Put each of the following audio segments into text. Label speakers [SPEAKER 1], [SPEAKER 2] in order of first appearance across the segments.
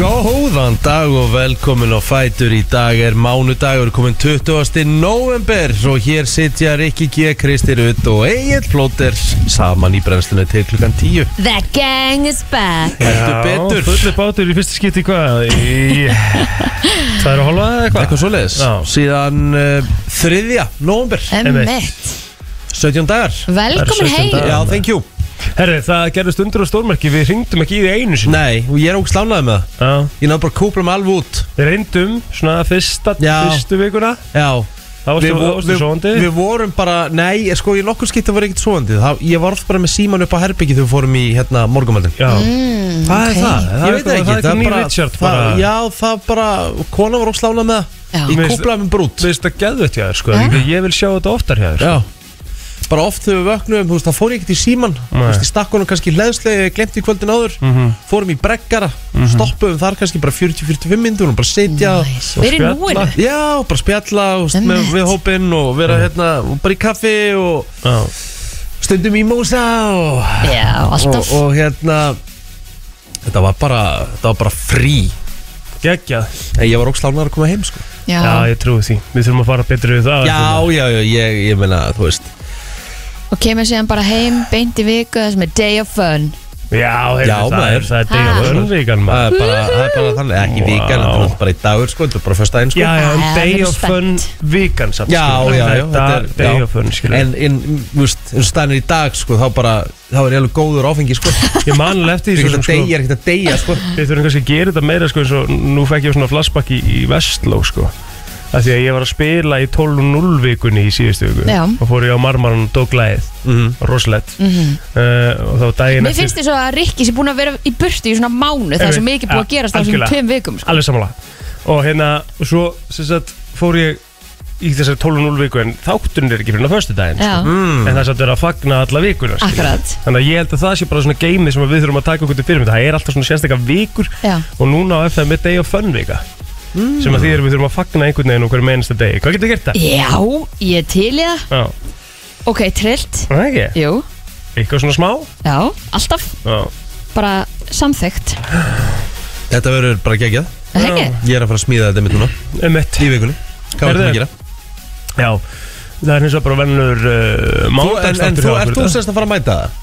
[SPEAKER 1] Góðan dag og velkomin á Fætur Í dag er mánudagur, komin 20. november Og hér sitja Rikki G, Kristi Rutt og Egil Plóter Saman í brennslunni til klukkan 10
[SPEAKER 2] The gang is back
[SPEAKER 1] Heldur betur.
[SPEAKER 3] fullu bátur í fyrsta skipti hvað í tværa hálfa eða hvað
[SPEAKER 1] Eitthvað svoleiðis
[SPEAKER 3] Já.
[SPEAKER 1] Síðan uh, 3. november,
[SPEAKER 2] Eh. Emmett
[SPEAKER 1] 17 dagar
[SPEAKER 2] Velkomin
[SPEAKER 3] Það er 17
[SPEAKER 2] heim
[SPEAKER 3] dagar.
[SPEAKER 1] Já, thank you
[SPEAKER 3] herri það gerðist undur á stórmerki við ringdum ekki í því einu sinni
[SPEAKER 1] Nei, og ég er ógst lánaði með það
[SPEAKER 3] já
[SPEAKER 1] Ég náðu bara að kúpla mig alveg út
[SPEAKER 3] við reyndum svona fyrsta
[SPEAKER 1] Já.
[SPEAKER 3] fyrstu vikuna
[SPEAKER 1] Já
[SPEAKER 3] það varstu,
[SPEAKER 1] Við vo-
[SPEAKER 3] það varstu
[SPEAKER 1] við-
[SPEAKER 3] svoandi
[SPEAKER 1] Við vorum bara, nei, sko, ég nokkur skipt að voru ekkert svoandi það, Ég var oft bara með síman upp á herbyggi þegar við fórum í hérna, morgumaldin
[SPEAKER 3] já
[SPEAKER 1] Hvað
[SPEAKER 2] ok.
[SPEAKER 1] er það? Ég
[SPEAKER 3] Það
[SPEAKER 1] veit
[SPEAKER 3] er eitthvað-
[SPEAKER 1] ekki,
[SPEAKER 3] það er eitthvað ný Richard bara.
[SPEAKER 1] það, Já, það bara, kona var óslána með
[SPEAKER 2] Já.
[SPEAKER 1] það Í
[SPEAKER 3] Mér finnst-
[SPEAKER 1] kúplaði með brút
[SPEAKER 3] við veist að geðvett hjá þér sko
[SPEAKER 2] Já.
[SPEAKER 3] ég, ég vil sjá þetta oftar hjá þér
[SPEAKER 1] Já Bara oft þegar við vöknum, þú veist, það fór ég ekkert í síman Þú
[SPEAKER 3] Nei. Mhm.
[SPEAKER 1] veist, ég stakk honum kannski hlæðslega, glemt í kvöldin áður Fórum í breggara, stoppuðum þar kannski bara 40-45 myndur og bara sitja
[SPEAKER 2] Nice. Við erum
[SPEAKER 3] spjalla.
[SPEAKER 2] núinu
[SPEAKER 1] Já, bara spjalla og st- með,
[SPEAKER 2] Einmitt.
[SPEAKER 1] við hópinn og vera hérna og bara í kaffi og
[SPEAKER 3] Já.
[SPEAKER 1] stundum í mósa og,
[SPEAKER 2] Já,
[SPEAKER 1] og,
[SPEAKER 2] alltaf
[SPEAKER 1] og hérna Þetta var bara, þetta var bara frí
[SPEAKER 3] geggjað
[SPEAKER 1] En ég var ógst lánar að koma heim sko
[SPEAKER 2] Já,
[SPEAKER 3] já ég trúi því við þurfum að fara betur við það
[SPEAKER 1] Já, já, já, ég, ég meina, þú veist
[SPEAKER 2] og kemur síðan bara heim beint í viku þessum er day of fun
[SPEAKER 3] já, heyrðu,
[SPEAKER 1] Já,
[SPEAKER 3] það
[SPEAKER 1] maður.
[SPEAKER 3] er það er degja
[SPEAKER 2] Ha.
[SPEAKER 3] vönnvíkan
[SPEAKER 1] Það er bara, það er bara þannig, ekki
[SPEAKER 3] Vá.
[SPEAKER 1] vikan, þetta er bara í dagur sko, þetta er bara fyrsta einn sko
[SPEAKER 3] Já, já, en
[SPEAKER 2] Já, við
[SPEAKER 3] day
[SPEAKER 2] erum
[SPEAKER 3] of fun
[SPEAKER 2] spennt.
[SPEAKER 3] vikan samt
[SPEAKER 1] já,
[SPEAKER 3] skilur.
[SPEAKER 1] já, já,
[SPEAKER 3] Þetta er day
[SPEAKER 1] já.
[SPEAKER 3] of fun, skilur
[SPEAKER 1] En, en, þú veist, eins og staðin er í dag sko, þá bara, þá er ég alveg góður áfengi sko Ég
[SPEAKER 3] Ég man alveg eftir
[SPEAKER 1] er
[SPEAKER 3] því
[SPEAKER 1] ekkert
[SPEAKER 3] sem
[SPEAKER 1] að
[SPEAKER 3] sko
[SPEAKER 1] deyja, ég er ekkert að deyja sko
[SPEAKER 3] Við þurfum kannski að gera þetta meira sko eins og nú fekk ég svona flashback í, í Vestló sko Af því að ég var að spila í 12-0 vikunni í síðustu viku
[SPEAKER 2] Já.
[SPEAKER 3] Og fór ég á marmaran og dók glæðið
[SPEAKER 1] Mhm.
[SPEAKER 3] Rosalett uh, Og þá daginn
[SPEAKER 2] Mhm. Mér finnst þess að Rikki sé búin að vera í burtu í svona mánu Það er svo
[SPEAKER 3] Einmitt.
[SPEAKER 2] mikið búið að
[SPEAKER 3] Ja,
[SPEAKER 2] gerast á þessum
[SPEAKER 3] algjörlega.
[SPEAKER 2] tveim vikum sko.
[SPEAKER 3] Alveg samanlega Og hérna, og svo sem sagt fór ég í þessari 12-0 viku En þátturinn er ekki fyrir hérna föstu daginn
[SPEAKER 2] Já,
[SPEAKER 1] Mm.
[SPEAKER 3] En það er samt verið að fagna alla vikuna skilur.
[SPEAKER 2] akkurat
[SPEAKER 3] Þannig að ég held að það sé bara svona geimi sem að við þurfum að taka okkur til fyrir Það er alltaf svona sérstakar vikur
[SPEAKER 2] Já.
[SPEAKER 3] Og núna á eftir með day of fun vika Sem að því erum við þurfum að fagna einhvern veginn okkur með einasta degi Hvað getur gert það?
[SPEAKER 2] Já, ég er til í það
[SPEAKER 3] Já,
[SPEAKER 2] Ok, trillt
[SPEAKER 3] það er ekki?
[SPEAKER 2] Jú,
[SPEAKER 3] Eitthvað svona smá?
[SPEAKER 2] já, alltaf
[SPEAKER 3] Já,
[SPEAKER 2] bara samþygt
[SPEAKER 1] Þetta verður bara geggjað
[SPEAKER 2] Það er ekki?
[SPEAKER 1] Ég er að fara að smíða þetta mitt núna
[SPEAKER 3] um eitt
[SPEAKER 1] í vikunni Hvað er
[SPEAKER 3] Heyrðu,
[SPEAKER 1] þetta að gera?
[SPEAKER 3] Já, það er eins og bara vennur uh,
[SPEAKER 1] Þú, en en
[SPEAKER 3] Mándagsdáttur
[SPEAKER 1] þú, ert þú semst að fara að mæta það?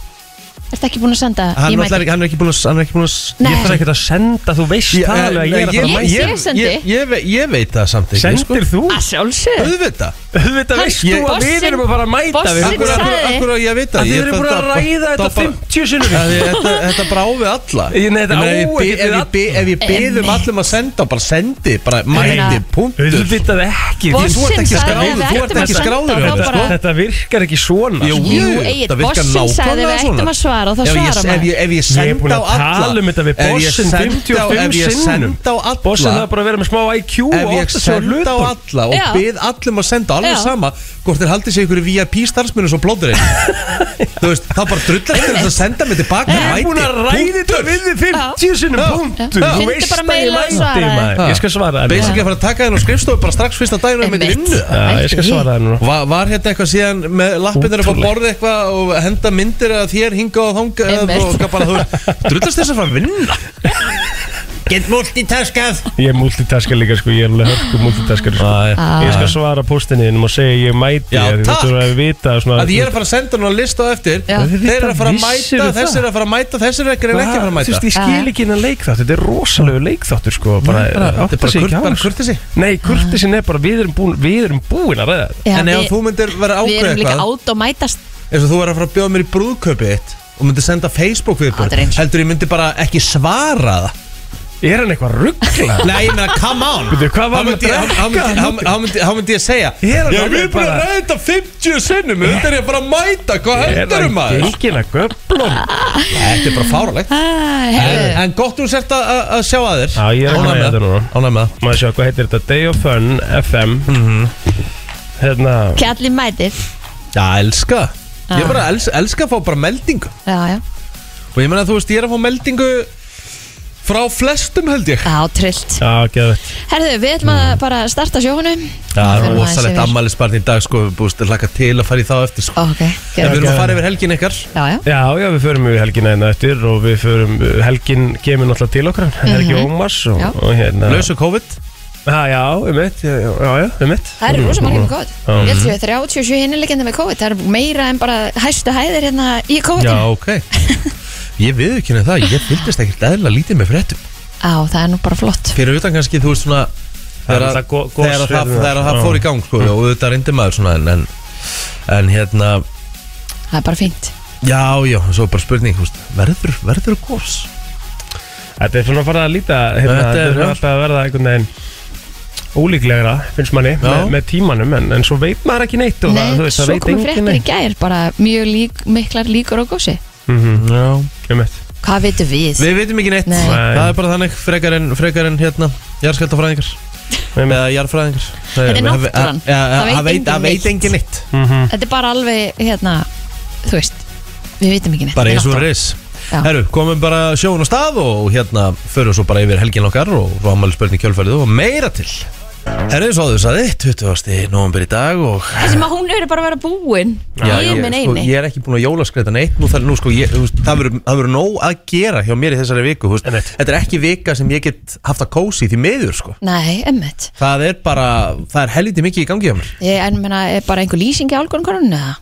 [SPEAKER 2] Ertu ekki búin að senda?
[SPEAKER 1] Hann,
[SPEAKER 2] Ég
[SPEAKER 1] náttúrulega
[SPEAKER 2] mæti
[SPEAKER 1] er ekki- hann er ekki búin að Hann er ekki búin að
[SPEAKER 2] Nei.
[SPEAKER 3] Ég þarf ekki að senda, þú veist
[SPEAKER 1] Ég-
[SPEAKER 3] það
[SPEAKER 1] eh,
[SPEAKER 3] alveg að ég er að fara að
[SPEAKER 2] ég-
[SPEAKER 3] mæta
[SPEAKER 1] ég-
[SPEAKER 2] sendi.
[SPEAKER 1] ég- ég ve- Ég veit það samt ekki sko.
[SPEAKER 3] Sendir þú?
[SPEAKER 2] að sjálfsög
[SPEAKER 1] Auðvitað
[SPEAKER 3] Auðvitað
[SPEAKER 2] Hann-
[SPEAKER 3] veist þú að
[SPEAKER 2] Bossinn-
[SPEAKER 3] við erum að fara að mæta
[SPEAKER 2] bossinn
[SPEAKER 3] við
[SPEAKER 1] Akkur
[SPEAKER 3] Akkur-
[SPEAKER 2] sagði-
[SPEAKER 1] akkur á ég að vita
[SPEAKER 3] að Þið
[SPEAKER 1] Ég-
[SPEAKER 3] erum búin að
[SPEAKER 1] þetta-
[SPEAKER 3] ræða þetta
[SPEAKER 1] bara-
[SPEAKER 3] 50 sinnur
[SPEAKER 1] Það er- Þetta þetta bara á við alla
[SPEAKER 3] Ég- nei, þetta
[SPEAKER 1] Ég meina,
[SPEAKER 3] á
[SPEAKER 1] ef ég bi-
[SPEAKER 3] ekkert
[SPEAKER 1] ef
[SPEAKER 3] við
[SPEAKER 1] ég bi- Ef ég byðum
[SPEAKER 2] Einmitt.
[SPEAKER 1] allum að senda Bara sendi, bara mæti,
[SPEAKER 2] Nei.
[SPEAKER 1] punktur
[SPEAKER 3] Auðvitað ekki
[SPEAKER 2] Boss-
[SPEAKER 1] Þú ert ekki
[SPEAKER 3] Þú-
[SPEAKER 2] Bossinn sagði
[SPEAKER 1] skráður,
[SPEAKER 2] að
[SPEAKER 1] þú
[SPEAKER 2] við
[SPEAKER 1] ert
[SPEAKER 2] ættum
[SPEAKER 1] ekki
[SPEAKER 2] að
[SPEAKER 1] skráður
[SPEAKER 2] senda
[SPEAKER 1] um þetta,
[SPEAKER 2] þá
[SPEAKER 3] Þetta
[SPEAKER 1] sko.
[SPEAKER 2] bara-
[SPEAKER 3] þetta virkar ekki svona
[SPEAKER 1] Jú,
[SPEAKER 2] Jú,
[SPEAKER 1] jú,
[SPEAKER 2] Egill,
[SPEAKER 1] þetta virkar
[SPEAKER 2] bossinn sagði
[SPEAKER 1] nákvæmlega
[SPEAKER 2] við ættum
[SPEAKER 1] svona.
[SPEAKER 2] að svara og þá
[SPEAKER 1] Ef ég- ef
[SPEAKER 2] svarar
[SPEAKER 1] ég-
[SPEAKER 2] maður
[SPEAKER 1] Ef ég
[SPEAKER 3] Ég er
[SPEAKER 1] senda
[SPEAKER 3] búin
[SPEAKER 1] á
[SPEAKER 3] að
[SPEAKER 1] alla
[SPEAKER 3] tala um þetta við
[SPEAKER 1] Ef ég
[SPEAKER 3] bossinn
[SPEAKER 1] sendi á-
[SPEAKER 3] 55
[SPEAKER 1] Ef ég
[SPEAKER 3] sinnum.
[SPEAKER 1] senda á alla
[SPEAKER 3] Bossin það er bara að vera með smá IQ
[SPEAKER 1] ef
[SPEAKER 3] og
[SPEAKER 1] ég
[SPEAKER 3] átt að sjá
[SPEAKER 1] senda á
[SPEAKER 3] hlutum
[SPEAKER 1] alla og
[SPEAKER 2] Já.
[SPEAKER 1] bið allum að senda alveg
[SPEAKER 2] Já.
[SPEAKER 1] sama hvort þeir haldið sér ykkur VIP starfsmunum svo blóðurinn þú veist, þá bara drullast þeir að senda mig tilbaka
[SPEAKER 3] Ég er búin að ræði þetta við þið 50 sinnum
[SPEAKER 1] Já.
[SPEAKER 3] punktur
[SPEAKER 1] Já.
[SPEAKER 3] Þú
[SPEAKER 2] Finndu
[SPEAKER 3] veist
[SPEAKER 2] bara
[SPEAKER 3] að ég
[SPEAKER 2] mail og
[SPEAKER 3] mæti
[SPEAKER 2] svaraðu.
[SPEAKER 3] maður Ég skal svara það
[SPEAKER 1] basically að
[SPEAKER 3] núna.
[SPEAKER 1] fara að taka þennan skrifstofu bara strax fyrsta daginn og með
[SPEAKER 2] Einmitt.
[SPEAKER 1] vinnu
[SPEAKER 3] Já, Ég skal svara það núna
[SPEAKER 1] Var, var hérna eitthvað síðan með lappinir upp á
[SPEAKER 3] Ótrúlegt.
[SPEAKER 1] borði eitthvað og henda myndir að þér hinga og þanga
[SPEAKER 2] Einmitt.
[SPEAKER 1] og eitthvað bara, þú veist, drullast þess að fara að vinna Get multitaskað
[SPEAKER 3] Ég er multitaskar líka sko, ég er alveg hörku multitaskar sko. Ég skal svara póstinni innum og segja ég mæti
[SPEAKER 1] Já,
[SPEAKER 3] af því
[SPEAKER 1] takk.
[SPEAKER 3] Þú þurfum að vita svona
[SPEAKER 1] að ég er að fara að senda hún að lista á eftir
[SPEAKER 2] Já.
[SPEAKER 1] þeir eru að fara að mæta,
[SPEAKER 3] Vissirðu um það?
[SPEAKER 1] þessir eru að fara að mæta þessir eru ekki að fara að
[SPEAKER 3] Þú
[SPEAKER 1] mæta
[SPEAKER 3] veist, ég skil ekki innan leikþátt, þetta er rosalegu leikþáttur sko bara,
[SPEAKER 1] þetta er bara kurt- bara kurtesi.
[SPEAKER 3] Nei, kurtisin er bara, við erum búin, við erum búin að ræða þetta.
[SPEAKER 2] Já,
[SPEAKER 1] en ef
[SPEAKER 2] við-
[SPEAKER 1] þú myndir vera
[SPEAKER 2] Við
[SPEAKER 1] ákveð
[SPEAKER 2] erum líka
[SPEAKER 1] eitthvað
[SPEAKER 2] át og mætast
[SPEAKER 1] eins og þú er að fara að bjóða mér í brúðkaupið þitt og myndir senda Facebook
[SPEAKER 2] Þetta er
[SPEAKER 1] viðbúr
[SPEAKER 2] eins.
[SPEAKER 1] heldur ég myndi bara ekki svara það
[SPEAKER 3] Er hann eitthvað ruggla?
[SPEAKER 1] Nei, ég meina, come on
[SPEAKER 3] Veitu, hvað var
[SPEAKER 1] Þá myndi
[SPEAKER 3] hann að
[SPEAKER 1] ég-
[SPEAKER 3] drekka
[SPEAKER 1] þá myndi-
[SPEAKER 3] þarna
[SPEAKER 1] þá myndi- Þá myndi- þá myndi ég segja
[SPEAKER 3] Ég er að
[SPEAKER 1] Já,
[SPEAKER 3] ná-
[SPEAKER 1] við erum búin að
[SPEAKER 3] bara-
[SPEAKER 1] ræða þetta 50 sinnum Þetta er ég bara að mæta, hvað heldur um maður?
[SPEAKER 3] Gengin að göblum
[SPEAKER 1] Þetta er bara fáralegt En
[SPEAKER 2] Herðu,
[SPEAKER 1] en gott þú sért að- að að sjá að þér
[SPEAKER 3] Já, ég er að
[SPEAKER 1] Ánægð með
[SPEAKER 3] ræða þetta núna
[SPEAKER 1] það. Ánægð með það
[SPEAKER 3] Maður sjá, hvað heitir þetta? Day of Fun FM
[SPEAKER 1] Mhm.
[SPEAKER 3] Hérna
[SPEAKER 2] kjalli mætir
[SPEAKER 1] Já, elska Ég bara els, elska að fá bara meldingu
[SPEAKER 2] Já, já
[SPEAKER 1] Og ég meina þú veist, ég er að fá meldingu frá flestum held ég
[SPEAKER 2] Já, trillt
[SPEAKER 3] Já, Mm. geðvett
[SPEAKER 2] Herðu, við ætlum að bara starta sjónu
[SPEAKER 1] Það er
[SPEAKER 2] Förum aðeins
[SPEAKER 1] rosalegt
[SPEAKER 2] yfir.
[SPEAKER 1] ammælisbarn í dag sko, við búist að laka til að fara í það á eftir sko.
[SPEAKER 2] Ok,
[SPEAKER 1] En við
[SPEAKER 2] gerum
[SPEAKER 1] erum að fara yfir helgin ykkar
[SPEAKER 2] Já, já
[SPEAKER 3] Já, já, við förum við helgina einn eftir og við förum, helgin kemur náttúrulega til okkar mm -hmm. Helgi Ómars og,
[SPEAKER 2] Já.
[SPEAKER 3] og hérna
[SPEAKER 1] Lausu COVID
[SPEAKER 3] Já, já, um mitt, já, já, já, um mitt
[SPEAKER 2] Það eru rosa margir með COVID
[SPEAKER 3] Já.
[SPEAKER 2] Ég held að við 37 hinnilegjandi með COVID Það eru meira en bara hæstu hæðir hérna í COVID
[SPEAKER 1] Já, ok Ég við ekki nefn það, ég fylgist ekkert eðla lítið með fréttum
[SPEAKER 2] Á, það er nú bara flott
[SPEAKER 1] Fyrir utan kannski, þú veist svona
[SPEAKER 3] Það
[SPEAKER 1] Þegar
[SPEAKER 3] er
[SPEAKER 1] að-
[SPEAKER 3] það go-
[SPEAKER 1] þegar að það,
[SPEAKER 3] gosfréttirnar.
[SPEAKER 1] þegar að það
[SPEAKER 3] Já.
[SPEAKER 1] fór í gang sko, og auðvitað reyndi maður svona en, en, en hérna,
[SPEAKER 2] Það er bara fínt
[SPEAKER 1] já, já, svo bara spurning þú veist, Verður, verður gos?
[SPEAKER 3] Þetta er svona að fara að líta hérna,
[SPEAKER 1] Þetta er-
[SPEAKER 3] Þetta er alltaf að verða einhvern veginn ólíklegra, finnst manni með, með tímanum, en, en svo veit maður ekki neitt og
[SPEAKER 2] Nei,
[SPEAKER 3] það, þú veist, það
[SPEAKER 2] svo
[SPEAKER 3] veit
[SPEAKER 2] komu
[SPEAKER 3] enginn
[SPEAKER 2] fréttir í
[SPEAKER 3] neitt
[SPEAKER 2] gær bara mjög lík, miklar líkur á gósi
[SPEAKER 3] Mhm,
[SPEAKER 1] Já
[SPEAKER 3] um mitt
[SPEAKER 2] Hvað veitum við?
[SPEAKER 1] Við veitum ekki neitt
[SPEAKER 2] Nei.
[SPEAKER 3] Nei.
[SPEAKER 1] Það er bara þannig, frekar en, frekar en hérna jarðskjálftafræðingar
[SPEAKER 3] Einmitt.
[SPEAKER 1] eða jarðfræðingar Þetta
[SPEAKER 2] er náttúran.
[SPEAKER 1] Það
[SPEAKER 2] Það veit
[SPEAKER 1] veit-
[SPEAKER 2] enginn
[SPEAKER 1] það veit
[SPEAKER 2] neitt.
[SPEAKER 1] engin neitt
[SPEAKER 3] Mhm.
[SPEAKER 2] Þetta er bara alveg, hérna, þú veist Við veitum ekki neitt
[SPEAKER 1] Bara
[SPEAKER 2] Við
[SPEAKER 1] eins og
[SPEAKER 2] náttúrulega.
[SPEAKER 1] reis
[SPEAKER 2] Já.
[SPEAKER 1] Herru, komum bara sjóun á stað og hérna förum svo bara yfir helgin okkar og rámæli spörni kjölfærið og meira til Herru, svo þú sagði, 20. november í dag og
[SPEAKER 2] Þessi maður hún er bara að vera búin Ég minn
[SPEAKER 1] sko,
[SPEAKER 2] eini
[SPEAKER 1] ég er ekki búin að jólaskreita neitt nú, það, nú, sko, ég, þú veist, það verður- það verður nóg að gera hjá mér í þessari viku þú veist.
[SPEAKER 3] Einmitt.
[SPEAKER 1] Þetta er ekki vika sem ég get haft að kósi því miður sko.
[SPEAKER 2] Nei, emmitt
[SPEAKER 1] Það er bara, það er helviti mikið í gangi hjá mér
[SPEAKER 2] Ég en menna, er bara einhver lýsing í álgurinn konunni eða?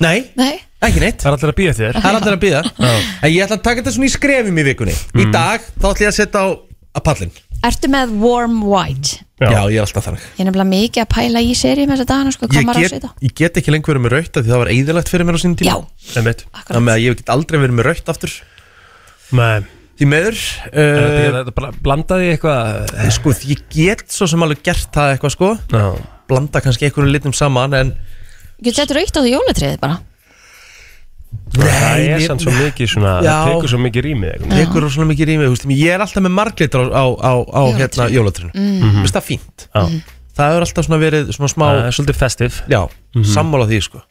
[SPEAKER 1] Nei,
[SPEAKER 2] Nei,
[SPEAKER 1] ekki neitt
[SPEAKER 3] Það er allir að býja þér
[SPEAKER 1] Það er allir að býða En ég ætla að taka þetta svona í skrefum í vikunni Í dag, þá ætla ég að setja á að pallin Já.
[SPEAKER 2] ertu með warm white?
[SPEAKER 1] ég er alltaf þannig
[SPEAKER 2] Ég er nefnilega mikið að pæla í serið með þessa dagana sko, hvað
[SPEAKER 1] ég
[SPEAKER 2] maður á að
[SPEAKER 1] get,
[SPEAKER 2] setja
[SPEAKER 1] ég get ekki lengur verið með rautt af Því það var eðilegt fyrir mér á sínum
[SPEAKER 2] Já,
[SPEAKER 1] tíma
[SPEAKER 3] um mitt
[SPEAKER 1] Þannig
[SPEAKER 2] akkurat
[SPEAKER 1] að ég get aldrei verið með rautt aftur
[SPEAKER 3] Nei,
[SPEAKER 1] Því meður uh,
[SPEAKER 3] Eh, þetta bara blandaði eitthvað eh,
[SPEAKER 1] Sko, því ég get svo sem alveg gert það eitthvað sko
[SPEAKER 3] Já,
[SPEAKER 1] Blanda kannski einhverju litum saman En
[SPEAKER 2] Getur þetta raukt á því jólatriðið bara?
[SPEAKER 3] Sko, það er
[SPEAKER 1] ég-
[SPEAKER 3] samt svo mikið svona,
[SPEAKER 1] Já.
[SPEAKER 3] það tekur svo mikið rýmið einhvern veginn.
[SPEAKER 1] tekur svona mikið rými þú veist, Ég er alltaf með marglitur á, á, á, á hérna, jólatrinu mm. Vist það fínt
[SPEAKER 3] Já.
[SPEAKER 2] Mhm.
[SPEAKER 1] Það hefur alltaf svona verið svona smá
[SPEAKER 3] Það er svolítið Mhm. festiv
[SPEAKER 1] Já, sammála því sko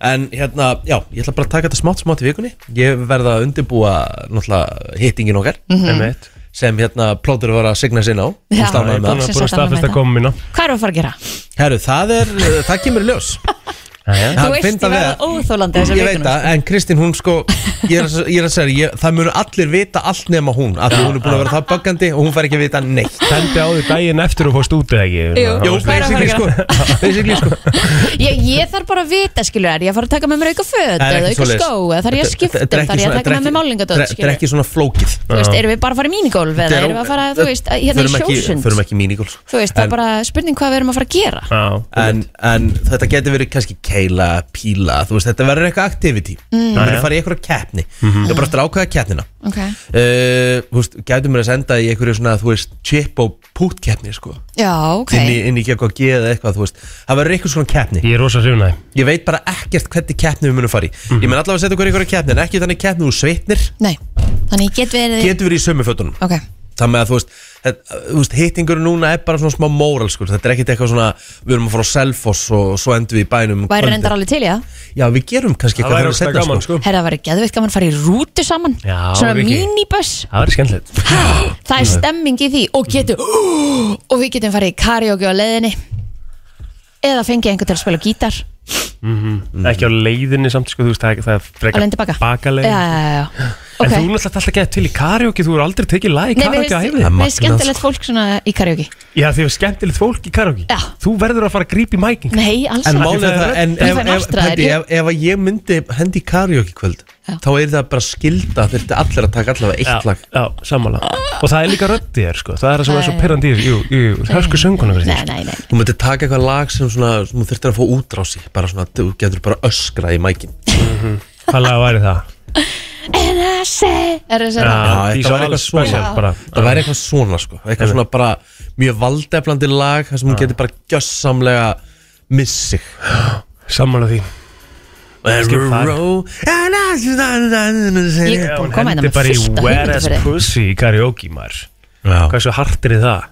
[SPEAKER 1] En hérna, já, ég ætla bara að taka þetta smátt smátt í vikunni Ég verða að undirbúa náttúrulega hittingin okkar
[SPEAKER 2] Mhm.
[SPEAKER 3] um mitt
[SPEAKER 1] sem hérna plótur var að signa sinna á
[SPEAKER 2] Já.
[SPEAKER 1] og
[SPEAKER 3] Það
[SPEAKER 1] stánaði
[SPEAKER 3] er
[SPEAKER 1] með
[SPEAKER 3] búin
[SPEAKER 1] það
[SPEAKER 3] að-
[SPEAKER 2] Loksins
[SPEAKER 3] búin að
[SPEAKER 2] að tala um
[SPEAKER 3] staðfesta
[SPEAKER 2] þetta.
[SPEAKER 3] komum mína
[SPEAKER 2] Hvað erum við að fara að gera?
[SPEAKER 1] Herru, það er, uh, það kemur í ljós Hann
[SPEAKER 3] Jæja.
[SPEAKER 2] Þú veist,
[SPEAKER 1] fyndi
[SPEAKER 2] ég
[SPEAKER 1] að
[SPEAKER 2] verða
[SPEAKER 1] vega-
[SPEAKER 2] óþólandi þessar
[SPEAKER 1] Ég veit
[SPEAKER 2] vikuna,
[SPEAKER 1] það, en Kristín hún sko Ég er, að- ég er að segja, ég, það munu allir vita allt nema hún af því hún er búin að vera það baggandi og hún fær ekki að vita neitt
[SPEAKER 3] Tendi á því daginn eftir og fórst út eða ekki
[SPEAKER 2] Jú.
[SPEAKER 3] Það
[SPEAKER 1] Jú,
[SPEAKER 3] var-
[SPEAKER 2] hvað er að fara að
[SPEAKER 1] basically sko, basically sko
[SPEAKER 2] Ég, ég þarf bara að vita, skilur þær, ég þarf að taka með mér auka
[SPEAKER 1] Það er
[SPEAKER 2] föt eða
[SPEAKER 1] ekki
[SPEAKER 2] auka
[SPEAKER 1] svoleiðis.
[SPEAKER 2] skó, eða þarf ég
[SPEAKER 1] Þetta-
[SPEAKER 2] að skipta,
[SPEAKER 1] þetta er ekki
[SPEAKER 2] þarf ég að
[SPEAKER 1] svona-
[SPEAKER 2] taka með mér
[SPEAKER 1] þetta
[SPEAKER 2] málningadótt,
[SPEAKER 1] er ekki- Þetta
[SPEAKER 2] skilur
[SPEAKER 1] er ekki svona flókið
[SPEAKER 2] Þú veist, erum við bara að fara í mínigólf eða
[SPEAKER 1] Þetta er
[SPEAKER 2] erum við að fara,
[SPEAKER 1] ó-
[SPEAKER 2] þú veist, að- hérna í
[SPEAKER 1] förum ekki-
[SPEAKER 2] sjósund
[SPEAKER 1] Förum ekki sko. mínigólf
[SPEAKER 2] Þú veist, það er
[SPEAKER 1] En-
[SPEAKER 2] bara spurning hvað við erum að fara að gera
[SPEAKER 3] Já,
[SPEAKER 1] en, en þetta getur verið kannski keila, píla, þú veist, þetta verður eitthvað activity Þú
[SPEAKER 2] Mm.
[SPEAKER 1] verður
[SPEAKER 3] Já, já.
[SPEAKER 1] að fara í eitthvað keppni
[SPEAKER 2] Mhm.
[SPEAKER 1] Það er bara eftir að ákveða keppnina
[SPEAKER 2] Ok,
[SPEAKER 1] uh, Þú veist, getur mér að senda í einhverju svona, þú veist, chip og pút keppni, sko
[SPEAKER 2] já, ok
[SPEAKER 1] inn í, inn í eitthvað geð eða eitthvað, þú veist Það verður eitthvað svona keppni
[SPEAKER 3] Ég er rosa hrifnaði
[SPEAKER 1] Ég veit bara ekkert hvernig keppni við munum fara í
[SPEAKER 2] Mhm.
[SPEAKER 1] Ég menn allavega að setja okkur í einhverju keppni En ekki þannig keppni úr sveitnir
[SPEAKER 2] Nei, þannig ég get verið
[SPEAKER 1] Getur verið í sömu fötunum
[SPEAKER 2] Ok,
[SPEAKER 1] Þannig að þú veist, þetta, þú veist hittingur núna er bara svona smá móral sko. Þetta er ekkert eitthvað svona, við erum að fara á Selfoss og svo endur við í bænum um
[SPEAKER 2] væri
[SPEAKER 1] kvöldið.
[SPEAKER 2] reyndar alveg til, já
[SPEAKER 1] Já, við gerum kannski
[SPEAKER 3] Það
[SPEAKER 1] eitthvað
[SPEAKER 3] væri
[SPEAKER 1] þegar
[SPEAKER 3] rosa
[SPEAKER 1] seinna,
[SPEAKER 3] gaman
[SPEAKER 1] sko.
[SPEAKER 3] sko
[SPEAKER 2] Herra, það væri geðveikt gaman að fara í rútu saman
[SPEAKER 3] Já,
[SPEAKER 2] Svona
[SPEAKER 3] Viki.
[SPEAKER 2] minibuss
[SPEAKER 3] Það verður skemmtilegt
[SPEAKER 2] Það er stemming í því og getur Og við getum farið í karaoke á leiðinni Eða fengið einhvern til að spila á gítar
[SPEAKER 1] Mm.
[SPEAKER 3] Ekki á leiðinni samt sko, þú veist, það, það er
[SPEAKER 2] Á leiðin
[SPEAKER 3] frekar
[SPEAKER 2] tilbaka Já,
[SPEAKER 3] bakalegin
[SPEAKER 2] já, já, já
[SPEAKER 3] En
[SPEAKER 2] Ok
[SPEAKER 3] þú náttúrulega ert alltaf gett til í karaoke, þú er aldrei tekið lag í
[SPEAKER 2] Nei,
[SPEAKER 3] karaoke að
[SPEAKER 1] Það er
[SPEAKER 2] við
[SPEAKER 1] magnað,
[SPEAKER 2] erum skemmtilegt fólk svona í karaoke
[SPEAKER 3] Já, því er skemmtilegt fólk í karaoke
[SPEAKER 2] Já.
[SPEAKER 3] Þú verður að fara að grípa í mæking
[SPEAKER 2] Nei, alls
[SPEAKER 1] En
[SPEAKER 2] ekki
[SPEAKER 1] málið er það, en
[SPEAKER 2] Þú
[SPEAKER 1] ef,
[SPEAKER 2] fær
[SPEAKER 1] ef,
[SPEAKER 2] martraðir,
[SPEAKER 1] Pendi,
[SPEAKER 2] ég-
[SPEAKER 1] ef, ef að ég myndi hendi í karaoke kvöld
[SPEAKER 2] Já.
[SPEAKER 1] þá er það bara skilda þurfti allir að taka allavega eitt
[SPEAKER 3] Já,
[SPEAKER 1] lag
[SPEAKER 3] já, sammála Og það er líka röddi þér, sko Það er það sem er svo pirrandi í þessu, jú, jú, hörsku sönguna fyrir
[SPEAKER 2] Nei,
[SPEAKER 3] þér
[SPEAKER 2] nei, nei
[SPEAKER 1] Þú myndi taka eitthvað lag sem svona sem þú þurftir að fá útrási bara svona, þú getur bara öskrað í mækin
[SPEAKER 3] Hvað lag væri það?
[SPEAKER 2] And I say Er það
[SPEAKER 1] Já,
[SPEAKER 2] svona
[SPEAKER 3] Já,
[SPEAKER 1] þetta
[SPEAKER 3] Dísa
[SPEAKER 1] var eitthvað
[SPEAKER 3] Ah, Alls special
[SPEAKER 1] svona.
[SPEAKER 3] bara
[SPEAKER 1] Það væri eitthvað svona sko, eitthvað svona bara mjög valdeflandi lag þar sem
[SPEAKER 3] Ah.
[SPEAKER 1] hún getur bara gjössamlega missi
[SPEAKER 3] Sammála því Skip það.
[SPEAKER 2] Ég
[SPEAKER 1] Já,
[SPEAKER 2] er búin
[SPEAKER 3] Hún
[SPEAKER 2] að koma hérna
[SPEAKER 3] hendi
[SPEAKER 2] með
[SPEAKER 3] bara í
[SPEAKER 2] fullt af
[SPEAKER 3] Where
[SPEAKER 2] hugmyndu
[SPEAKER 3] is
[SPEAKER 2] fyrir þig.
[SPEAKER 3] Pussy í karaoke, maður Hvað svo hartir er það?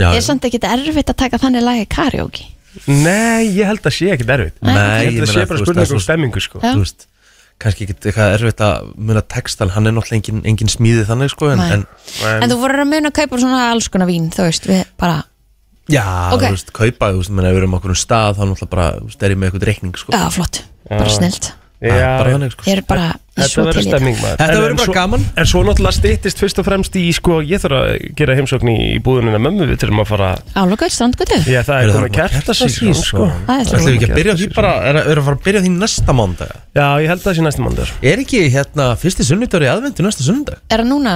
[SPEAKER 1] já,
[SPEAKER 2] Ég er samt ekki erfitt að taka þannig lagi karaoke
[SPEAKER 3] Nei, ég held að sé ekkert erfitt
[SPEAKER 1] Nei, ég
[SPEAKER 3] Ég held að
[SPEAKER 1] meina, þú
[SPEAKER 3] sé
[SPEAKER 1] veist, það
[SPEAKER 3] bara
[SPEAKER 1] er
[SPEAKER 3] spurning um
[SPEAKER 1] svo-
[SPEAKER 3] stemmingu sko
[SPEAKER 2] Já.
[SPEAKER 1] þú veist kannski ekkert eitthvað erfitt að muna textan hann er náttúrulega engin, engin smíði þannig sko en,
[SPEAKER 2] Nei.
[SPEAKER 1] en
[SPEAKER 3] En-
[SPEAKER 2] En þú voru að muna að kaupa svona alls konar vín Þú veist, við bara
[SPEAKER 1] já,
[SPEAKER 2] Ok.
[SPEAKER 1] þú veist, kaupa, þú veist, menn ef við erum okkur um stað þá náttúrulega bara, þú veist, er ég með eitthvað reikning sko
[SPEAKER 2] Já, flott, bara snilt
[SPEAKER 1] Það er bara
[SPEAKER 3] Já,
[SPEAKER 1] þannig sko
[SPEAKER 2] Ég er bara ég er
[SPEAKER 3] Þetta
[SPEAKER 2] svo
[SPEAKER 3] verður
[SPEAKER 2] til í þetta
[SPEAKER 3] stemming maður
[SPEAKER 1] Þetta
[SPEAKER 3] En-
[SPEAKER 1] verður
[SPEAKER 3] en
[SPEAKER 1] bara
[SPEAKER 3] svo-
[SPEAKER 1] gaman.
[SPEAKER 3] En svo náttúrulega styttist fyrst og fremst í sko, Ég þarf að gera heimsókn í, í búðunina mömmu Við þurfum að fara
[SPEAKER 2] Álokaður, strandgötu
[SPEAKER 3] Já það er
[SPEAKER 1] Heyrðu, það
[SPEAKER 3] komið
[SPEAKER 1] var
[SPEAKER 3] kertasísón
[SPEAKER 1] kertasísón,
[SPEAKER 3] sko.
[SPEAKER 1] sko.
[SPEAKER 2] Það er
[SPEAKER 1] Ætlum við
[SPEAKER 2] svo
[SPEAKER 1] ekki að byrja á því bara, er, er að fara að byrja á því næsta mándag
[SPEAKER 3] Já ég held að það sé næstum andur
[SPEAKER 1] Er ekki hérna fyrsti sunnudagur í aðventu næsta sunnudag?
[SPEAKER 2] Er það núna,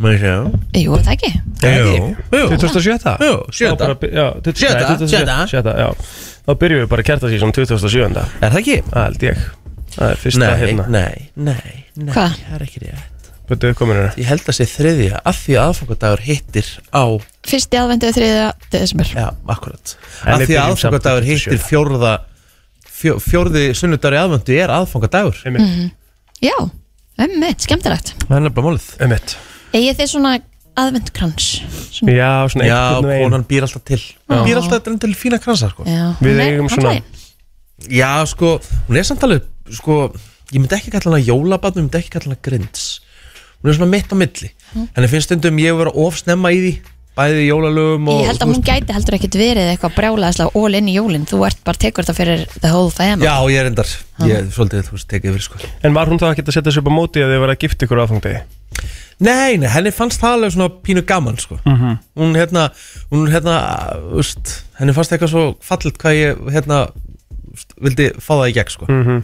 [SPEAKER 1] Má ég sjá?
[SPEAKER 2] jú, er það ekki
[SPEAKER 1] Jú, jú,
[SPEAKER 3] 27.
[SPEAKER 1] jú, sjöta Sjötta, sjötta.
[SPEAKER 3] 27. já. Þá byrjum við bara kertasísón 27.
[SPEAKER 1] Er það ekki?
[SPEAKER 3] Það held ég Það er fyrsta
[SPEAKER 1] Nei,
[SPEAKER 3] hérna
[SPEAKER 1] nei, nei, nei
[SPEAKER 2] Hvað?
[SPEAKER 1] Það er ekki rétt
[SPEAKER 3] Bötu uppkominuna
[SPEAKER 1] Ég held að sé þriðja af því að aðfangadagur hittir á
[SPEAKER 2] Fyrsti aðvendu þriða desember
[SPEAKER 1] Já, akkurat
[SPEAKER 3] En
[SPEAKER 1] Af því að
[SPEAKER 3] við byrjum samt
[SPEAKER 1] aðfangadagur
[SPEAKER 3] eftir
[SPEAKER 1] hittir
[SPEAKER 3] sjö.
[SPEAKER 1] fjórða fjó, Fjórði sunnudagur í aðvendu er aðfangadagur
[SPEAKER 3] Mhm.
[SPEAKER 2] Já, emmitt, skemmtilegt
[SPEAKER 1] Það er bara málið
[SPEAKER 3] Emmett
[SPEAKER 2] Egið þið svona aðvendkrans Svona-
[SPEAKER 3] Já svona
[SPEAKER 1] Já,
[SPEAKER 3] einhvern veginn
[SPEAKER 1] konan býr alltaf til Hún býr alltaf til- til fína kransa, sko
[SPEAKER 2] Já,
[SPEAKER 3] Við
[SPEAKER 2] nei,
[SPEAKER 3] eigum
[SPEAKER 2] hann lagi.
[SPEAKER 3] svona-
[SPEAKER 1] Já, sko, hún er samt alveg sko, ég myndi ekki kalla hana jólabann ég myndi ekki kalla hana grinds hún er svona mitt á milli
[SPEAKER 2] Mm.
[SPEAKER 1] henni finnst stundum ég vera ofsnemma í því bæði í jólalögum og
[SPEAKER 2] Ég held að
[SPEAKER 1] þú
[SPEAKER 2] hún
[SPEAKER 1] veist-
[SPEAKER 2] gæti heldur ekkit verið eitthvað brjálaðislega all in í jólin Þú ert bara tekur þetta fyrir the whole family
[SPEAKER 1] Já, ég er endar, ég er svolítið, þú veist, tekið yfir sko
[SPEAKER 3] En var hún þá ekki að setja sig upp á móti að þið var að gifta ykkur á aðfangdegi?
[SPEAKER 1] Nei, nei, henni fannst það alveg svona pínu gaman sko -hmm. hún hérna, hún hérna úst, henni fannst eitthvað svo fallit hvað ég hérna úst, vildi fá það í gegn sko mm -hmm.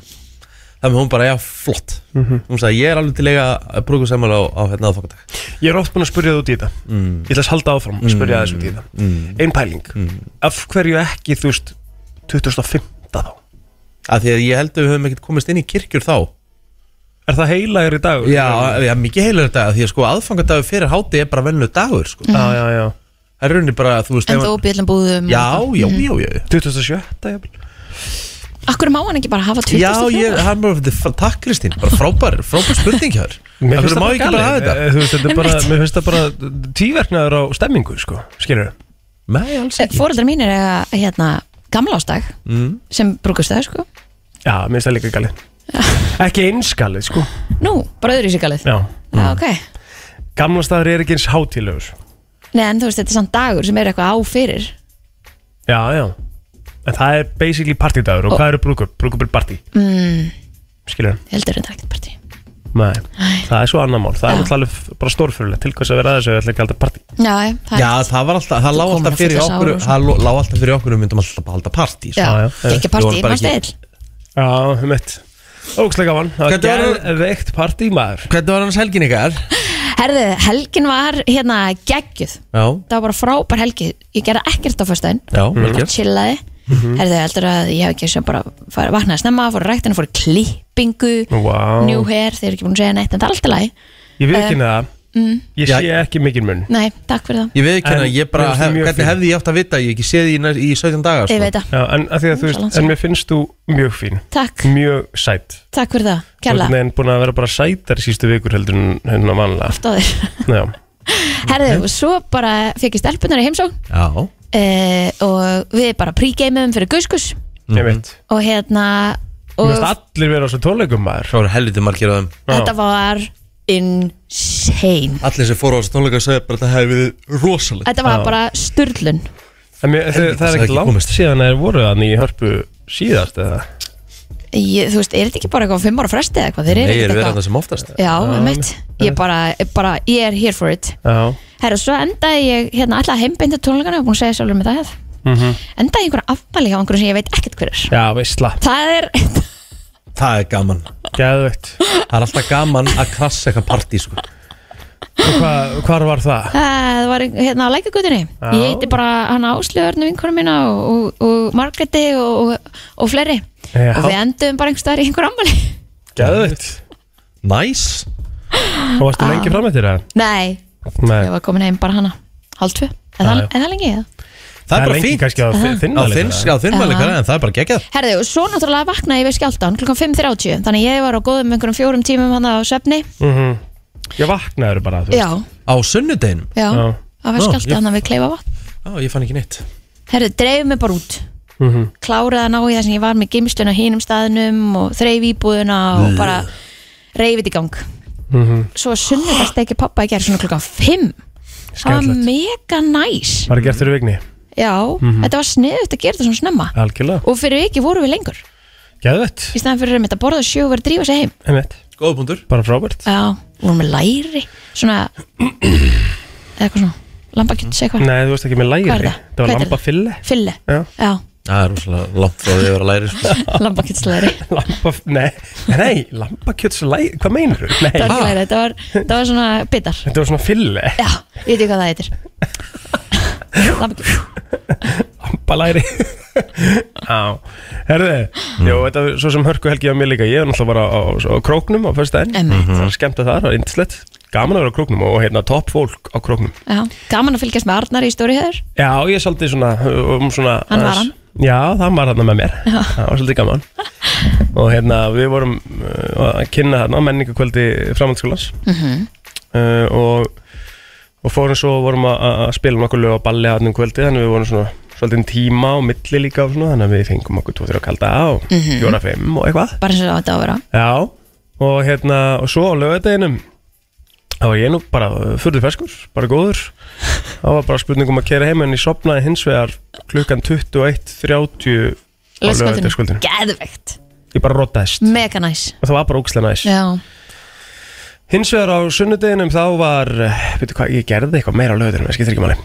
[SPEAKER 1] þannig hún bara, já, flott hún sagði, ég er alveg til eiga að brúku saman á, á hérna aðfokadag
[SPEAKER 3] Ég er oft búin að spurja það út í þetta Ég ætla að halda áfram að spurja þess út í þetta Einn pæling Af hverju ekki þú veist 2005 þá?
[SPEAKER 1] Af því að ég held að við höfum ekkert komist inn í kirkjur þá
[SPEAKER 3] Er það heilagur í dag?
[SPEAKER 1] Já, já mikið heilur þetta Því að sko aðfangadagur fyrir háti er bara vennu dagur sko.
[SPEAKER 3] Já, já, já
[SPEAKER 1] Það er rauninni bara, þú veist
[SPEAKER 2] En
[SPEAKER 1] ef-
[SPEAKER 2] þú byrðum búðum
[SPEAKER 1] Já, já, já, já
[SPEAKER 3] 2007 jafnvel.
[SPEAKER 2] Akkur má hann ekki bara hafa 20.
[SPEAKER 1] Já, ég, hann bara, þetta- takk Kristín Bara frábær, frábær spurning hér
[SPEAKER 3] Mér
[SPEAKER 1] Það
[SPEAKER 3] finnst
[SPEAKER 1] fyrir má
[SPEAKER 3] það
[SPEAKER 1] ekki
[SPEAKER 3] bara
[SPEAKER 1] bara hafa
[SPEAKER 3] galið.
[SPEAKER 1] þetta
[SPEAKER 3] Eh, þú veist, þetta er bara- Mér finnst það bara tíverknaður á stemmingu sko. Skilur
[SPEAKER 1] Nei, alls ekki
[SPEAKER 2] Fóreldrar Eh, mínir eiga hérna gamla ástag
[SPEAKER 1] Mm.
[SPEAKER 2] sem brúkust það sko
[SPEAKER 3] Já, mér finnst það líka galið Ekki einskalið sko
[SPEAKER 2] Nú, bara öðru í sig galið
[SPEAKER 3] Já
[SPEAKER 1] Mm.
[SPEAKER 2] Já, ok
[SPEAKER 3] Gamla staður er ekki eins hátílegur
[SPEAKER 2] Nei, en þú veist, þetta er samt dagur sem er eitthvað á fyrir
[SPEAKER 3] Já, já En það er basically partydagur og
[SPEAKER 2] Og-
[SPEAKER 3] hvað eru brúkup? Brúkup er party mm. Skilur
[SPEAKER 2] Heldur en það er ekkert partí
[SPEAKER 3] Nei, það er svo annar mál Það
[SPEAKER 2] Já.
[SPEAKER 3] er náttúrulega alveg bara stórfyrirlega Til hvers að vera að þessu, við ætlum ekki alltaf partí
[SPEAKER 2] Já, já, það
[SPEAKER 1] Já, það var alltaf, það
[SPEAKER 2] Þú
[SPEAKER 1] lá
[SPEAKER 2] komin
[SPEAKER 1] alltaf
[SPEAKER 2] að
[SPEAKER 1] fyrir
[SPEAKER 2] fylla sár
[SPEAKER 1] okkur
[SPEAKER 2] og svona.
[SPEAKER 1] Það lá- lá alltaf fyrir okkur, við myndum alltaf bara halda partí sko.
[SPEAKER 2] Já,
[SPEAKER 3] já, já.
[SPEAKER 2] ekki
[SPEAKER 1] Ég
[SPEAKER 2] partí,
[SPEAKER 1] var bara
[SPEAKER 2] mannstu
[SPEAKER 1] ekki-
[SPEAKER 2] eil
[SPEAKER 3] Já, um eitt Ógstlega gaman,
[SPEAKER 1] Hvernig
[SPEAKER 3] það
[SPEAKER 1] var-
[SPEAKER 3] er veikt partí maður
[SPEAKER 1] Hvernig var hans helgin ykkar?
[SPEAKER 2] Herðu, helgin var hérna geggjuð
[SPEAKER 1] Já,
[SPEAKER 2] Það var bara frábær helgi Ég gerði ekkert á föstudaginn
[SPEAKER 1] já, vel
[SPEAKER 2] Bara
[SPEAKER 1] gert Mhm.
[SPEAKER 2] chillaði Herðu, heldur að ég hef ekki sem bara fara, vaknaði snemma, fór ræktinu, fór í klippingu
[SPEAKER 3] Vá,
[SPEAKER 2] New hair, þeir eru ekki búin að segja neitt en það er alltaf læg
[SPEAKER 3] ég
[SPEAKER 2] Eh,
[SPEAKER 3] veit ekki það
[SPEAKER 2] mm.
[SPEAKER 3] Ég
[SPEAKER 1] Já.
[SPEAKER 3] sé ekki mikinn mun
[SPEAKER 2] Nei, takk fyrir það
[SPEAKER 1] Ég veit ekki
[SPEAKER 3] En
[SPEAKER 1] hérna, ég
[SPEAKER 3] mér
[SPEAKER 1] bara,
[SPEAKER 3] finnst það
[SPEAKER 1] hef,
[SPEAKER 3] mjög
[SPEAKER 1] hvernig
[SPEAKER 3] fínt.
[SPEAKER 1] hefði ég átt að vita Ég hef ekki séð því í næ- í 17 dagar
[SPEAKER 2] Ég
[SPEAKER 1] sko.
[SPEAKER 2] veit það,
[SPEAKER 3] Já, en, að því að, þú
[SPEAKER 2] Svo langt
[SPEAKER 3] veist,
[SPEAKER 2] síðan.
[SPEAKER 3] en mér finnst þú mjög fín
[SPEAKER 2] takk,
[SPEAKER 3] Mjög sætt
[SPEAKER 2] takk fyrir það,
[SPEAKER 3] Þú
[SPEAKER 2] kærlega
[SPEAKER 3] er búin að vera bara sætar í sístu vikur heldur en hennar vanlega
[SPEAKER 2] Oft á þér
[SPEAKER 3] Já,
[SPEAKER 2] Herðu, og svo bara fekk ég stelpunar í heimsókn
[SPEAKER 1] Já,
[SPEAKER 2] uh, og við bara pre-gameum fyrir Guskus
[SPEAKER 3] ég veit
[SPEAKER 2] og hérna
[SPEAKER 3] Mér
[SPEAKER 2] og
[SPEAKER 3] finnst allir vera á þessu tónleikum maður
[SPEAKER 1] það voru helviti margir af þeim
[SPEAKER 2] þetta var insane
[SPEAKER 1] Allir sem fóru á þessu tónleika sagði bara að það hefði verið rosalegt
[SPEAKER 2] Þetta var bara styrlun
[SPEAKER 3] En mér, þau,
[SPEAKER 1] Helvítis,
[SPEAKER 3] það er
[SPEAKER 1] það er
[SPEAKER 3] ekki
[SPEAKER 1] ekki
[SPEAKER 3] langt
[SPEAKER 1] komist.
[SPEAKER 3] síðan að þeir voru þannig í hörpu síðast eða
[SPEAKER 2] ég, Þú veist, er þetta ekki bara eitthvað á fimm ára fresti eða eitthvað? Þeir
[SPEAKER 1] Nei,
[SPEAKER 2] eru
[SPEAKER 1] ég er
[SPEAKER 2] ekkert
[SPEAKER 1] verið
[SPEAKER 2] eitthvað
[SPEAKER 1] þetta sem oftast
[SPEAKER 2] Já, einmitt Ég bara, ég bara, ég er here for it
[SPEAKER 3] Já,
[SPEAKER 2] Herra, svo endaði ég, hérna, alltaf heimbeinta tónleikana og búin að segja sjálfur með það hef Endaði ég einhverja afmæli hjá einhverjum sem ég veit ekkert hver er
[SPEAKER 3] Mhm. já veistla,
[SPEAKER 2] Það er,
[SPEAKER 1] Það er gaman
[SPEAKER 3] geðveikt
[SPEAKER 1] Það er alltaf gaman að krassa eitthvað partí sko.
[SPEAKER 3] Og hva, hvar var það?
[SPEAKER 2] það var hérna á lækagutinni
[SPEAKER 3] Já.
[SPEAKER 2] Ég heiti bara hann Áslöðurnu vinkonum mína og, og, og Margreti og, og, og fleiri
[SPEAKER 3] Já,
[SPEAKER 2] og við endum bara einhvers staðar í einhver ammali
[SPEAKER 3] geðveikt
[SPEAKER 1] Næs
[SPEAKER 3] Og
[SPEAKER 2] Ah.
[SPEAKER 3] varstu lengi fram eftir það?
[SPEAKER 2] Nei,
[SPEAKER 3] Nei,
[SPEAKER 2] ég var komin heim bara hana Hálf tvö, en það,
[SPEAKER 3] Já, já.
[SPEAKER 2] en það lengi ég
[SPEAKER 1] Það er bara
[SPEAKER 3] lengi
[SPEAKER 1] fínt
[SPEAKER 3] kannski á
[SPEAKER 2] Ah.
[SPEAKER 3] þi-
[SPEAKER 1] Á
[SPEAKER 3] þinna
[SPEAKER 1] þinn,
[SPEAKER 3] leikina
[SPEAKER 1] á þinn
[SPEAKER 2] Já.
[SPEAKER 1] mælikara en það er bara geggjað
[SPEAKER 2] Herðu, og svo náttúrulega vaknaði ég við skjáltan klukkan 5.30 Þannig ég var á góðum einhverjum fjórum tímum hann á svefni
[SPEAKER 3] Mhm. Ég vaknaður bara þú
[SPEAKER 2] Já,
[SPEAKER 1] Á sunnudeginum
[SPEAKER 2] já,
[SPEAKER 3] Já.
[SPEAKER 2] það var
[SPEAKER 1] Já,
[SPEAKER 2] skjáltan hann við kleifa vatn
[SPEAKER 1] Já, ég fann ekki neitt
[SPEAKER 2] Herðu, dreifum mig bara út
[SPEAKER 3] Mhm.
[SPEAKER 2] kláraði að ná í það sem ég var með gimstun á hinum staðnum og þreif íbúðuna og bara reyfið í gang
[SPEAKER 3] Mhm.
[SPEAKER 2] svo sunnudast ekki pappa í gerð svona klukkan 5 það var
[SPEAKER 3] Skemmtilegt. Mhm.
[SPEAKER 2] mega næs
[SPEAKER 3] Var gert fyrir vigni?
[SPEAKER 2] já, þetta var sniðut að gera þetta svona snemma
[SPEAKER 3] Algjörlega.
[SPEAKER 2] og fyrir ekki vorum við lengur
[SPEAKER 3] Gæðvett.
[SPEAKER 2] í staðan fyrir einmitt að borða sjö og vera að drífa sig heim
[SPEAKER 3] Einmitt.
[SPEAKER 1] Góð punktur
[SPEAKER 3] Bara frábært.
[SPEAKER 2] já, vorum með læri svona eða eitthvað svona lambakjöts eitthvað
[SPEAKER 3] Nei, þú veist ekki með læri.
[SPEAKER 2] Hvað er það?
[SPEAKER 3] var
[SPEAKER 2] Hvað er
[SPEAKER 3] lambafille.
[SPEAKER 2] fylli,
[SPEAKER 3] Já.
[SPEAKER 2] já,
[SPEAKER 1] Það er rosalega langt frá því að vera læri sko.
[SPEAKER 2] lambakjötslæri
[SPEAKER 3] Lamba, nei, nei, lambakjötslæri, hvað meinar þú? Nei,
[SPEAKER 2] þetta var, ekki læri, þetta var, þetta var svona bitar
[SPEAKER 3] þetta var svona fille.
[SPEAKER 2] já, ég veit ekki hvað það heitir lambakjöts,
[SPEAKER 3] Lambalæri. Já, herðu, jú, þetta er svo sem hörku helgi á mér líka. Ég er náttúrulega bara á, á, á króknum á fyrsta enn.
[SPEAKER 2] Einmitt.
[SPEAKER 3] Það er skemmt að það, það er indislegt. Gaman að vera á króknum og hérna topp fólk á króknum.
[SPEAKER 2] já, gaman að fylgjast með Arnar í stóri höður
[SPEAKER 3] Já, ég er svolítið svona, um svona
[SPEAKER 2] Hann var
[SPEAKER 3] aðeins-
[SPEAKER 2] hann.
[SPEAKER 3] Já, það var hann með mér Það var svolítið gaman Og hérna, við vorum uh, að kynna þarna menningakvöldi framhaldsskólans
[SPEAKER 2] Mhm.
[SPEAKER 3] uh, og, og fórum svo og vorum að, að spila nokkuð lög á balli hann um kvöldi Þannig við vorum svona svolítið um tíma og milli líka og svona, Þannig að við fengum okkur 2-3 kalda og
[SPEAKER 2] Mhm.
[SPEAKER 3] 4-5 og eitthvað
[SPEAKER 2] bara eins og það átti að vera
[SPEAKER 3] Já, og hérna, og svo á lögadeginum þá var ég nú bara fyrir ferskur, bara góður þá var bara spurning um að kera heim en ég sopnaði hins vegar klukkan 21.30 á
[SPEAKER 2] lögskvöldinu,
[SPEAKER 3] lögadagskvöldinu
[SPEAKER 2] geðveikt
[SPEAKER 3] ég bara rotaðist
[SPEAKER 2] mega næs,
[SPEAKER 3] og það var bara ógstlega næs
[SPEAKER 2] Mm. já,
[SPEAKER 3] hins vegar á sunnudeginum þá var veitu hvað, ég gerði eitthvað meira á lögadeginum það skiptir ekki máli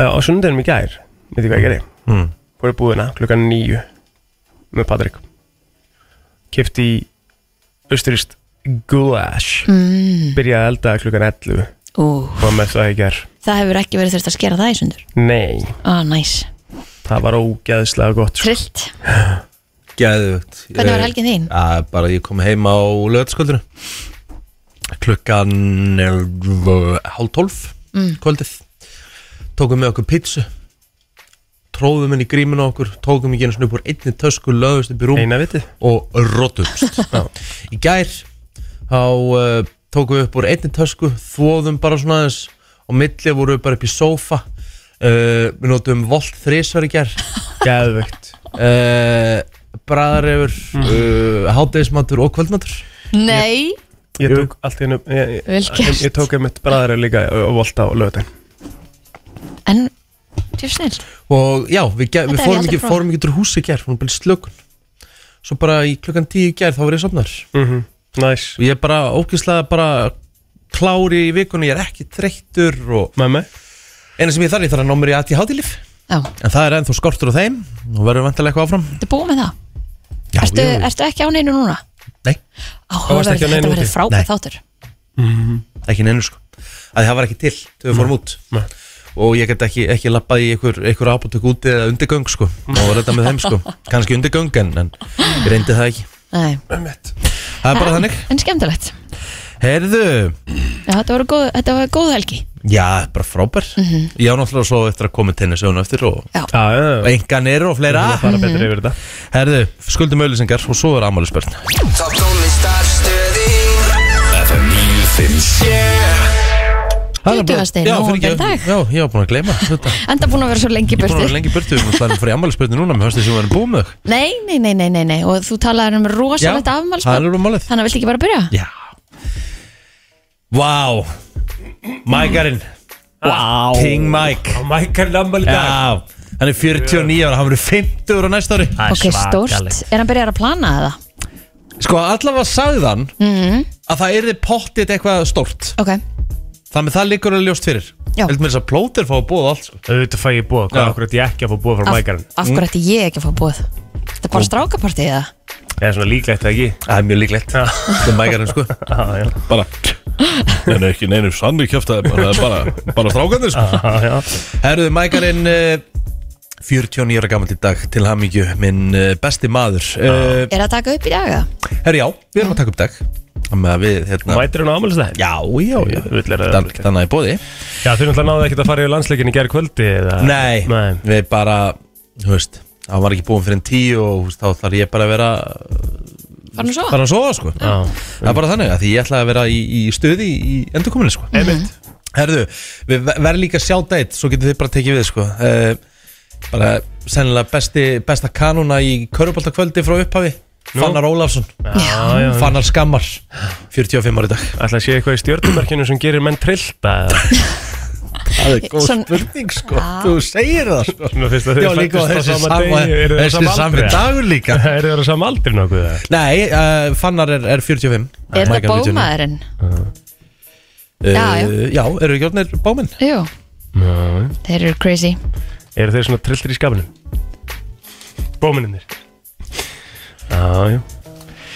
[SPEAKER 3] Eh, á sunnudeginum í gær, veitu hvað ég gerði
[SPEAKER 1] mm.
[SPEAKER 3] fór í búðina klukkan 9 með Patrik kipti í austuríst gulash
[SPEAKER 2] mm,
[SPEAKER 3] byrjaði að elda klukkan 11
[SPEAKER 2] ú
[SPEAKER 3] og með það ég ger
[SPEAKER 2] það hefur ekki verið þurft að skera það í sundur
[SPEAKER 3] nei,
[SPEAKER 2] ah, næs,
[SPEAKER 3] það var ógeðslega gott sko.
[SPEAKER 2] trillt
[SPEAKER 1] Geðvögt
[SPEAKER 2] Hvernig var helgin þín?
[SPEAKER 1] Að bara ég kom heim á lögatskvöldinu Klukkan er, uh, hálf tólf
[SPEAKER 2] Mm.
[SPEAKER 1] kvöldið Tókum með okkur pizzu Tróðum henni í gríminu á okkur Tókum ekki einu svona upp úr einni tösku Löðust upp í rúm
[SPEAKER 3] eina viti
[SPEAKER 1] og rótumst í gær þá uh, tókum við upp úr einni tösku þvóðum bara svona aðeins og milli vorum við bara upp í sófa uh, við notum volt þrísvar í gær
[SPEAKER 3] geðvögt
[SPEAKER 1] uh, bræðarefur uh, hátegismatur og kvöldmatur
[SPEAKER 2] nei,
[SPEAKER 3] ég tók allt í hennu ég, ég,
[SPEAKER 2] Vel
[SPEAKER 3] ég,
[SPEAKER 2] gert.
[SPEAKER 3] ég tók einmitt bræðari líka og volta á löðin
[SPEAKER 2] en tjóf snill
[SPEAKER 1] og já, við, gær,
[SPEAKER 2] Þetta
[SPEAKER 1] við
[SPEAKER 2] hef ég
[SPEAKER 1] fórum
[SPEAKER 2] aldrei
[SPEAKER 1] ekki,
[SPEAKER 2] prófað.
[SPEAKER 1] fórum ekki úr húsi í gær fórum bara í slökun svo bara í klukkan tíu í gær þá var ég sopnar
[SPEAKER 3] næs
[SPEAKER 1] og ég er bara ógeðslega bara klári í vikunni, ég er ekki þreyttur og
[SPEAKER 3] með mig
[SPEAKER 1] eina sem ég þarf, ég þarf að ná mér í aðtíð hátílif
[SPEAKER 2] já,
[SPEAKER 1] En það er ennþá skortur á þeim og verður vantilega eitthvað áfram
[SPEAKER 2] þetta búið með það
[SPEAKER 1] Já,
[SPEAKER 2] ertu,
[SPEAKER 1] jú,
[SPEAKER 2] ertu ekki á neinu núna?
[SPEAKER 1] Nei,
[SPEAKER 3] varstu
[SPEAKER 2] Áhugaverð,
[SPEAKER 3] ekki á neinu
[SPEAKER 2] þetta verður
[SPEAKER 3] úti?
[SPEAKER 1] Nei.
[SPEAKER 2] frábæð þáttur
[SPEAKER 1] ekki neinu sko að það var ekki til þegar við fórum út
[SPEAKER 3] Nei.
[SPEAKER 1] og ég get ekki, ekki lappað í einhver, einhver ábútök úti eða undirgöng sko og var þetta með þeim sko, kannski undirgöng en, en ég reyndi það ekki
[SPEAKER 2] Nei.
[SPEAKER 3] einmitt
[SPEAKER 1] Það er bara
[SPEAKER 2] En-
[SPEAKER 1] þannig
[SPEAKER 2] en skemmtilegt
[SPEAKER 1] Heyrðu,
[SPEAKER 2] Já, þetta, var góð, þetta var góð helgi
[SPEAKER 1] já, bara frábær Ég á náttúrulega svo eftir að koma tennis öðun eftir og
[SPEAKER 3] já, já, Mhm. já
[SPEAKER 1] og enga neyru og fleira
[SPEAKER 3] bara betri yfir þetta
[SPEAKER 1] Herðu, skuldum auðlýsingar og svo er amálisbörn
[SPEAKER 4] Top tónlistar stöðin FM 957
[SPEAKER 2] Tuttugasti
[SPEAKER 1] Já,
[SPEAKER 2] nóvember
[SPEAKER 1] fyrirgefðu.
[SPEAKER 2] dag.
[SPEAKER 1] Já, ég var búin að gleyma þetta
[SPEAKER 2] enda búin að vera svo lengi í
[SPEAKER 1] Ég er búin að vera
[SPEAKER 2] burtu
[SPEAKER 1] lengi í burtu, við erum að slæðum fyrir ammælisbyrni núna með höstu sem við erum búið með þau.
[SPEAKER 2] nei, nei, nei, nei, nei, nei, og þú talaður um rosalegt
[SPEAKER 1] það er
[SPEAKER 2] afmálspöld
[SPEAKER 1] alveg málið
[SPEAKER 2] þannig að viltu ekki bara byrja?
[SPEAKER 1] Já Vá Mækarinn
[SPEAKER 3] wow.
[SPEAKER 1] King Mike
[SPEAKER 3] Mækarn ammali
[SPEAKER 1] Já Hann er 49 ára, hann verður 50 ára næsta ári
[SPEAKER 2] ok, stórt, er hann byrjar að plana það?
[SPEAKER 1] Sko allavega sagði hann
[SPEAKER 2] Mhm.
[SPEAKER 1] að það yrði pottið eitthvað stórt
[SPEAKER 2] ok,
[SPEAKER 1] Þannig það liggur að ljóst fyrir
[SPEAKER 2] Já.
[SPEAKER 1] Heldur mér þess að plóter fá að búa allt sko.
[SPEAKER 3] auðvitað fæ ég búa hvað
[SPEAKER 1] Já.
[SPEAKER 3] okkur ætti ég ekki að fá búa frá
[SPEAKER 2] af,
[SPEAKER 3] mækarn
[SPEAKER 2] af hverju ætti ég ekki að fá búið? Þetta er bara strákapartið eða?
[SPEAKER 3] eða svona líklegt eða ekki
[SPEAKER 1] Það er mjög líklegt Það er mækarinn sko
[SPEAKER 3] já, já
[SPEAKER 1] Bara Nei, nei, ekki neinu sannu kjöfta Bara, bara, bara strákanir sko
[SPEAKER 3] já, já
[SPEAKER 1] Herruðu, Mækarinn eh, 49 ára gammal í dag til hamingju minn eh, besti maður uh,
[SPEAKER 2] er það að taka upp í dag eða?
[SPEAKER 1] Herru, já, við erum að taka upp dag Þannig að við, hérna
[SPEAKER 3] mætir hún á ammálstæðin
[SPEAKER 1] Já, já, já
[SPEAKER 3] Vill er það-
[SPEAKER 1] Dan- Þannig að í bóði
[SPEAKER 3] já þau náttúrulega náðu ekkert að fara í landsleikin í gerð kvöldi eða
[SPEAKER 1] Nei,
[SPEAKER 3] nei
[SPEAKER 1] við bara, þú veist Það var ekki búin fyrir en tíu og þú veist, þá þarf ég bara að vera
[SPEAKER 2] Farðu svo?
[SPEAKER 1] bara að sofa sko
[SPEAKER 3] Já.
[SPEAKER 2] Mhm.
[SPEAKER 1] Það er bara þannig að því ég ætla að vera í, í stuði í endurkominu sko
[SPEAKER 3] einmitt
[SPEAKER 1] Herðu, við verðum líka að sjá deitt Svo getur þið bara tekið við sko uh, bara sennilega besti, besta kanuna í köruboltakvöldi frá upphafi Fannar Ólafsson,
[SPEAKER 3] Já, já,
[SPEAKER 1] Fannar Skammar 45 ári dag
[SPEAKER 3] ætla að sé eitthvað í stjórnumerkinu sem gerir menn trillta eða?
[SPEAKER 1] Það er góð
[SPEAKER 2] Eh, Svona-
[SPEAKER 1] spurning sko, þú segir það sko
[SPEAKER 3] Mér finnst að
[SPEAKER 1] Já
[SPEAKER 3] þau
[SPEAKER 1] líka og
[SPEAKER 3] fættist á
[SPEAKER 1] þessi
[SPEAKER 3] sama
[SPEAKER 1] sama,
[SPEAKER 3] degi, eru þau á
[SPEAKER 1] þessi
[SPEAKER 3] sama
[SPEAKER 1] sami
[SPEAKER 3] aldri, eða?
[SPEAKER 1] dagur líka
[SPEAKER 3] Eru það saman aldrei nokkuð það?
[SPEAKER 1] Nei, uh, Fannar er, er 45
[SPEAKER 2] Er það
[SPEAKER 1] Mækan 49.
[SPEAKER 2] bómaðurinn?
[SPEAKER 1] Uh,
[SPEAKER 2] Já, já.
[SPEAKER 1] já, eru ekki orðnir bóminn?
[SPEAKER 2] Jú,
[SPEAKER 3] Já,
[SPEAKER 2] þeir eru crazy
[SPEAKER 3] eru þeir svona trilltir í skapinu? Bómininir Já, já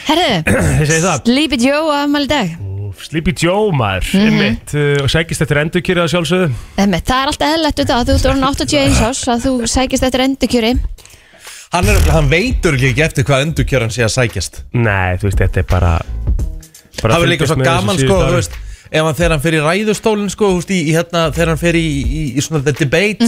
[SPEAKER 2] Herðu,
[SPEAKER 3] Þeir segir það
[SPEAKER 2] Sleepy Joe afmæli í dag
[SPEAKER 3] Úff, Sleepy Joe maður,
[SPEAKER 2] Mhm.
[SPEAKER 3] mm einmitt uh, og sækist eftir endurkýrið að sjálfsögðu
[SPEAKER 2] Emme, Það er alltaf eðlætt út að þú ert orðin 81 ás að þú sækist eftir endurkjöri
[SPEAKER 1] Hann, er, hann veitur ekki eftir hvað endurkjöran sé að sækjast
[SPEAKER 3] Nei, þú veist, þetta er bara, bara
[SPEAKER 1] Það
[SPEAKER 3] að
[SPEAKER 1] er líka
[SPEAKER 3] fylgjast
[SPEAKER 1] svo
[SPEAKER 3] með þessu
[SPEAKER 1] gaman
[SPEAKER 3] síðustu
[SPEAKER 1] sko,
[SPEAKER 3] árin.
[SPEAKER 1] þú veist Ef hann þegar hann fer í ræðustólinn sko, þú veist, í, í hérna, þegar hann fer í, í, í svona the debate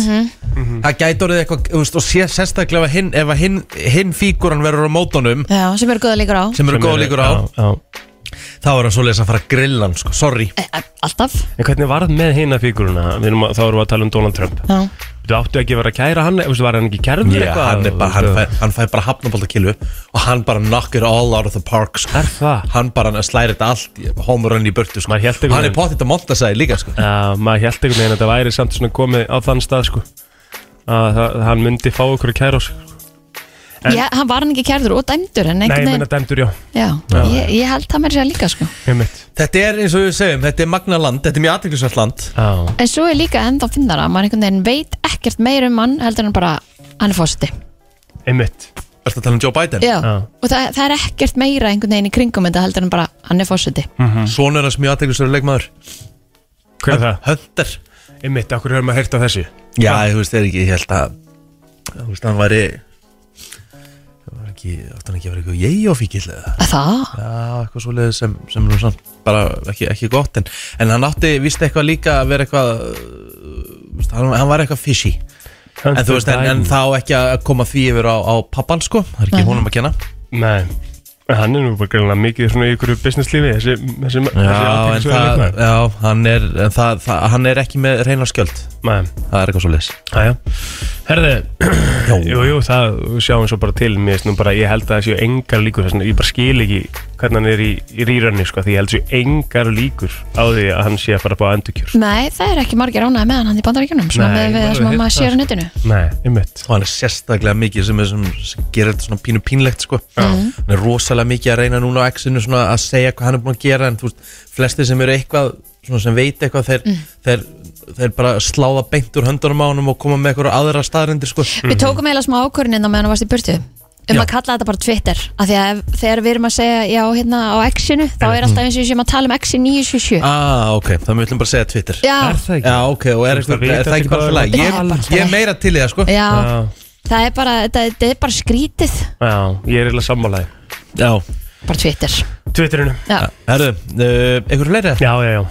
[SPEAKER 1] Mhm. Það gæti orðið eitthvað, þú veist, og sé sérstaklega ef að hinn, ef að hinn, hinn fíkuran verður á mótunum
[SPEAKER 2] Já, sem eru góða líkur á
[SPEAKER 1] sem eru
[SPEAKER 3] Sem
[SPEAKER 1] góð líkur á,
[SPEAKER 3] já, já.
[SPEAKER 1] þá er hann svoleiðis að fara að grilla hann sko, sorry
[SPEAKER 2] E, e, Alltaf
[SPEAKER 3] En hvernig var það með hina fíguruna? Við erum að, þá erum við að tala um Donald Trump
[SPEAKER 2] Já,
[SPEAKER 3] Þú áttu ekki að vera að kæra hann, veistu, var hann ekki kærður
[SPEAKER 1] Já, hann, er bara, hann, fær, hann fær bara hafnabóltakilu og hann bara knock it all out of the park sko.
[SPEAKER 3] Er það?
[SPEAKER 1] Hann bara slæri þetta allt í- homurinn í burtu sko.
[SPEAKER 3] Maður hélt einhvern
[SPEAKER 1] Og Hann er
[SPEAKER 3] veginn-
[SPEAKER 1] pottitt að monta sig líka sko.
[SPEAKER 3] Já, maður held einhvern veginn að þetta væri samt svona komið á þann stað, sko að það- hann myndi fá okkur að kæra oss En-
[SPEAKER 2] Já, hann var hann ekki kærður og dæmdur en
[SPEAKER 3] Nei, ég
[SPEAKER 2] einhvern
[SPEAKER 3] menna
[SPEAKER 2] veginn
[SPEAKER 3] dæmdur, já,
[SPEAKER 2] Já, ég, ég held það mér sér líka sko
[SPEAKER 3] einmitt
[SPEAKER 1] Þetta er eins og við segjum, þetta er magna land Þetta er mjög aðteklisvært land
[SPEAKER 3] Já,
[SPEAKER 2] En svo er líka enda að finna það maður einhvern veginn veit ekkert meir um hann heldur en bara hann er fósiti
[SPEAKER 3] einmitt
[SPEAKER 1] Ertu að tala um Joe Biden?
[SPEAKER 2] Já,
[SPEAKER 3] Já.
[SPEAKER 2] og það, það er ekkert meira einhvern veginn í kringum þetta heldur en bara hann er fósiti
[SPEAKER 1] Svonur hans mjög aðteklisvært leikmaður
[SPEAKER 3] Hver er það?
[SPEAKER 1] Hunter
[SPEAKER 3] Einmitt, okkur höfum að heyrta þessu
[SPEAKER 1] Já, þú veist, þeir ekki, ég held að Þú veist, hann væri Það var ekki, átti hann ekki að vera eitthvað ég og fíkil eða
[SPEAKER 2] Það?
[SPEAKER 1] Já, eitthvað svoleiðið sem, sem nú samt bara ekki, ekki gott en, en hann átti vist eitthvað líka að vera eitthvað uh, veist, hann, hann var eitthvað fishy en þú veist, en, en þá ekki að koma því yfir á, á pappan sko, það er ekki honum að kenna
[SPEAKER 3] Nei, hann er nú bara greinlega mikið svona í ykkur businesslífi þessi, þessi, þessi
[SPEAKER 1] Já, en það, já, hann er en það, það, hann er ekki með reynar skjöld
[SPEAKER 3] Nei,
[SPEAKER 1] það er eitthvað svoleiðis
[SPEAKER 3] aðja Herði, jú,
[SPEAKER 1] Já,
[SPEAKER 3] jú, það sjáum svo bara til mér, veist nú bara, ég held að það séu engar líkur þessan, ég bara skil ekki hvernig hann er í, í rýranni, sko, því ég held að séu engar líkur á því að hann sé að fara að bá endurkjör
[SPEAKER 2] Nei, það er ekki margir ánæði með hann hann í bandaríkjunum svona
[SPEAKER 3] Nei,
[SPEAKER 2] með við það
[SPEAKER 3] maður
[SPEAKER 2] sem að
[SPEAKER 3] hefur
[SPEAKER 2] maður
[SPEAKER 3] það,
[SPEAKER 2] sér á
[SPEAKER 3] sko.
[SPEAKER 2] netinu
[SPEAKER 3] Nei, einmitt
[SPEAKER 1] og hann er sérstaklega mikið sem, er sem, sem gerir þetta svona pínu pínlegt sko. hann er rosalega mikið að reyna núna á exinu svona að segja hvað hann er búin að gera en þú veist, flesti sem eru eitthvað svona sem veit eitthvað þeir,
[SPEAKER 2] Mm.
[SPEAKER 1] þeir, þeir bara sláða beint úr höndunum á honum og koma með eitthvað aðra staðrindir sko.
[SPEAKER 2] Við tókum eiginlega smá ákvörðin á meðan þú varst í burtu um
[SPEAKER 1] Já.
[SPEAKER 2] að kalla þetta bara Twitter af því að ef- þegar við erum að segja já hérna á X-inu þá er alltaf eins og við séum að tala um X-in 977
[SPEAKER 1] ah, ok, það mögum bara að segja Twitter
[SPEAKER 2] Já,
[SPEAKER 3] það
[SPEAKER 1] Já, ok, og er,
[SPEAKER 3] Þú
[SPEAKER 1] eitthvað,
[SPEAKER 3] veist, það vita
[SPEAKER 1] er það
[SPEAKER 3] allir
[SPEAKER 1] ekki bara
[SPEAKER 3] hvað er
[SPEAKER 1] fyrir lag?
[SPEAKER 2] að-
[SPEAKER 1] Ég,
[SPEAKER 2] Já,
[SPEAKER 1] ég
[SPEAKER 2] bara
[SPEAKER 1] er
[SPEAKER 2] fyrir lagi.
[SPEAKER 1] meira til í það, sko
[SPEAKER 2] já,
[SPEAKER 3] Já,
[SPEAKER 2] það er bara þetta, þetta er bara skrítið
[SPEAKER 3] já, ég er eiginlega sammálaði
[SPEAKER 1] Já,
[SPEAKER 2] bara Twitter
[SPEAKER 3] Twitterinu
[SPEAKER 2] Já,
[SPEAKER 1] herru, uh, einhver fleiri?
[SPEAKER 3] Já, já, já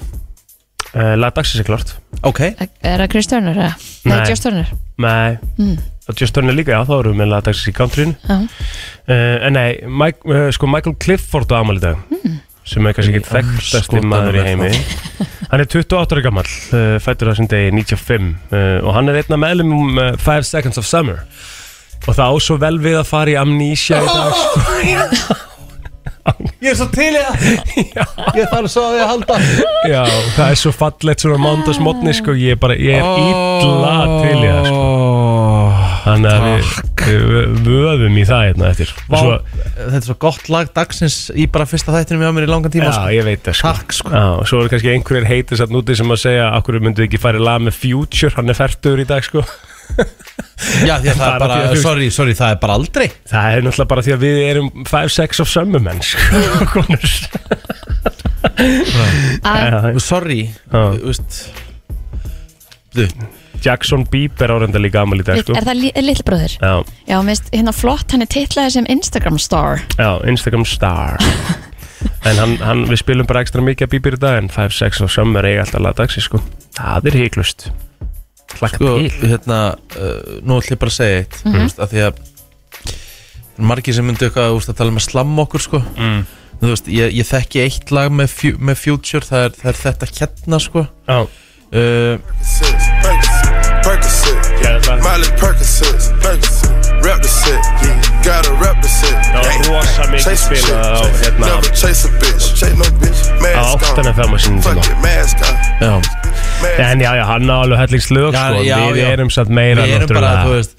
[SPEAKER 3] uh, Lagdagsins er klart
[SPEAKER 1] Ok,
[SPEAKER 2] er það Chris Turner? eða? Nei,
[SPEAKER 3] Nei.
[SPEAKER 2] Josh Turner
[SPEAKER 3] Nei,
[SPEAKER 2] Mm.
[SPEAKER 3] og Just Turner líka, já, þá erum við með lagdagsins í countryinu
[SPEAKER 2] Já,
[SPEAKER 3] Uh, en nei, Mike, uh, sko Michael Clifford á amal í dag
[SPEAKER 1] Hmm.
[SPEAKER 3] sem er kannski ekki
[SPEAKER 1] Í
[SPEAKER 3] þekktasti
[SPEAKER 1] andskotanum
[SPEAKER 3] maður í
[SPEAKER 1] er
[SPEAKER 3] heimi hann er 28 ára gammal uh, fættur þessum degi 95 uh, og hann er einn af meðlum um uh, 5 Seconds of Summer og það á svo vel við að fara í amnesia í dag sko.
[SPEAKER 1] ég er svo til í það Ég þarf svo að því að halda
[SPEAKER 3] já, það er svo fallegt svona mándagsmotni sko, ég er bara, ég er illa til í það sko.
[SPEAKER 1] sko.
[SPEAKER 3] þannig að við, við vöðum í það hérna eftir
[SPEAKER 1] Vá,
[SPEAKER 3] Og svo,
[SPEAKER 1] þetta er svo gott lag dagsins í bara fyrsta þættinu mjög á mér í langan tíma
[SPEAKER 3] já,
[SPEAKER 1] sko.
[SPEAKER 3] ég veit það sko
[SPEAKER 1] Takk sko
[SPEAKER 3] Já, og svo eru kannski einhverjir heitir satt núti sem að segja Akkur myndu ekki fara í lag með Future, hann er færtur í dag sko
[SPEAKER 1] Já, því að það
[SPEAKER 3] Bara
[SPEAKER 1] er bara,
[SPEAKER 3] því að þú-
[SPEAKER 1] sorry, sorry, það er bara aldrei
[SPEAKER 3] Það er náttúrulega bara því að við erum 5-6 of summer menn sko konur.
[SPEAKER 2] að,
[SPEAKER 3] Já,
[SPEAKER 1] Sorry,
[SPEAKER 3] Já.
[SPEAKER 1] þú veist Þú,
[SPEAKER 3] Jackson Bieber árenda líka amal í dag sko
[SPEAKER 2] er það li- litli bróðir?
[SPEAKER 3] Já,
[SPEAKER 2] Já, minnst, hérna flott, hann er titlaði sem Instagram star
[SPEAKER 3] já, Instagram star En hann, hann, við spilum bara ekstra mikið að Bieber í dag En 5-6 of summer eiga alltaf laga dagsi sko Það er heiklust Hlakka
[SPEAKER 1] sko,
[SPEAKER 3] til
[SPEAKER 1] hérna, uh, nú ætlum ég bara að segja eitt
[SPEAKER 3] Mhm.
[SPEAKER 1] Þú veist, að því að Margir sem myndu eitthvað, þú veist, að tala með slamm okkur sko
[SPEAKER 3] Mm.
[SPEAKER 1] Þú veist, ég, ég þekki eitt lag með, fjú- með Future, það er, það er þetta hérna sko
[SPEAKER 3] Já,
[SPEAKER 1] uh,
[SPEAKER 5] Percocet, Percocet,
[SPEAKER 3] já, eitthvað
[SPEAKER 5] Miley Percocets, Percocets, rep the set, yeah. gotta rep the set.
[SPEAKER 3] var
[SPEAKER 5] Gang,
[SPEAKER 3] rosa
[SPEAKER 5] gang.
[SPEAKER 3] mikið
[SPEAKER 5] Chase a
[SPEAKER 3] spilað á,
[SPEAKER 5] chick, chase-
[SPEAKER 3] hérna,
[SPEAKER 5] Never chase a bitch, chase no bitch,
[SPEAKER 3] á
[SPEAKER 5] mask on.
[SPEAKER 3] 8.5 á sínum
[SPEAKER 5] Fuck
[SPEAKER 3] tíma.
[SPEAKER 5] it, mask on.
[SPEAKER 1] Já,
[SPEAKER 5] Mask
[SPEAKER 3] En já, já, hann á alveg höllingslög
[SPEAKER 1] Já,
[SPEAKER 3] sko,
[SPEAKER 1] já,
[SPEAKER 3] Við
[SPEAKER 1] já.
[SPEAKER 3] erum satt meira
[SPEAKER 1] Við erum bara,
[SPEAKER 3] náttúrulega-
[SPEAKER 1] þú veist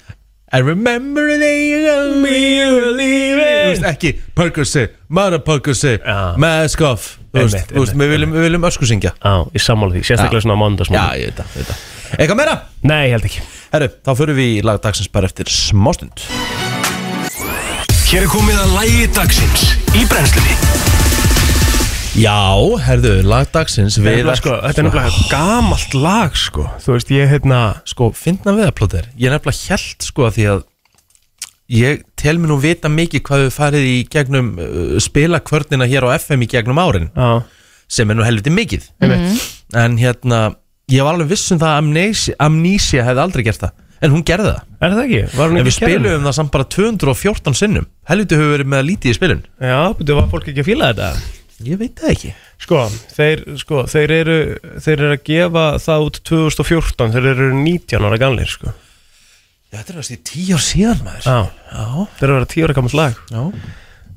[SPEAKER 1] I remember the day you got me you were leaving Þú veist, ekki Percocet, Mara Percocet
[SPEAKER 3] Já.
[SPEAKER 1] Mask off Þú
[SPEAKER 3] Einmitt,
[SPEAKER 1] veist, þú veist,
[SPEAKER 3] einmitt,
[SPEAKER 1] við viljum, við viljum ösku syngja
[SPEAKER 3] Já, ég sammála því, sérstaklega
[SPEAKER 1] Já.
[SPEAKER 3] svona á
[SPEAKER 1] Já,
[SPEAKER 3] mándagsmóti
[SPEAKER 1] ég veit það, ég veit það Eitthvað meira?
[SPEAKER 3] Nei, ég held ekki
[SPEAKER 1] Herru, þá fyrir við í lagdagsins bara eftir smástund
[SPEAKER 6] Hér er komið að lægi dagsins í brennslunni
[SPEAKER 1] Já, herðu, lagdagsins
[SPEAKER 3] Þetta er
[SPEAKER 1] við
[SPEAKER 3] nefnilega, sko, Þetta er nefnilega gamalt lag sko. Þú veist, ég hérna
[SPEAKER 1] Sko, finna við að plóta þér Ég er nefnilega hjælt, sko, að því að Ég tel mér nú vita mikið hvað við farið í gegnum uh, spilakvörnina hér á FM í gegnum árin
[SPEAKER 3] Já,
[SPEAKER 1] sem er nú helviti mikið en hérna, ég var alveg viss um það að amnesia, amnesia hefði aldrei gert það en hún gerði það,
[SPEAKER 3] er það ekki? Var hún
[SPEAKER 1] en
[SPEAKER 3] ekki
[SPEAKER 1] við
[SPEAKER 3] í kerfinu?
[SPEAKER 1] spilum það samt bara 214 sinnum, helviti hefur verið með lítið í spilun
[SPEAKER 3] Já, betur, var fólk ekki að fíla þetta?
[SPEAKER 1] ég veit það ekki
[SPEAKER 3] Sko, þeir, sko, þeir eru þeir eru að gefa það út 2014 þeir eru 19 ára gamlir sko.
[SPEAKER 1] Já, þetta er næstu tíu ár síðan maður
[SPEAKER 3] Já,
[SPEAKER 1] Já,
[SPEAKER 3] þeir eru að vera 10 ára gamalt lag
[SPEAKER 1] já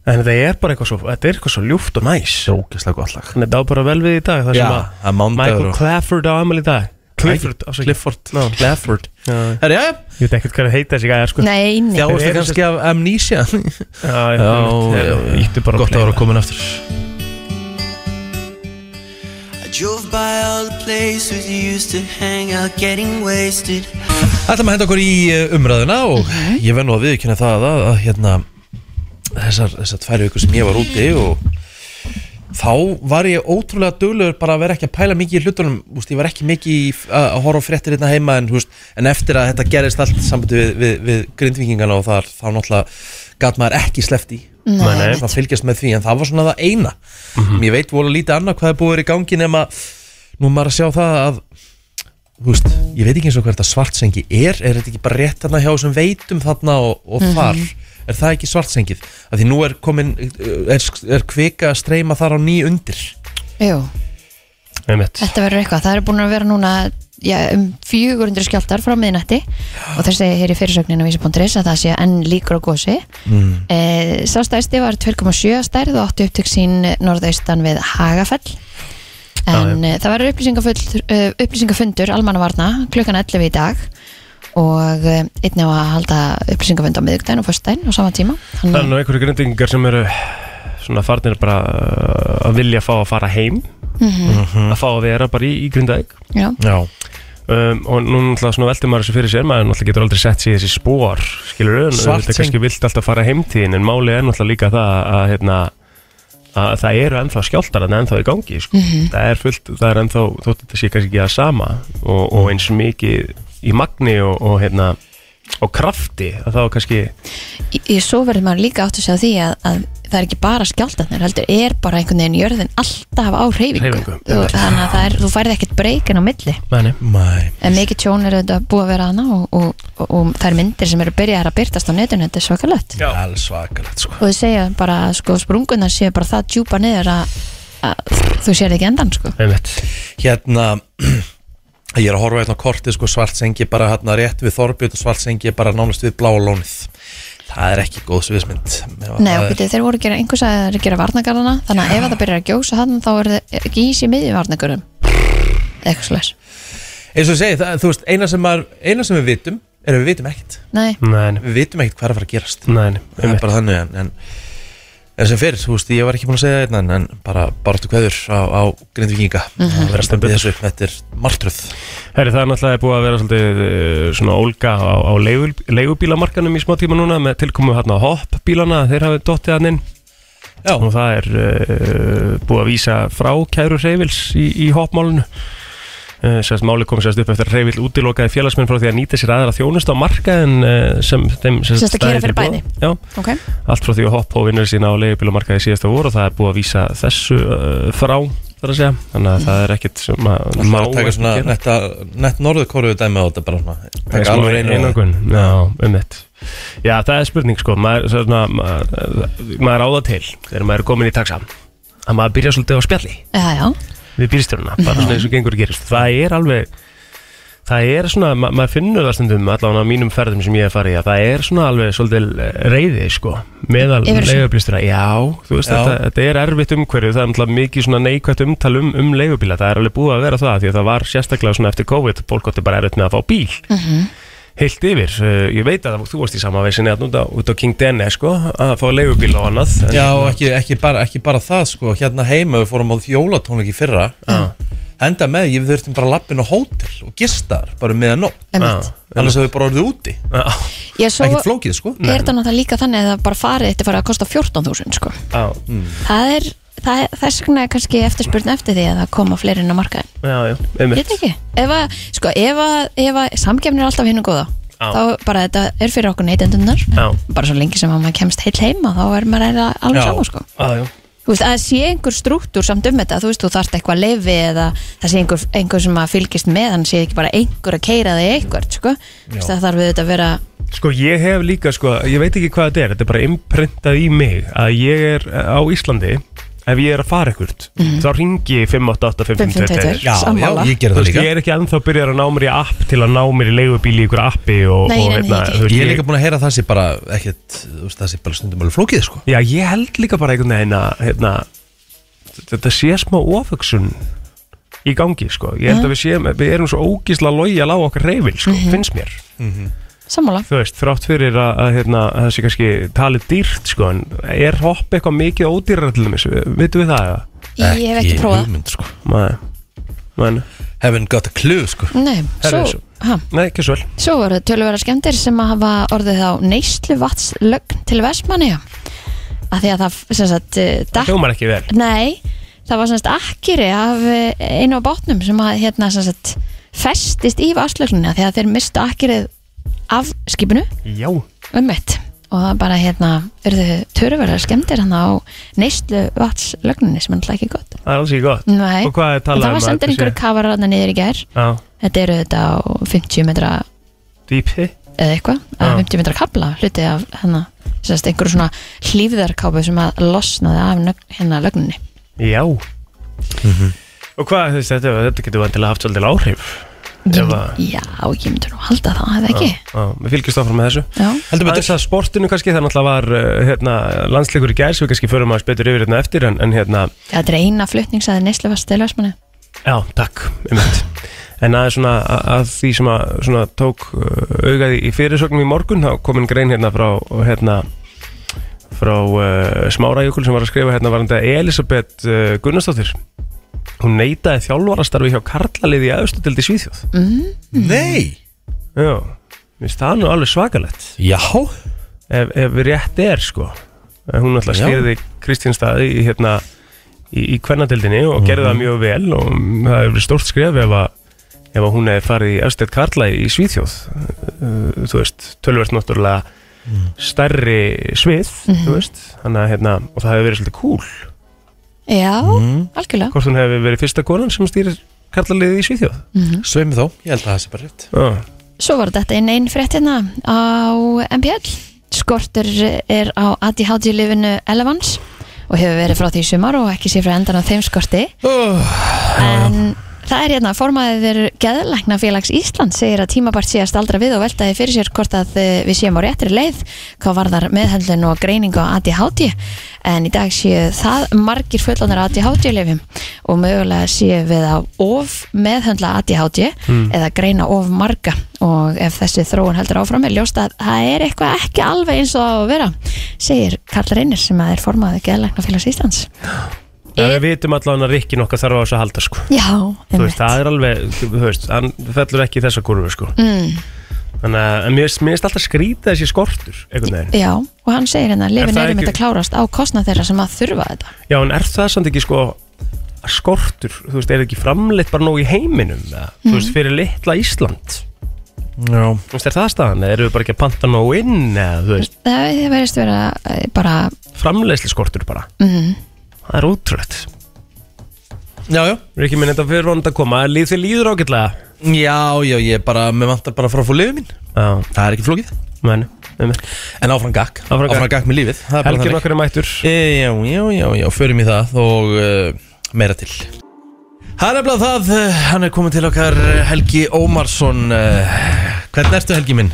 [SPEAKER 3] en þetta er bara eitthvað svo, þetta er eitthvað svo ljúft og næs
[SPEAKER 1] Sjókislega gott lag
[SPEAKER 3] þannig að þetta á bara vel við í dag þar
[SPEAKER 1] Já,
[SPEAKER 3] sem
[SPEAKER 1] það er
[SPEAKER 3] að
[SPEAKER 1] mánudagur
[SPEAKER 3] Michael
[SPEAKER 1] og-
[SPEAKER 3] Clafford á amal í dag Clifford,
[SPEAKER 1] Nei,
[SPEAKER 3] afsakið.
[SPEAKER 1] Clifford, Clifford
[SPEAKER 3] Já,
[SPEAKER 1] Herri, já, já,
[SPEAKER 3] ég veit ekkert hvað að heita þessi gæja sko.
[SPEAKER 2] Nei, nei
[SPEAKER 1] þjáast
[SPEAKER 3] Þeir
[SPEAKER 1] það
[SPEAKER 3] eru
[SPEAKER 1] kannski af amnesia
[SPEAKER 3] Já, já, já, íttu bara
[SPEAKER 1] gott að vera komin aftur
[SPEAKER 4] I drove by all the places you used to hang out, getting wasted.
[SPEAKER 1] Ætlum að henda okkur í eh, umræðuna og ég venn nú að viðkynna það að, að hérna, þessar, þessar tvær vikur sem ég var úti og þá var ég ótrúlega duglegur bara að vera ekki að pæla mikið í hlutunum úst, ég var ekki mikið í, f- að að horfa á fréttir hérna heima en, þú veist, en eftir að þetta gerist allt sambandi við, við, við grindvíkingana og þar þá náttúrulega gat maður ekki sleppt í
[SPEAKER 3] Nei, nei.
[SPEAKER 1] að fylgjast með því en það var svona það eina ég veit voru lítið annað hvað er búið er í gangi nema nú er maður að sjá það að þú veist, ég veit ekki eins og hvað þetta svartsengi er, er þetta ekki bara rétt þarna hjá þessum veitum þarna og, og
[SPEAKER 2] Mhm.
[SPEAKER 1] þar er það ekki svartsengið, að því nú er komin eh, er, er kvika að streyma þar á ný undir
[SPEAKER 2] Jú,
[SPEAKER 3] Einmitt.
[SPEAKER 2] þetta verður eitthvað Það eru búin að vera núna já, um 400 skjáltar frá miðnætti og þeir segja hér í fyrirsögninu vísi.is að það sé enn líkur á gósi mm. e, Sá stærsti var 2,7 stærð og 8 upptök sín norðaustan við Hagafell en já, það verður upplýsingafull- eh, upplýsingafundur almannavarna klukkan 11 í dag og eh, einnig á að halda upplýsingafund á miðugdæn og fyrstdæn á sama tíma
[SPEAKER 3] Það
[SPEAKER 2] Þannig
[SPEAKER 3] er nú einhverju grindingar sem eru eh, svona farnir bara uh, að vilja fá að fara heim
[SPEAKER 1] Mhm.
[SPEAKER 3] að fá að vera bara í, í grindæk
[SPEAKER 2] já,
[SPEAKER 1] Já,
[SPEAKER 3] um, og nú náttúrulega svona veldur maður þessu fyrir sér maður náttúrulega getur aldrei sett sér í þessi spór skilur auðvitað
[SPEAKER 1] Svartsýn.
[SPEAKER 3] kannski vilt alltaf fara heimtíðin en máli er náttúrulega líka það að, hérna, að það eru ennþá skjáltar en ennþá í gangi sko. það er fullt, það er ennþá þótt þetta sé kannski ekki að sama og, og eins mikið í magni og, og hérna og krafti að þá kannski
[SPEAKER 2] Í, í svo verður maður líka átt að segja því að, að það er ekki bara skjáltatnir, heldur er bara einhvern veginn jörðin alltaf á hreyfingu
[SPEAKER 3] Hreyfingu,
[SPEAKER 2] Þú- þannig að það er, þú færði ekkert breykin á milli
[SPEAKER 3] Mæni.
[SPEAKER 1] mæ
[SPEAKER 2] en mikið tjón er þetta búið að vera hana og, og, og, og þær myndir sem eru byrjaðar að byrtast á netinu, þetta er svakalegt
[SPEAKER 3] Já.
[SPEAKER 1] alls svakalegt sko
[SPEAKER 2] og þau segja bara að sko, sprungunar séu bara það djúpa niður að, að þú sér ekki endan sko.
[SPEAKER 3] Einmitt.
[SPEAKER 1] Hérna, ég er að horfa hérna á kortið sko svartsengi bara hérna rétt við Þorbjörn og svartsengi bara nánast við bláa lónið það er ekki góð sviðsmynd
[SPEAKER 2] Nei, og byrju, þeir voru að gera einhvers að þeir eru að gera varnagarðana þannig að ef að það byrjar að gjósa hann þá er það ekki ís í miðjum varnagarðum eitthvað slags,
[SPEAKER 1] eins og ég segi, það, þú veist, eina sem, maður, eina sem við vitum er að við vitum ekkert
[SPEAKER 2] nei,
[SPEAKER 3] Mæni.
[SPEAKER 1] við vitum ekkert hvað er að fara að gerast
[SPEAKER 3] Mæni.
[SPEAKER 1] það er bara þannig en, en, en sem fyrir, þú veist, ég var ekki búin að segja þetta en, en bara baráttu kveður á, á grindvikinga
[SPEAKER 2] Mhm.
[SPEAKER 1] mm -hmm. að vera stendið þessu upp, þetta er martröð
[SPEAKER 3] Herri, það er náttúrulega búið að vera svolítið eh, svona ólga á, á leigu- leigubílamarkanum í smá tíma núna með tilkomu hérna hoppbílana, þeir hafi dottið hann inn
[SPEAKER 1] Já,
[SPEAKER 3] og það er uh, búið að vísa frá kæru Reyvils í, í hoppmálunu uh, sérst máli kom sérst upp eftir að Reyvill útilokaði félagsmenn frá því að nýta sér aðra þjónust á markaðin uh, sem þeim
[SPEAKER 2] Sem sagt að
[SPEAKER 3] stæði
[SPEAKER 2] gera fyrir
[SPEAKER 3] til boða. Já,
[SPEAKER 2] ok
[SPEAKER 3] allt frá því að hopp og vinnur sína á leigubílamarkaði síðasta voru og það er búið að vísa þessu uh, frá þar að segja, þannig að það er ekkert sem að
[SPEAKER 1] maður
[SPEAKER 3] má
[SPEAKER 1] að taka
[SPEAKER 3] ekki
[SPEAKER 1] svona
[SPEAKER 3] gera.
[SPEAKER 1] netta, nett norðurkóruðu dæmi á þetta bara svona, taka alveg reynu
[SPEAKER 3] einangun Já, um þetta Já, það er spurning sko maður, svo svona, maður, maður á það til þegar maður er komin í taxa að maður byrja svolítið á spjalli
[SPEAKER 2] Já, já,
[SPEAKER 3] við bílstjórnuna bara svona eins og gengur og gerist það er alveg það er svona, ma maður finnur það stundum allavega á mínum ferðum sem ég hef farið í að það er svona alveg svolítið reyði sko, meðal
[SPEAKER 2] Yfir þessu?
[SPEAKER 3] leigubílstjóra já, þú veist,
[SPEAKER 1] Já.
[SPEAKER 3] Þetta, þetta er erfitt umhverju það er náttúrulega mikið svona neikvægt umtal um, um leigubíla, það er alveg búið að vera það því að það var sérstaklega svona eftir COVID, fólk átti bara erfitt með að fá bíl
[SPEAKER 2] Mhm.
[SPEAKER 3] heilt yfir, uh, ég veit að þú varst í sama vesinni að núta út á King Denne sko, að fá leigubíl og annað en,
[SPEAKER 1] Já, og ekki, ekki, bara, ekki bara það sko Hérna heima við fórum á jólatónleik í fyrra Enda með, ég við þurftum bara lappin á hótel og gistar, bara meðan nótt
[SPEAKER 2] Einmitt.
[SPEAKER 1] Annars hefur við bara orðið úti
[SPEAKER 3] Já,
[SPEAKER 2] Ég svo
[SPEAKER 1] Ekkert flókið sko
[SPEAKER 2] er þetta náttúrulega líka þannig að það bara farið þetta farið að kosta 14.000 sko.
[SPEAKER 3] já,
[SPEAKER 2] það er, það er þess vegna er kannski eftirspurn eftir því að það koma fleiri inn á markaðin
[SPEAKER 3] já, já, einmitt.
[SPEAKER 2] Ég veit ekki, ef að, sko, ef að, ef að samkefni er alltaf hinn og góða
[SPEAKER 3] Já.
[SPEAKER 2] þá bara þetta er fyrir okkur neytendunar
[SPEAKER 3] Já.
[SPEAKER 2] bara svo lengi sem að maður kemst heil heima þá er maður eiginlega alveg
[SPEAKER 1] Já.
[SPEAKER 2] sama sko.
[SPEAKER 3] Já, já.
[SPEAKER 2] þú veist, að sé einhver struktúr samt um þetta þú veist, þú þarft eitthvað leifi eða það sé einhver, einhver sem að fylgist með hann sé ekki bara einhver að keira þig eitthvað sko. Þú veist, það þarf auðvitað að vera
[SPEAKER 3] Sko ég hef líka sko, ég veit ekki hvað þetta er, þetta er bara imprintað í mig að ég er eh, á Íslandi, ef ég er að fara ekkert,
[SPEAKER 2] Mhm.
[SPEAKER 3] þá ringi ég 588-522.
[SPEAKER 1] Já,
[SPEAKER 2] 552
[SPEAKER 1] já,
[SPEAKER 2] sammála.
[SPEAKER 1] ég gerði
[SPEAKER 3] Þú
[SPEAKER 1] það
[SPEAKER 3] veist,
[SPEAKER 1] líka
[SPEAKER 3] ég er ekki ennþá byrjar að ná mér í app til að ná mér í leigubíl í ykkur appi og,
[SPEAKER 2] Nei,
[SPEAKER 3] og
[SPEAKER 2] nei, nei,
[SPEAKER 3] hérna,
[SPEAKER 2] ekki.
[SPEAKER 3] þú veist,
[SPEAKER 1] Ég er líka búin að heyra að það sé bara ekkert, þú veist, það sé bara stundum alveg flókið sko
[SPEAKER 3] Já, ég held líka bara einhvern veginn að, hérna, þetta sé smá oföksun í gangi, sko. Ég held að við séum, við erum svo ógísla lojal á okkar reyfil, sko,
[SPEAKER 2] Mhm.
[SPEAKER 3] finnst mér.
[SPEAKER 2] sammála
[SPEAKER 3] þú veist, þrátt fyrir að, að hérna, að það sé kannski talið dýrt sko, en er hopp eitthvað mikið ódýrar til þess, vitum við það eða?
[SPEAKER 2] ég hef ekki prófað
[SPEAKER 1] hugmynd, sko.
[SPEAKER 3] Nei, nei,
[SPEAKER 1] Haven't got a clue sko
[SPEAKER 2] Nei, svo,
[SPEAKER 3] Herðu, svo-
[SPEAKER 2] ha,
[SPEAKER 3] nei, ekki svo vel
[SPEAKER 2] svo voru tölvera skemmtir sem að hafa orðið á neyslu vatslögn til Vestmanni að því að það sem sagt, eh, datt
[SPEAKER 3] hljómar ekki vel
[SPEAKER 2] Nei, það var svona akkiri af eh, einu á bátnum sem að hérna svona sagt, festist í vaslögnina því að þeir mistu akkirið af skipinu
[SPEAKER 3] Já,
[SPEAKER 2] um mitt og það bara hérna urðu töruverðar skemmtir hann á neyslu vatslögninni sem er náttúrulega ekki gott
[SPEAKER 3] það er alls ekki gott
[SPEAKER 2] Nei,
[SPEAKER 3] Og hvað er
[SPEAKER 2] en
[SPEAKER 3] talað
[SPEAKER 2] það
[SPEAKER 3] um
[SPEAKER 2] var
[SPEAKER 3] að
[SPEAKER 2] sendur
[SPEAKER 3] þetta
[SPEAKER 2] einhverju
[SPEAKER 3] sé-
[SPEAKER 2] kafar ráðna niður í gær
[SPEAKER 3] Já,
[SPEAKER 2] þetta eru þetta á 50 metra
[SPEAKER 3] dýpi
[SPEAKER 2] eða eitthvað,
[SPEAKER 3] Já.
[SPEAKER 2] að 50 metra kabla hluti af hérna, sem sagt, einhverju svona hlýfðarkápu sem að losnaði af nögn- hérna lögninni
[SPEAKER 3] Já
[SPEAKER 1] Mhm.
[SPEAKER 3] Og hvað, þú veist, þetta, þetta getur vantilega haft svolítið áhrif
[SPEAKER 2] Ég,
[SPEAKER 3] Ef að-
[SPEAKER 2] já, ég myndi nú halda það, hefði ekki
[SPEAKER 3] Já, við fylgjumst áfram með þessu
[SPEAKER 2] Já,
[SPEAKER 1] Heldur
[SPEAKER 3] Aðeins
[SPEAKER 1] betur
[SPEAKER 3] að sportinu kannski, það náttúrulega var uh, hérna, landsleikur í gær, svo við kannski förum að spetur yfir hérna eftir, en, en hérna,
[SPEAKER 2] það er eina flutningsæði Neslefast til Vestmanni
[SPEAKER 3] Já, takk, einmitt En aðeins svona að, að því sem að svona tók uh, augaði í fyrirsögnum í morgun þá komin grein hérna frá hérna, frá uh, Smárajökul sem var að skrifa hérna varandi að Elisabeth uh, Gunnarsdóttir hún neitaði þjálfarastarfi hjá Karlaliði í aðustutildi Svíþjóð
[SPEAKER 1] Nei
[SPEAKER 3] Já, minnst það nú alveg svakalett
[SPEAKER 1] Já
[SPEAKER 3] ef, ef rétt er sko En hún alltaf
[SPEAKER 1] Já.
[SPEAKER 3] stýrði Kristínstaði í hérna í, í kvennatildinni og gerði það mjög vel og það hefur verið stórt skref ef að ef að hún hefði farið í Östedt Karla í Svíþjóð uh, þú veist, tölvert náttúrulega stærri svið, þú veist þannig að hérna, og það hefur verið svolítið cool
[SPEAKER 2] Já, algjörlega
[SPEAKER 3] hvort hún hefur verið fyrsta konan sem stýrir karlaliðið í Svíþjóð
[SPEAKER 1] Sveimi þó, ég held að það sé bara rétt
[SPEAKER 3] Já,
[SPEAKER 2] Mhm. Svo var þetta einn einn frétt hérna á MPL Skortur er á ADHD-lifinu Elevans og hefur verið frá því í sumar og ekki sé frá endan á þeim skorti En það er hérna formaður geðlækna félags Ísland segir að tímabart sé að staldra við og veltaði fyrir sér hvort að eh, við séum á réttri leið hvað varðar meðhendlun og greiningu á ADHD en í dag séu það margir fullanir ADHD lifum og mögulega séu við að of meðhendla ADHD
[SPEAKER 3] Hmm.
[SPEAKER 2] eða greina of marga og ef þessi þróun heldur áfram er ljóst að það er eitthvað ekki alveg eins og það á að vera segir Karl Reynir sem að er formaður geðlækna félags Íslands
[SPEAKER 3] en við vitum allavega að Rikki nokkað þarf á þessu að halda sko
[SPEAKER 2] Já,
[SPEAKER 3] þú veist, það er alveg, þú veist, hann fellur ekki í þessa kurvu, sko. Mm. Þannig að en mér finnst- mér finnst alltaf skrýta þessi skortur, einhvern veginn.
[SPEAKER 2] Já, og hann segir hérna
[SPEAKER 3] Er
[SPEAKER 2] lifin
[SPEAKER 3] það
[SPEAKER 2] er um
[SPEAKER 3] ekki-
[SPEAKER 2] þetta klárast á kostnað þeirra sem að þurfa þetta
[SPEAKER 3] Já, en er það samt ekki, sko, að skortur, þú veist, er ekki framleitt bara nóg í heiminum, eða, þú veist, fyrir litla Ísland?
[SPEAKER 1] Já
[SPEAKER 3] Þú veist, er það staðan, eða eru við bara ekki að panta nóg inn, eða, þú veist,
[SPEAKER 2] Það það verðist vera eh, bara
[SPEAKER 3] framleiðsli skortur bara. Mm. Það er útrúlegt.
[SPEAKER 1] Já, já
[SPEAKER 3] Rikki minn, þetta fyrir vonandi að koma, líð þið líður ágætlega.
[SPEAKER 1] Já, já, ég bara, mér vantar bara að fara að fá liðið mín
[SPEAKER 3] Já,
[SPEAKER 1] Það er ekki flókið
[SPEAKER 3] menn, einmitt.
[SPEAKER 1] En áfram gakk
[SPEAKER 3] Áfram gakk.
[SPEAKER 1] með lífið Það er bara
[SPEAKER 3] Helgin
[SPEAKER 1] þannig. Eh,
[SPEAKER 3] okkar er mættur.
[SPEAKER 1] E, Já, já, já, já, förum í það og uh, meira eh, til Það er nefnilega það, eh, hann er komin til okkar eh, Helgi Ómarsson eh, Hvernig ertu Helgi minn?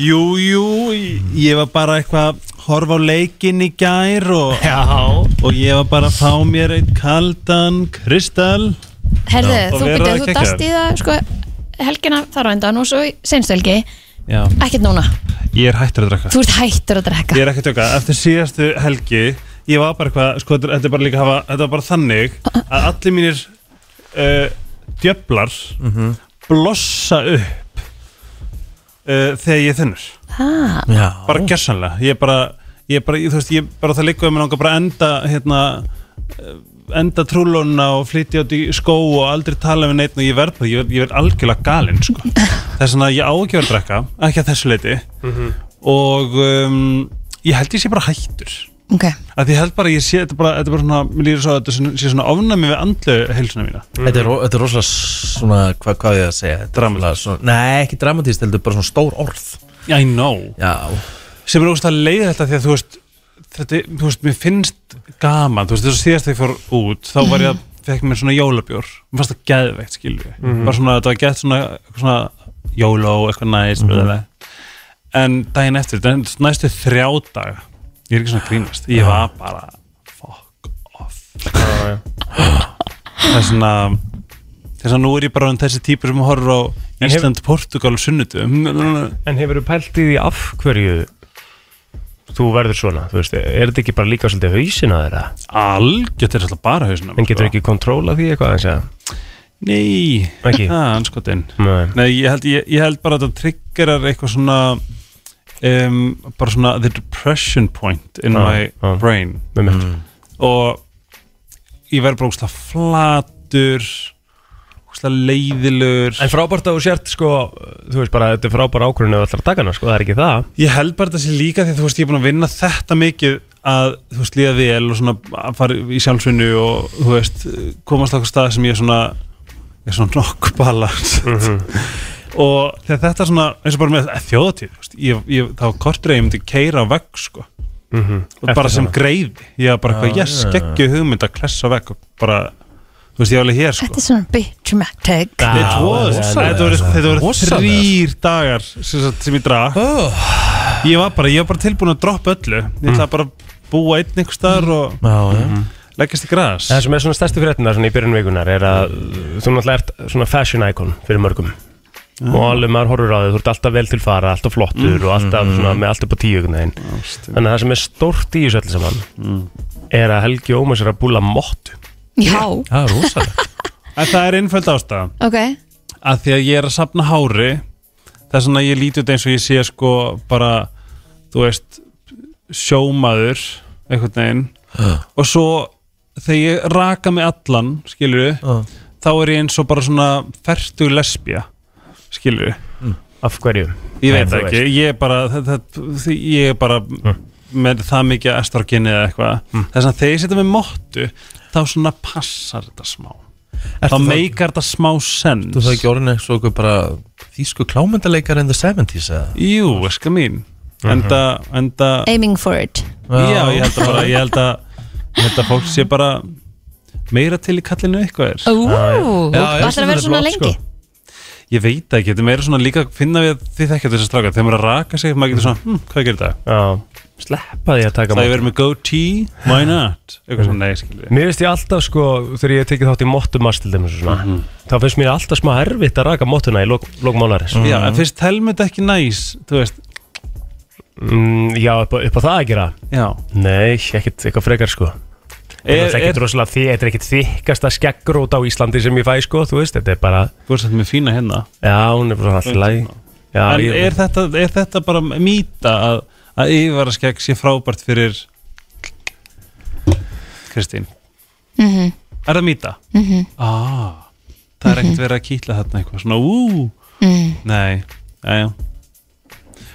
[SPEAKER 7] Jú, jú, ég var bara eitthvað að horfa á leikinn í gær og, og ég var bara að fá mér einn kaldan kristall
[SPEAKER 2] Herðu,
[SPEAKER 7] Já, og
[SPEAKER 2] þú
[SPEAKER 7] vera
[SPEAKER 2] byrjaði, þú
[SPEAKER 7] geggjaður.
[SPEAKER 2] dast í það sko, helgina þar á endan og svo senstu helgi,
[SPEAKER 7] Já,
[SPEAKER 2] ekkert núna
[SPEAKER 7] ég er hættur að drakka
[SPEAKER 2] Þú ert hættur að drekka
[SPEAKER 7] Ég er ekki að tjóka, eftir síðastu helgi ég var bara eitthvað, sko, þetta er bara líka að hafa þetta var bara þannig að allir mínir uh, djöflar blossa upp uh, þegar ég þennur
[SPEAKER 2] ha,
[SPEAKER 1] Já
[SPEAKER 7] bara gjössanlega ég bara, ég bara, ég, þú veist, ég bara það líka um að langa bara að enda hérna eh, enda trúlunna og flytja át í skó og aldrei tala við neitt og ég verð bara, ég verð, ég verð algjörlega galinn sko. þess vegna ég á ekki að vera að drekka ekki að þessu leiti og um, ég held ég sé bara hættur
[SPEAKER 2] ok,
[SPEAKER 7] að ég held bara, að ég sé, þetta er bara, þetta er bara svona, mér líður svo að þetta sé- sé svona ofnæmi við andlu heilsuna mína
[SPEAKER 1] Þetta er, ro- þetta er rosalega s- svona, hva, hvað á ég að segja?
[SPEAKER 7] Dramatískt.
[SPEAKER 1] Dramatíst Nei, ekki dramatíst, heldur bara svona stór orð
[SPEAKER 7] I know
[SPEAKER 1] Já
[SPEAKER 7] sem er ógust að leiða þetta því að þú veist þetta, þú veist, mér finnst gaman þú veist, þess að síðast þegar ég fór út þá var ég að fekk mér svona jólabjór mér fannst það geðveikt, skilur við
[SPEAKER 3] Mhm.
[SPEAKER 7] bara svona, þetta var gett svona, eitthvað svona jóló, eitthvað
[SPEAKER 3] Mhm.
[SPEAKER 7] næst mm en daginn eftir, den- næstu þrjá dag ég er ekki svona að grínast ég var bara, fuck off það er svona þess að nú er ég bara um þessi típur sem horfur á
[SPEAKER 3] En hefur-
[SPEAKER 7] Ísland, Portugal og Sunnudu
[SPEAKER 3] En hefur þú pælt í því af hverju þú verður svona, þú veist, er þetta ekki bara líka svolítið hausin að þeirra?
[SPEAKER 7] algjört er alltaf bara hausnum sko.
[SPEAKER 3] En getur ekki kontróla því eitthvað eins og
[SPEAKER 7] Nei,
[SPEAKER 3] Ekki?
[SPEAKER 7] það er anskotin
[SPEAKER 3] Nei.
[SPEAKER 7] Nei, ég held, ég, ég held bara að það triggerar eitthvað svona um, bara svona the depression point in
[SPEAKER 3] Já,
[SPEAKER 7] my
[SPEAKER 3] já.
[SPEAKER 7] brain
[SPEAKER 3] með mér?
[SPEAKER 7] og ég verð bara úkslega flatur úkslega leiðilur
[SPEAKER 3] En frábært að þú sért, sko, þú veist bara, þetta er frábært ákvörðin ef þú ætlar að taka hana, sko, það er ekki það.
[SPEAKER 7] Ég held bara þetta sé líka því að þú veist ég er búin að vinna þetta mikið að þú veist líða vel og svona að fara í sjálfsvinnu og þú veist komast á okkur stað sem ég er svona ég er svona nokk balans og þegar þetta svona eins og bara með þjóðatíð þú veist, ég, ég, þá kortur að ég myndi keira á vegg sko og bara sem greiði ég var bara eitthvað, yes, geggju hugmynd að klessa á vegg og bara, þú veist ég er alveg hér sko
[SPEAKER 2] þetta er svona bitchmatic
[SPEAKER 7] Nei, tvo-
[SPEAKER 1] rosalega.
[SPEAKER 7] Þetta voru, þetta voru
[SPEAKER 1] Rosalega.
[SPEAKER 7] þrýr dagar sem, sagt sem ég drakk
[SPEAKER 1] oh.
[SPEAKER 7] Ég var bara, ég var bara tilbúin að droppa öllu Ég ætlaði bara að búa einn einhver staðar og
[SPEAKER 1] Já, já
[SPEAKER 7] leggjast í græs
[SPEAKER 3] Mm. Það sem er svona stærstu fréttina svona í byrjun vikunar er að þú náttúrulega ert svona fashion icon fyrir mörgum og alveg maður horfur á þig, þú ert alltaf vel til fara, alltaf flottur og alltaf svona með alltaf på tíu einhvern veginn. Þannig að það sem er stórt í þessu öllu saman er að Helgi Ómas er að búla mottu.
[SPEAKER 2] já,
[SPEAKER 1] Það er rosalega
[SPEAKER 7] En það er einföld ástæða
[SPEAKER 2] ok
[SPEAKER 7] að Því að ég er að sapna hári Það er svona að ég líti út eins og ég sé sko bara, þú veist sjómaður einhvern veginn og svo þegar ég raka mig allan skilur
[SPEAKER 1] Já.
[SPEAKER 7] þá er ég eins og bara svona fertug lesbja skilur
[SPEAKER 3] Af hverju? Nei,
[SPEAKER 7] Ég veit
[SPEAKER 3] þú
[SPEAKER 7] það ekki, ég er bara það, það, því- ég er bara með það mikið estroginni eða eitthvað þess að þegar ég setja með móttu þá svona passar þetta smá þá
[SPEAKER 1] það-
[SPEAKER 7] meikar þetta smá sens
[SPEAKER 1] Þú það ekki orðin eitthvað eitthvað bara Þýsku klámyndaleikar in the 70s eða
[SPEAKER 7] Jú, eska mín enda, enda
[SPEAKER 2] aiming for it
[SPEAKER 7] já, ég held að bara ég held að, ég held að fólk sé bara meira til í kallinu eitthvað er
[SPEAKER 2] Ú,
[SPEAKER 1] Já,
[SPEAKER 2] það
[SPEAKER 1] ég
[SPEAKER 2] ætlar
[SPEAKER 1] sem
[SPEAKER 2] að vera
[SPEAKER 1] er
[SPEAKER 2] svona
[SPEAKER 1] flott,
[SPEAKER 2] lengi
[SPEAKER 7] ég veit það ekki, þetta er meira svona líka að finna við þið þekkja þessar strákar, þegar maður er að raka sig maður getur svona, hm, hvað gerir það?
[SPEAKER 3] Já, sleppa því að taka
[SPEAKER 7] Það er
[SPEAKER 3] mottu.
[SPEAKER 7] verið með goatee, why not? eitthvað svona, nei, skilur
[SPEAKER 3] Mér finnst ég alltaf sko, þegar ég hef tekið þátt í mottumast til dæmis og svona,
[SPEAKER 7] Mhm.
[SPEAKER 3] þá finnst mér alltaf smá erfitt að raka mottuna í lok, lok mánarins.
[SPEAKER 7] Já, en finnst Helmut ekki næs, þú veist
[SPEAKER 3] Mm, já, upp á, upp á það að gera?
[SPEAKER 7] Já
[SPEAKER 3] Nei, ekkert eitthvað frekar sko. Er,
[SPEAKER 7] er,
[SPEAKER 3] er,
[SPEAKER 7] er,
[SPEAKER 3] ekkert rosalega, því, þetta er ekkert þykasta skeggrót á Íslandi sem ég fæ sko, þú veist, þetta er bara,
[SPEAKER 7] Þú ert þetta með fína hérna
[SPEAKER 3] já, hún er bara alltaf læg. Já,
[SPEAKER 7] En
[SPEAKER 3] ég,
[SPEAKER 7] er þetta, er þetta bara mýta að, að yfirvaraskegg sé frábært fyrir Kristín Er það mýta? Mm -hmm. ah, það er ekkert verið að kýtla þarna eitthvað svona ú Nei, já, já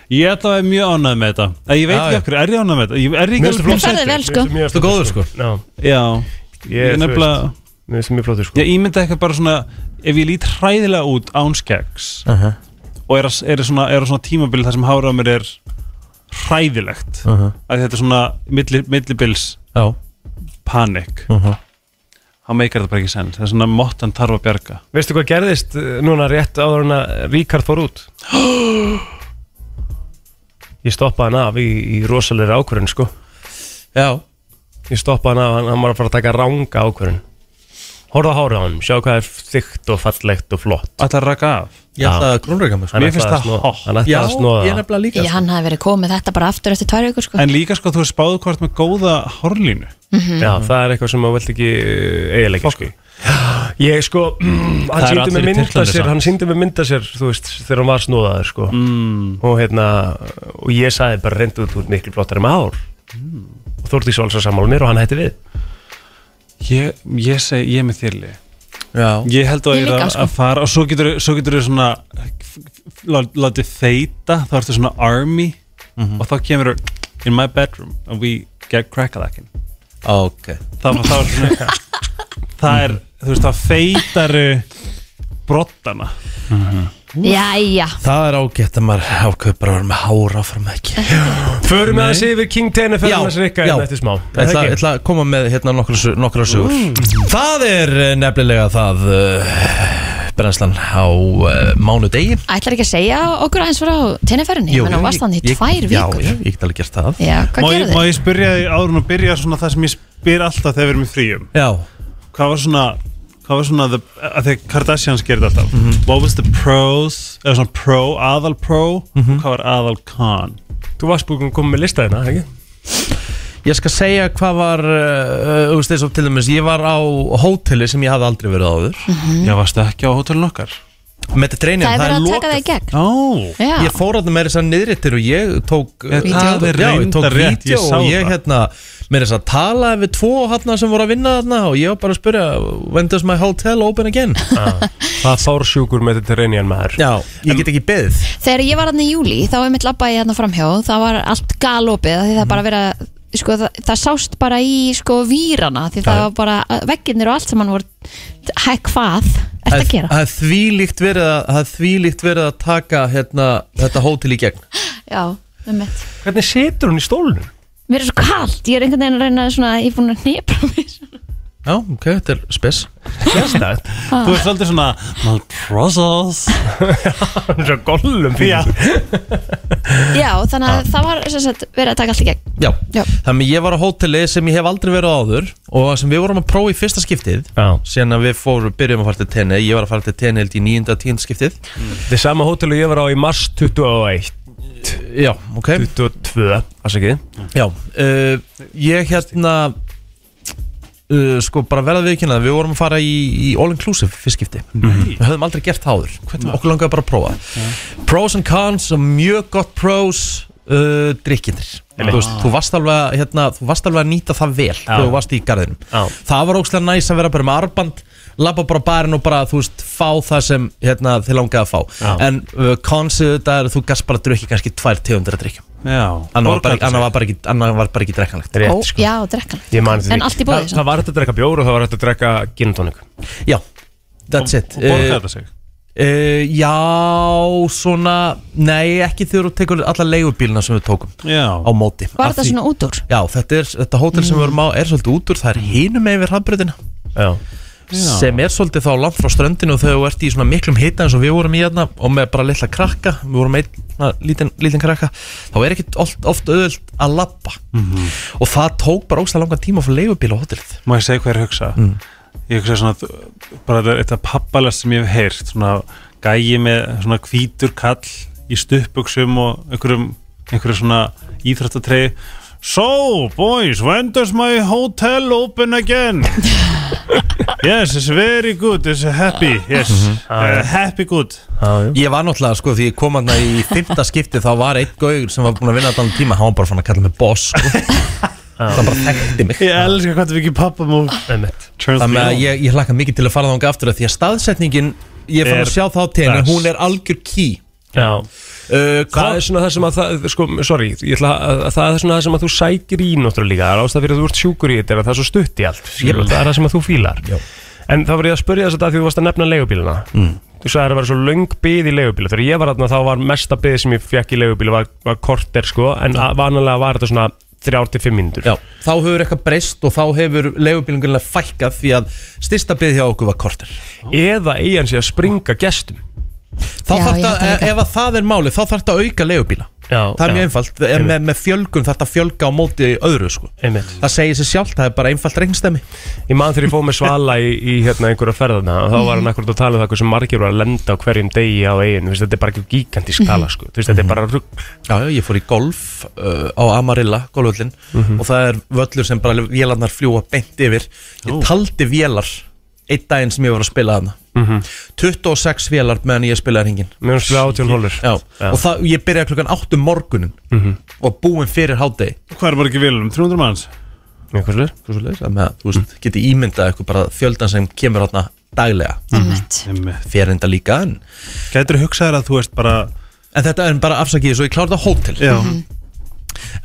[SPEAKER 7] Ég ætla að vera mjög ánægð með þetta Æ, Ég veit
[SPEAKER 1] Já,
[SPEAKER 7] ekki
[SPEAKER 1] já.
[SPEAKER 7] okkur, er ég ánægð með þetta? Ég- Er ég
[SPEAKER 3] Mér
[SPEAKER 7] ekki
[SPEAKER 3] finnst þú
[SPEAKER 7] alveg
[SPEAKER 3] flott
[SPEAKER 2] Þú ferði
[SPEAKER 3] sætur,
[SPEAKER 2] vel,
[SPEAKER 3] mér
[SPEAKER 2] sko.
[SPEAKER 3] finnst þú mjög
[SPEAKER 1] Þú
[SPEAKER 3] flott,
[SPEAKER 1] góður, sko.
[SPEAKER 3] Já,
[SPEAKER 7] Já,
[SPEAKER 3] ég
[SPEAKER 7] ég
[SPEAKER 3] er
[SPEAKER 7] nefnilega
[SPEAKER 3] nefnilega... Mér finnst þú mjög flottur sko.
[SPEAKER 7] Ég ímynda eitthvað bara svona Ef ég lít hræðilega út án skeggs
[SPEAKER 1] Aha.
[SPEAKER 7] Og er, að- er, svona, er svona tímabil þar sem hárið á mér er Hræðilegt uh
[SPEAKER 1] Mhm.
[SPEAKER 7] Þetta er svona milli, millibils
[SPEAKER 1] Já
[SPEAKER 7] panik
[SPEAKER 1] Mhm.
[SPEAKER 7] þá meikar þetta bara ekki sens það er svona mottan tarfa að bjarga
[SPEAKER 3] Veistu hvað gerðist eh, núna rétt áður en að Ríkard fór út? Ég stoppaði hann af í, í rosalegri ákvörðun sko
[SPEAKER 1] Já,
[SPEAKER 3] Ég stoppaði hann af, hann, hann var að fara að taka ranga ákvörðun Horða á hárið á hann, sjá hvað er þygt og fallegt og flott
[SPEAKER 7] Alltaf að raka af
[SPEAKER 1] ég ætla að grúnreika mig sko.
[SPEAKER 7] Mér finnst
[SPEAKER 3] ætlaði að
[SPEAKER 7] það
[SPEAKER 3] snúa-
[SPEAKER 7] hot.
[SPEAKER 3] Hann ætlaði
[SPEAKER 1] Já,
[SPEAKER 3] að snóða
[SPEAKER 1] ég er
[SPEAKER 3] það
[SPEAKER 1] nefnilega líka
[SPEAKER 2] Ég,
[SPEAKER 1] sko.
[SPEAKER 2] hann hafi verið komið með þetta bara aftur eftir tvær vikur sko.
[SPEAKER 7] En líka sko þú er spáðu hvort með góða horlínu
[SPEAKER 3] Já, það er eitthvað sem maður vilt ekki eiginlega sko. Ég sko, hann
[SPEAKER 7] eru
[SPEAKER 3] síndi mig
[SPEAKER 7] allir í
[SPEAKER 3] mynda
[SPEAKER 7] Tyrklandi
[SPEAKER 3] sér
[SPEAKER 7] samt.
[SPEAKER 3] Hann síndi mig mynda sér, þú veist, þegar hann var snúðaður sko. mm. og hérna og ég sagði bara reyndu þú ert miklu flottari með ár og Þórdís var alls að sammála mér og hann hætti við
[SPEAKER 7] Ég, ég segi, ég er með þýrli
[SPEAKER 1] Já,
[SPEAKER 7] Ég held að
[SPEAKER 2] Ég
[SPEAKER 7] ég
[SPEAKER 2] líka,
[SPEAKER 7] er
[SPEAKER 2] sko.
[SPEAKER 7] að fara og svo getur svo getur þú svona f- f- lá- látið þeita, þá ertu svona army og þá kemur þú in my bedroom and we get crackalackin
[SPEAKER 1] ok
[SPEAKER 7] það, var- það var svona það er, þú veist, það eh, feitaru brottana
[SPEAKER 2] Jæja,
[SPEAKER 1] Það er ágætt að maður ákveð bara að vera með hára áfram ekki
[SPEAKER 3] Förum við að sé yfir King Tene fyrir hans rikka
[SPEAKER 1] já.
[SPEAKER 3] hérna eftir smá
[SPEAKER 1] Ég ætla, ég ætla að koma með hérna nokkra, sög- nokkra sögur
[SPEAKER 3] Mm.
[SPEAKER 1] Það er eh, nefnilega það uh, brennslan á uh, mánudegi
[SPEAKER 2] ætlar ekki að segja okkur aðeins frá tenniferðinni Menn hún varst hann í
[SPEAKER 1] ég-
[SPEAKER 2] tvær
[SPEAKER 1] Já,
[SPEAKER 2] vikur
[SPEAKER 1] já, ég get alveg gert það
[SPEAKER 2] Já, hvað
[SPEAKER 7] Má ég,
[SPEAKER 2] gerðu
[SPEAKER 7] má
[SPEAKER 2] þið?
[SPEAKER 7] ég spyrja því árun og byrja svona það sem ég spyr alltaf þegar við erum í fríum
[SPEAKER 1] Já,
[SPEAKER 7] Hvað var svona, hvað var svona the, að þegar Kardashians gerði alltaf What was the pros, eða svona pro, aðal pro Hvað var aðal con
[SPEAKER 3] Þú varst búinn að koma með lista hérna, ekki?
[SPEAKER 1] ég skal segja hvað var uh, uh, þess, til dæmis, ég var á hóteli sem ég hafði aldrei verið áður
[SPEAKER 7] Já, varstu ekki á hótelun okkar?
[SPEAKER 1] Mediterranean,
[SPEAKER 2] Mhm. Það er verið að taka
[SPEAKER 1] lokað.
[SPEAKER 2] það í gegn
[SPEAKER 7] Ó,
[SPEAKER 2] Já,
[SPEAKER 1] Ég fór að það meira þess að niðri til og ég tók
[SPEAKER 7] Ég- það er
[SPEAKER 1] Já, ég tók
[SPEAKER 7] reyndar rétt,
[SPEAKER 1] vídeo
[SPEAKER 7] ég sá
[SPEAKER 1] og ég
[SPEAKER 7] það.
[SPEAKER 1] hérna meira þess að tala við tvo hérna sem voru að vinna þarna og ég var bara að spyrja When does my hotel open again?
[SPEAKER 3] Það fár sjúkur með þetta reynian maður
[SPEAKER 1] Já, ég get ekki beðið
[SPEAKER 2] Þegar ég var hann í júli, þá var mitt labbaði hérna framhjá Það var allt galopið, af því það bara verið að Sko, það, það sást bara í sko, vírana því það var bara, vegginir og allt sem hann voru hæ, hvað, ert að gera?
[SPEAKER 1] Það er þvílíkt verið að, það er þvílíkt verið að taka hérna, þetta hótel í gegn
[SPEAKER 2] Já, með mitt
[SPEAKER 3] Hvernig situr hún í stólunum?
[SPEAKER 2] Mér er svo kalt, ég er einhvern veginn að reyna svona, ég er búin að hnipra mig svona.
[SPEAKER 1] Já, ok, þetta er spes
[SPEAKER 3] Sérstætt
[SPEAKER 7] þú ert svolítið svona My process
[SPEAKER 3] Hún er svo gollum fyrir
[SPEAKER 2] Já, þannig að það var sem sagt, verið að taka allt í gegn
[SPEAKER 1] Já,
[SPEAKER 2] Já.
[SPEAKER 1] þannig ég var á hóteli sem ég hef aldrei verið á áður og sem við vorum að prófa í fyrsta skiptið
[SPEAKER 3] Já.
[SPEAKER 1] síðan að við fórum, byrjum að fara til tenni ég var að fara til tenni held í nýjunda og tíunda skiptið
[SPEAKER 3] Þetta er sama hótel og ég var á í mars 21
[SPEAKER 1] Já, ok
[SPEAKER 3] 22, afsakið
[SPEAKER 1] Já, uh, ég hérna uh, sko bara verða við ekki við vorum að fara í, í all inclusive fyrstskipti
[SPEAKER 3] Mhm.
[SPEAKER 1] við höfum aldrei gert það áður okkur langaði bara að prófa pros and cons, mjög gott pros uh, drikkinir
[SPEAKER 3] Einmitt.
[SPEAKER 1] þú, veist, þú, varst alveg, að, hérna, þú varst alveg að nýta það vel þegar þú varst í garðinum
[SPEAKER 3] Já.
[SPEAKER 1] það var ógstlega næs að vera bara með arband labba bara á barinn og bara þú veist fá það sem hérna, þið langaði að fá
[SPEAKER 3] Já.
[SPEAKER 1] en uh, consið þetta er að þú gast bara að drukki kannski tvær tegundir að drikkjum
[SPEAKER 7] Já,
[SPEAKER 1] annar var, bara,
[SPEAKER 7] borgarleikhús.
[SPEAKER 1] annar var bara ekki, annar var bara ekki drekkanlegt
[SPEAKER 2] Ó,
[SPEAKER 3] Rétt, sko
[SPEAKER 2] Já, drekkanlegt
[SPEAKER 3] Ég man þetta
[SPEAKER 2] En
[SPEAKER 3] ekki.
[SPEAKER 2] allt í bóði
[SPEAKER 3] það, það var hægt að drekka bjór og það var hægt að drekka gin og tonic
[SPEAKER 1] já, that's
[SPEAKER 7] Og-
[SPEAKER 1] it
[SPEAKER 7] Og borgaði
[SPEAKER 1] Eh,
[SPEAKER 7] þetta sig
[SPEAKER 1] eh, já, svona nei, ekki þegar þú tekur alla leigubílina sem við tókum
[SPEAKER 7] Já,
[SPEAKER 1] á móti
[SPEAKER 2] Var
[SPEAKER 1] Af
[SPEAKER 2] þetta
[SPEAKER 1] því-
[SPEAKER 2] svona út úr?
[SPEAKER 1] já, þetta, er, þetta hótel sem við vorum á er svolítið út úr það er hinum yfir hafbröðina
[SPEAKER 3] Já,
[SPEAKER 7] Já.
[SPEAKER 1] sem er svolítið þá langt frá ströndinu og þegar þú ert í svona miklum hita eins og við vorum í hérna og með bara litla krakka, við vorum með svona lítinn lítin krakka, þá er ekki oft, oft auðvöld að labba
[SPEAKER 7] Mhm.
[SPEAKER 1] og það tók bara ógstlega langan tíma að fá leigubíl á hótelið
[SPEAKER 7] Má ég segja hvað ég er að hugsa?
[SPEAKER 1] Mm.
[SPEAKER 7] Ég hugsa svona, að- bara þetta- þetta pappalast sem ég hef heyrt, svona gæi með svona hvítur kall í stuppbuksum og einhverjum, einhverjum svona íþrættatreyi. So, boys, when does my hotel open again? yes, it's very good, it's happy, yes,
[SPEAKER 1] Mhm.
[SPEAKER 7] uh, happy good.
[SPEAKER 3] já,
[SPEAKER 1] Ég var náttúrulega, sko, því ég kom hann í fymta skipti þá var einn gaugur sem var búin að vinna allan tíma hann var bara fann að kalla mig boss sko. það bara þekkti mig
[SPEAKER 7] Ég elska hvað það er ekki pappamók.
[SPEAKER 3] einmitt
[SPEAKER 1] þannig að ég, ég hlakka mikið til að fara þánga aftur af því að staðsetningin, ég fann
[SPEAKER 7] Er
[SPEAKER 1] að sjá það á tenni
[SPEAKER 7] best.
[SPEAKER 1] hún er algjör ký
[SPEAKER 3] Já,
[SPEAKER 1] uh,
[SPEAKER 3] það er
[SPEAKER 1] hvað,
[SPEAKER 3] svona það sem að það, sko, sorry, ég ætla að, að það er svona það sem að þú sækir í náttúrulega líka, það er ástæð fyrir að þú ert sjúkur í þetta er að það er svo stutt í allt, skilur,
[SPEAKER 1] Jep.
[SPEAKER 3] það er það sem að þú fílar
[SPEAKER 1] Já.
[SPEAKER 3] En þá var ég að spurja þess að því þú varst að nefna leigubílina mm. Þú sagði að það var svo löng bið í leigubíla Þegar ég var þarna þá var mesta bið sem ég fekk í leigubíla var, var korter sko En að- vanalega var þetta svona þrjár til fimm mínútur
[SPEAKER 1] Já, þá hefur eitthvað breyst og þá hefur leigubílingunlega fækkað því að styrsta byggð hjá okkur var korter
[SPEAKER 3] eða eigin sé að springa gestum
[SPEAKER 1] Þá
[SPEAKER 2] Já,
[SPEAKER 1] þarf
[SPEAKER 2] ég held
[SPEAKER 1] það,
[SPEAKER 2] það líka.
[SPEAKER 1] ef að það er málið, þá þarf það að auka leigubíla
[SPEAKER 3] Já,
[SPEAKER 1] Það er
[SPEAKER 3] já.
[SPEAKER 1] mjög einfalt, Ef með, með fjölgun þarf það að fjölga á móti öðru sko
[SPEAKER 3] Einmitt.
[SPEAKER 1] Það segir sér sjálft, það er bara einfalt reynstæmi
[SPEAKER 3] Ég man þegar ég fóð með Svala í, í hérna, einhverja ferðana og þá var hann akkurat að tala um það hversu margir var að lenda á hverjum degi á eigin veist, þetta er bara ekki gigantísk skala sko. Þú veist, þetta er bara rugg
[SPEAKER 1] Já, já, ég fór í golf uh, á Amarilla, golfvöllin og það er völlur sem bara vélarnar fljúa beint yfir Ég taldi vélar einn daginn sem ég var að spila hana 26 vélar meðan ég spilaði hringin
[SPEAKER 3] Mér finnst við átjón hólur
[SPEAKER 1] Já, og það, ég byrjaði klukkan 8 um morgunin og búinn fyrir hádegi
[SPEAKER 7] Hvað er bara ekki vilum? 300 manns?
[SPEAKER 3] Hversu leir?
[SPEAKER 1] Þú veist, með, þú veist, geti ímyndað eitthvað bara fjöldan sem kemur hátna daglega
[SPEAKER 2] Mm. Einmitt.
[SPEAKER 1] fyrir enda líka en,
[SPEAKER 7] Gætur hugsað þér að þú veist bara
[SPEAKER 1] en þetta er bara afsakið svo ég kláði það hótel
[SPEAKER 7] Já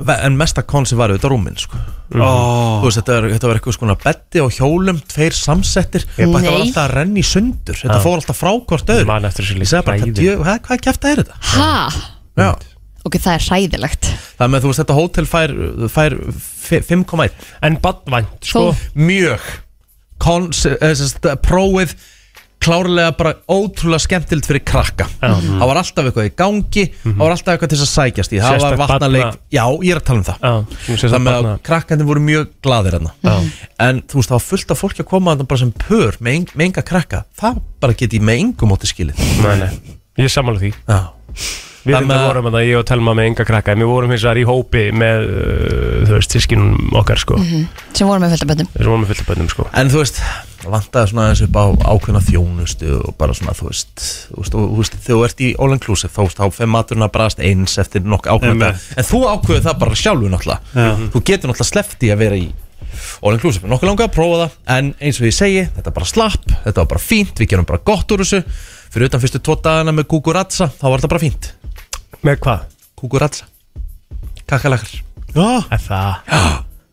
[SPEAKER 1] en mesta konsi var auðvitað rúmin sko.
[SPEAKER 3] Mhm.
[SPEAKER 7] Ó,
[SPEAKER 1] Þú veist, þetta, var, þetta var eitthvað skona beddi og hjólum, tveir samsettir
[SPEAKER 2] Nei.
[SPEAKER 1] Þetta var alltaf að renna í sundur Þetta
[SPEAKER 3] Já.
[SPEAKER 1] fór alltaf frá hvort öðru
[SPEAKER 3] Man eftir þessu
[SPEAKER 1] Ég
[SPEAKER 3] líka
[SPEAKER 1] segi bara, hvað,
[SPEAKER 3] hræðilegt.
[SPEAKER 1] djö, hvað, hvað kæfta er þetta?
[SPEAKER 2] Ha?
[SPEAKER 1] Já.
[SPEAKER 2] Ok, það er hræðilegt
[SPEAKER 1] Það með þú veist, þetta hótel fær, fær fi- 5,1
[SPEAKER 3] En badvænt sko.
[SPEAKER 2] Þó-
[SPEAKER 1] Mjög Kons, eh, sem sagt, Prófið klárlega bara ótrúlega skemmtild fyrir krakka Það var alltaf eitthvað í gangi Það var alltaf eitthvað til þess að sækjast í Það var
[SPEAKER 3] Mhm. Sérstakt
[SPEAKER 1] vatnaleik
[SPEAKER 3] barna-
[SPEAKER 1] Já, ég er að tala um það
[SPEAKER 3] Já, þú veist,
[SPEAKER 1] það með að
[SPEAKER 3] barna-
[SPEAKER 1] krakkandi voru mjög gladir hérna en þú veist það var fullt af fólki að koma þarna bara sem pör með, eng, með enga krakka það bara get ég með engum átti skilið
[SPEAKER 3] Nei, nei, ég er sammála því
[SPEAKER 1] já,
[SPEAKER 3] Við
[SPEAKER 1] Það
[SPEAKER 3] þetta
[SPEAKER 1] með-
[SPEAKER 3] vorum að það ég og Telma með enga krakka en við vorum hins vegar í hópi með uh, þú veist, tískinum okkar sko mm.
[SPEAKER 2] sem voru með fjöldaböndum
[SPEAKER 3] við vorum með fullt af bönnum sko
[SPEAKER 1] en þú veist það vantaði svona eins upp á ákveðna þjónustu og bara svona þú veist, þú veist, og, þú veist þegar þú ert í all inclusive þá, veist, þá fer maturinn að brast eins eftir nokk ákveðna
[SPEAKER 7] Einmitt.
[SPEAKER 1] dag. en þú ákveður það bara sjálfu náttúrulega þú getur náttúrulega slefti að vera í all inclusive, nokkuð langa að prófa það en eins og ég segi, þetta er bara slapp þetta var bara fínt, við gerum bara gott úr þessu fyrir utan fyrstu tvo dagana með kukuratsa þá var þetta bara fínt
[SPEAKER 3] Með hvað?
[SPEAKER 1] kúkuratsa kakalakar
[SPEAKER 7] já
[SPEAKER 3] Er það?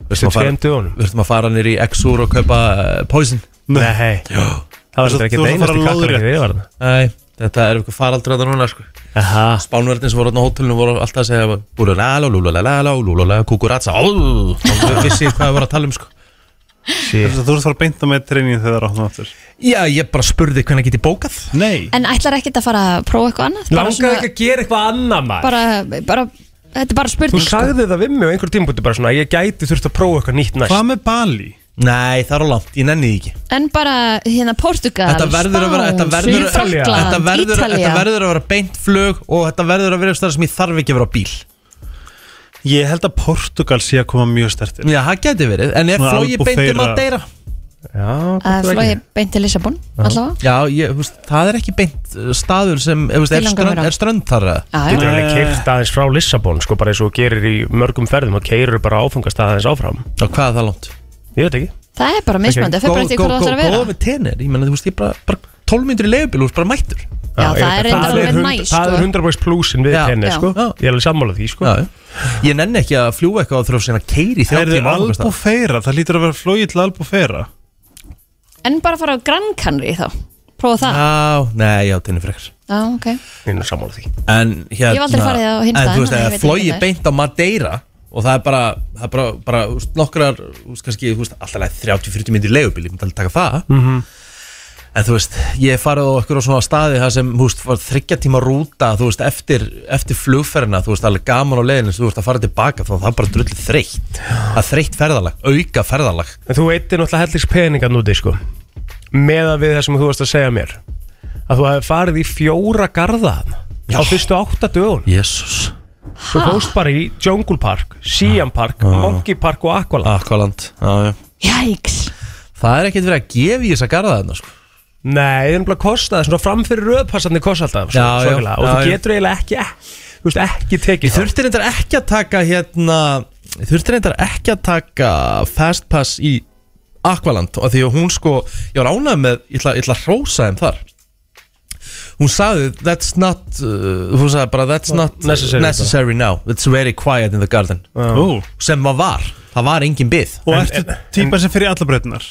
[SPEAKER 1] við
[SPEAKER 3] Sem tveim dögunum?
[SPEAKER 1] þurfum að fara nýri Exur og kaupa uh, Poison
[SPEAKER 3] Nei Það var
[SPEAKER 7] Þú-
[SPEAKER 3] þetta ekki
[SPEAKER 7] þú varst að
[SPEAKER 3] einast
[SPEAKER 7] fara
[SPEAKER 3] í
[SPEAKER 7] lóðrétt.
[SPEAKER 3] kakkarækið við var það
[SPEAKER 1] Nei, þetta er eitthvað faraldur að það núna sko.
[SPEAKER 3] Aha.
[SPEAKER 1] Spánverðin sem voru á hótelinu voru alltaf að segja búlalala, lúlalala, lúlalala, kukuratsa og vissi hvað það voru að tala um sko.
[SPEAKER 7] Þú ert að fara að beinta með treyningi þegar það er áttum aftur
[SPEAKER 1] Já, ég bara spurði hvernig get ég bókað
[SPEAKER 7] Nei
[SPEAKER 2] en ætlar ekkert að fara að prófa eitthvað annað bara,
[SPEAKER 3] Langaði ekki að gera eitthvað annað maður
[SPEAKER 2] bara, bara, þetta er bara
[SPEAKER 3] Þú
[SPEAKER 2] spurning sko.
[SPEAKER 3] sagði
[SPEAKER 1] sko-
[SPEAKER 3] það við mig á einhver tímpúti bara svona Ég gæti þurft að prófa eitthvað nýtt næst
[SPEAKER 7] Hvað með Bali?
[SPEAKER 1] Nei, það er á langt, ég nenni því ekki
[SPEAKER 2] en bara hérna Portugal,
[SPEAKER 1] Þetta verður að vera
[SPEAKER 2] Spán,
[SPEAKER 1] þetta verður,
[SPEAKER 2] Suður-Frakkland,
[SPEAKER 1] þetta, verður, þetta
[SPEAKER 2] Ítalía
[SPEAKER 1] verður að vera beint flug og þetta verður að vera eitthvað sem ég þarf ekki að vera á bíl
[SPEAKER 7] Ég held að Portugal sé að koma mjög stertir
[SPEAKER 1] Já, það geti verið, en er
[SPEAKER 7] Svona
[SPEAKER 1] flógi beint um
[SPEAKER 7] Albufeira.
[SPEAKER 1] að deyra?
[SPEAKER 3] Já,
[SPEAKER 2] að
[SPEAKER 3] gott og
[SPEAKER 2] flói
[SPEAKER 3] ekki.
[SPEAKER 2] beint til Lissabon allavega
[SPEAKER 1] Já, ég, þú veist, það er ekki beint uh, staður sem, eh, þú veist,
[SPEAKER 2] Mig
[SPEAKER 1] er, strönd,
[SPEAKER 2] langar að vera á.
[SPEAKER 1] er strönd þar eða?
[SPEAKER 2] Já,
[SPEAKER 3] Getur
[SPEAKER 2] já.
[SPEAKER 3] alveg keirt aðeins frá Lissabon sko bara eins og þú gerir í mörgum ferðum og keirur bara áfungast aðeins áfram
[SPEAKER 1] Já, hvað er það langt?
[SPEAKER 3] Ég veit ekki
[SPEAKER 2] það er bara mismöndi, það fyrir eftir hvað það ætlar að vera
[SPEAKER 1] Góða með tenir, ég menna, þú veist, ég bara, bara 12 minnur í leifubíl, þú veist, bara mættur
[SPEAKER 2] Já, það
[SPEAKER 3] ég
[SPEAKER 2] er
[SPEAKER 3] veit
[SPEAKER 2] reyndar
[SPEAKER 3] það.
[SPEAKER 2] alveg
[SPEAKER 3] Það er hund-
[SPEAKER 2] næs,
[SPEAKER 3] Það
[SPEAKER 2] sko.
[SPEAKER 3] er 100% plusin við
[SPEAKER 1] Já.
[SPEAKER 3] tenni
[SPEAKER 2] Já.
[SPEAKER 3] sko
[SPEAKER 1] Já.
[SPEAKER 3] Ég er alveg sammála því sko
[SPEAKER 1] Já, já. Ég nenni ekki að fljúa eitthvað og þurfa að segja að keiri í 30
[SPEAKER 7] Það er
[SPEAKER 1] tíma áfangastað.
[SPEAKER 7] Albufeira, það lítur að vera flóið til Albufeira
[SPEAKER 2] en bara fara á Gran Canary þá prófa það
[SPEAKER 1] Já, nei, já, tenir frekar
[SPEAKER 2] já, ok
[SPEAKER 3] Ég er nú sammála því
[SPEAKER 1] En hérna
[SPEAKER 2] hef aldrei farið á
[SPEAKER 1] En
[SPEAKER 2] hinn staðinn,
[SPEAKER 1] þú veist, það
[SPEAKER 2] þannig ég veit ekki
[SPEAKER 1] flói
[SPEAKER 2] hvað það er.
[SPEAKER 1] beint á Madeira Og það er bara, það er bara, bara þú veist, nokkrar, þú veist, kannski, þú veist, alltaf leið 30-40 myndir leigubíl, ég myndi alveg taka það. En þú veist, ég hef farið á okkur á svona staði það sem, þú veist, var þryggja tíma rúta, þú veist, eftir, eftir flugferðina, þú veist, alveg gaman á leiðinu, þú veist, að fara tilbaka, þá er það bara drullið þreytt. Það er þreytt ferðalag, auka ferðalag.
[SPEAKER 3] En þú veitir náttúrulega hellis peningar núti sko Með að við það sem þú varst að segja mér Að þú hafi farið í fjóra garða þarna Á fyrstu átta dögun
[SPEAKER 1] Jésús.
[SPEAKER 3] Þú fóst bara í Jungle Park, Siam Park,
[SPEAKER 1] Ah.
[SPEAKER 3] Monkey Park og Aqualand
[SPEAKER 1] Akvaland, já, já.
[SPEAKER 2] jæks
[SPEAKER 1] Það er ekkert verið að gefa í þessa garða þarna, sko.
[SPEAKER 3] Nei, það er nefnilega kostaði svona framfyrir röðpassandi kosta alltaf svo,
[SPEAKER 1] Já, já,
[SPEAKER 3] svokalega. Og
[SPEAKER 1] já,
[SPEAKER 3] þú
[SPEAKER 1] já.
[SPEAKER 3] getur eiginlega ekki, þú veist, ekki tekið það
[SPEAKER 1] Þurftir reyndar ekki að taka hérna Þurftir reyndar ekki að taka Fastpass í Aqualand og því að hún sko, ég var ánægð með ég ætla, ég ætla að hrósa þeim þar hún sagði that's not uh, hún sagði bara that's not,
[SPEAKER 3] necessary.
[SPEAKER 1] necessary now it's very quiet in the garden
[SPEAKER 7] Ó.
[SPEAKER 1] sem maður var, það var engin bið
[SPEAKER 7] Og
[SPEAKER 3] En-
[SPEAKER 7] ertu típar sem fyrir alla breytinar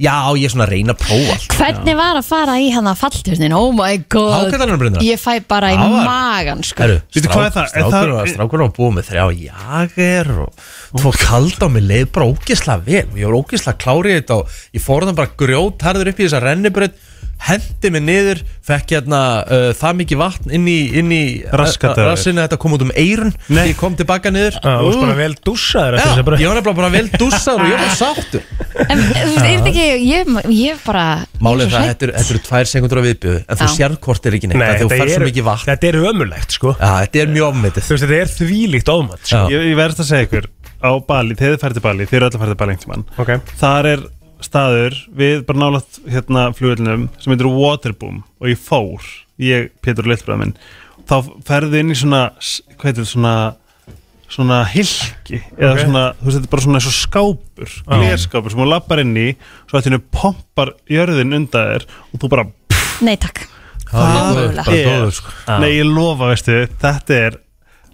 [SPEAKER 1] Já, ég er svona að reyna að prófa allt
[SPEAKER 2] Hvernig var að fara í hann að fallturnin? Oh my god
[SPEAKER 1] Hákarlarnarbrennunar?
[SPEAKER 2] Ég fæ bara í
[SPEAKER 1] Það var-
[SPEAKER 2] magan sko
[SPEAKER 1] Herru,
[SPEAKER 7] Veitu hvað er það? Er það-
[SPEAKER 1] Strákur, strákur var búið með þrjá jager og tvo kald á mig leið bara ógislega vel og ég var ógislega klárið þetta og ég fór þannig bara grjótarður upp í þessa rennibröð hendi mig niður, fekk hérna uh, það mikið vatn inn í, inn í
[SPEAKER 7] Raskat á þér.
[SPEAKER 1] rassinu að þetta kom út um eirun Nei. ég kom tilbaka niður
[SPEAKER 3] Já, Ah, Þú varst bara vel dúsaður
[SPEAKER 1] Já,
[SPEAKER 3] eftir þess að
[SPEAKER 1] ég var nefnilega bara vel dússaður og ég var sáttur
[SPEAKER 2] En þú veist, er þetta ekki, ég, ég bara
[SPEAKER 1] Málið er það,
[SPEAKER 2] þetta
[SPEAKER 1] þetta eru- þetta eru tvær sekundur á viðbjöðu en þú
[SPEAKER 2] Já.
[SPEAKER 1] sérð hvort er ekki neitt
[SPEAKER 3] Nei,
[SPEAKER 1] af því þú
[SPEAKER 3] þetta
[SPEAKER 1] færð
[SPEAKER 3] er-
[SPEAKER 1] svo mikið vatn
[SPEAKER 3] Þetta er ömulegt sko
[SPEAKER 1] Já, þetta er mjög ofmetið
[SPEAKER 3] Þú veist þetta er þvílíkt ofmann sko.
[SPEAKER 1] Já.
[SPEAKER 7] Ég, ég verðist að segja ykkur á Bali, þegar þið færið til Bali, þið eru öll að færið til Bali einhvern tímann.
[SPEAKER 3] Ok.
[SPEAKER 7] Þar er staður við bara nálaðt hérna flugullinum sem heitir Waterboom og ég fór, ég, Pétur Lillbræða minn, þá ferðu inn í svona, s- hvað heitir þetta, svona, svona hilki eða
[SPEAKER 3] Ok.
[SPEAKER 7] svona, þú veist þetta er bara svona eins og skápur, glerskápur sem þú lappar inn í, svo að þínu pompar jörðin undan þér og þú bara,
[SPEAKER 2] Nei takk
[SPEAKER 1] Það er
[SPEAKER 2] Nákvæmlega.
[SPEAKER 1] bara góður sko
[SPEAKER 7] nei ég lofa veistu, þetta er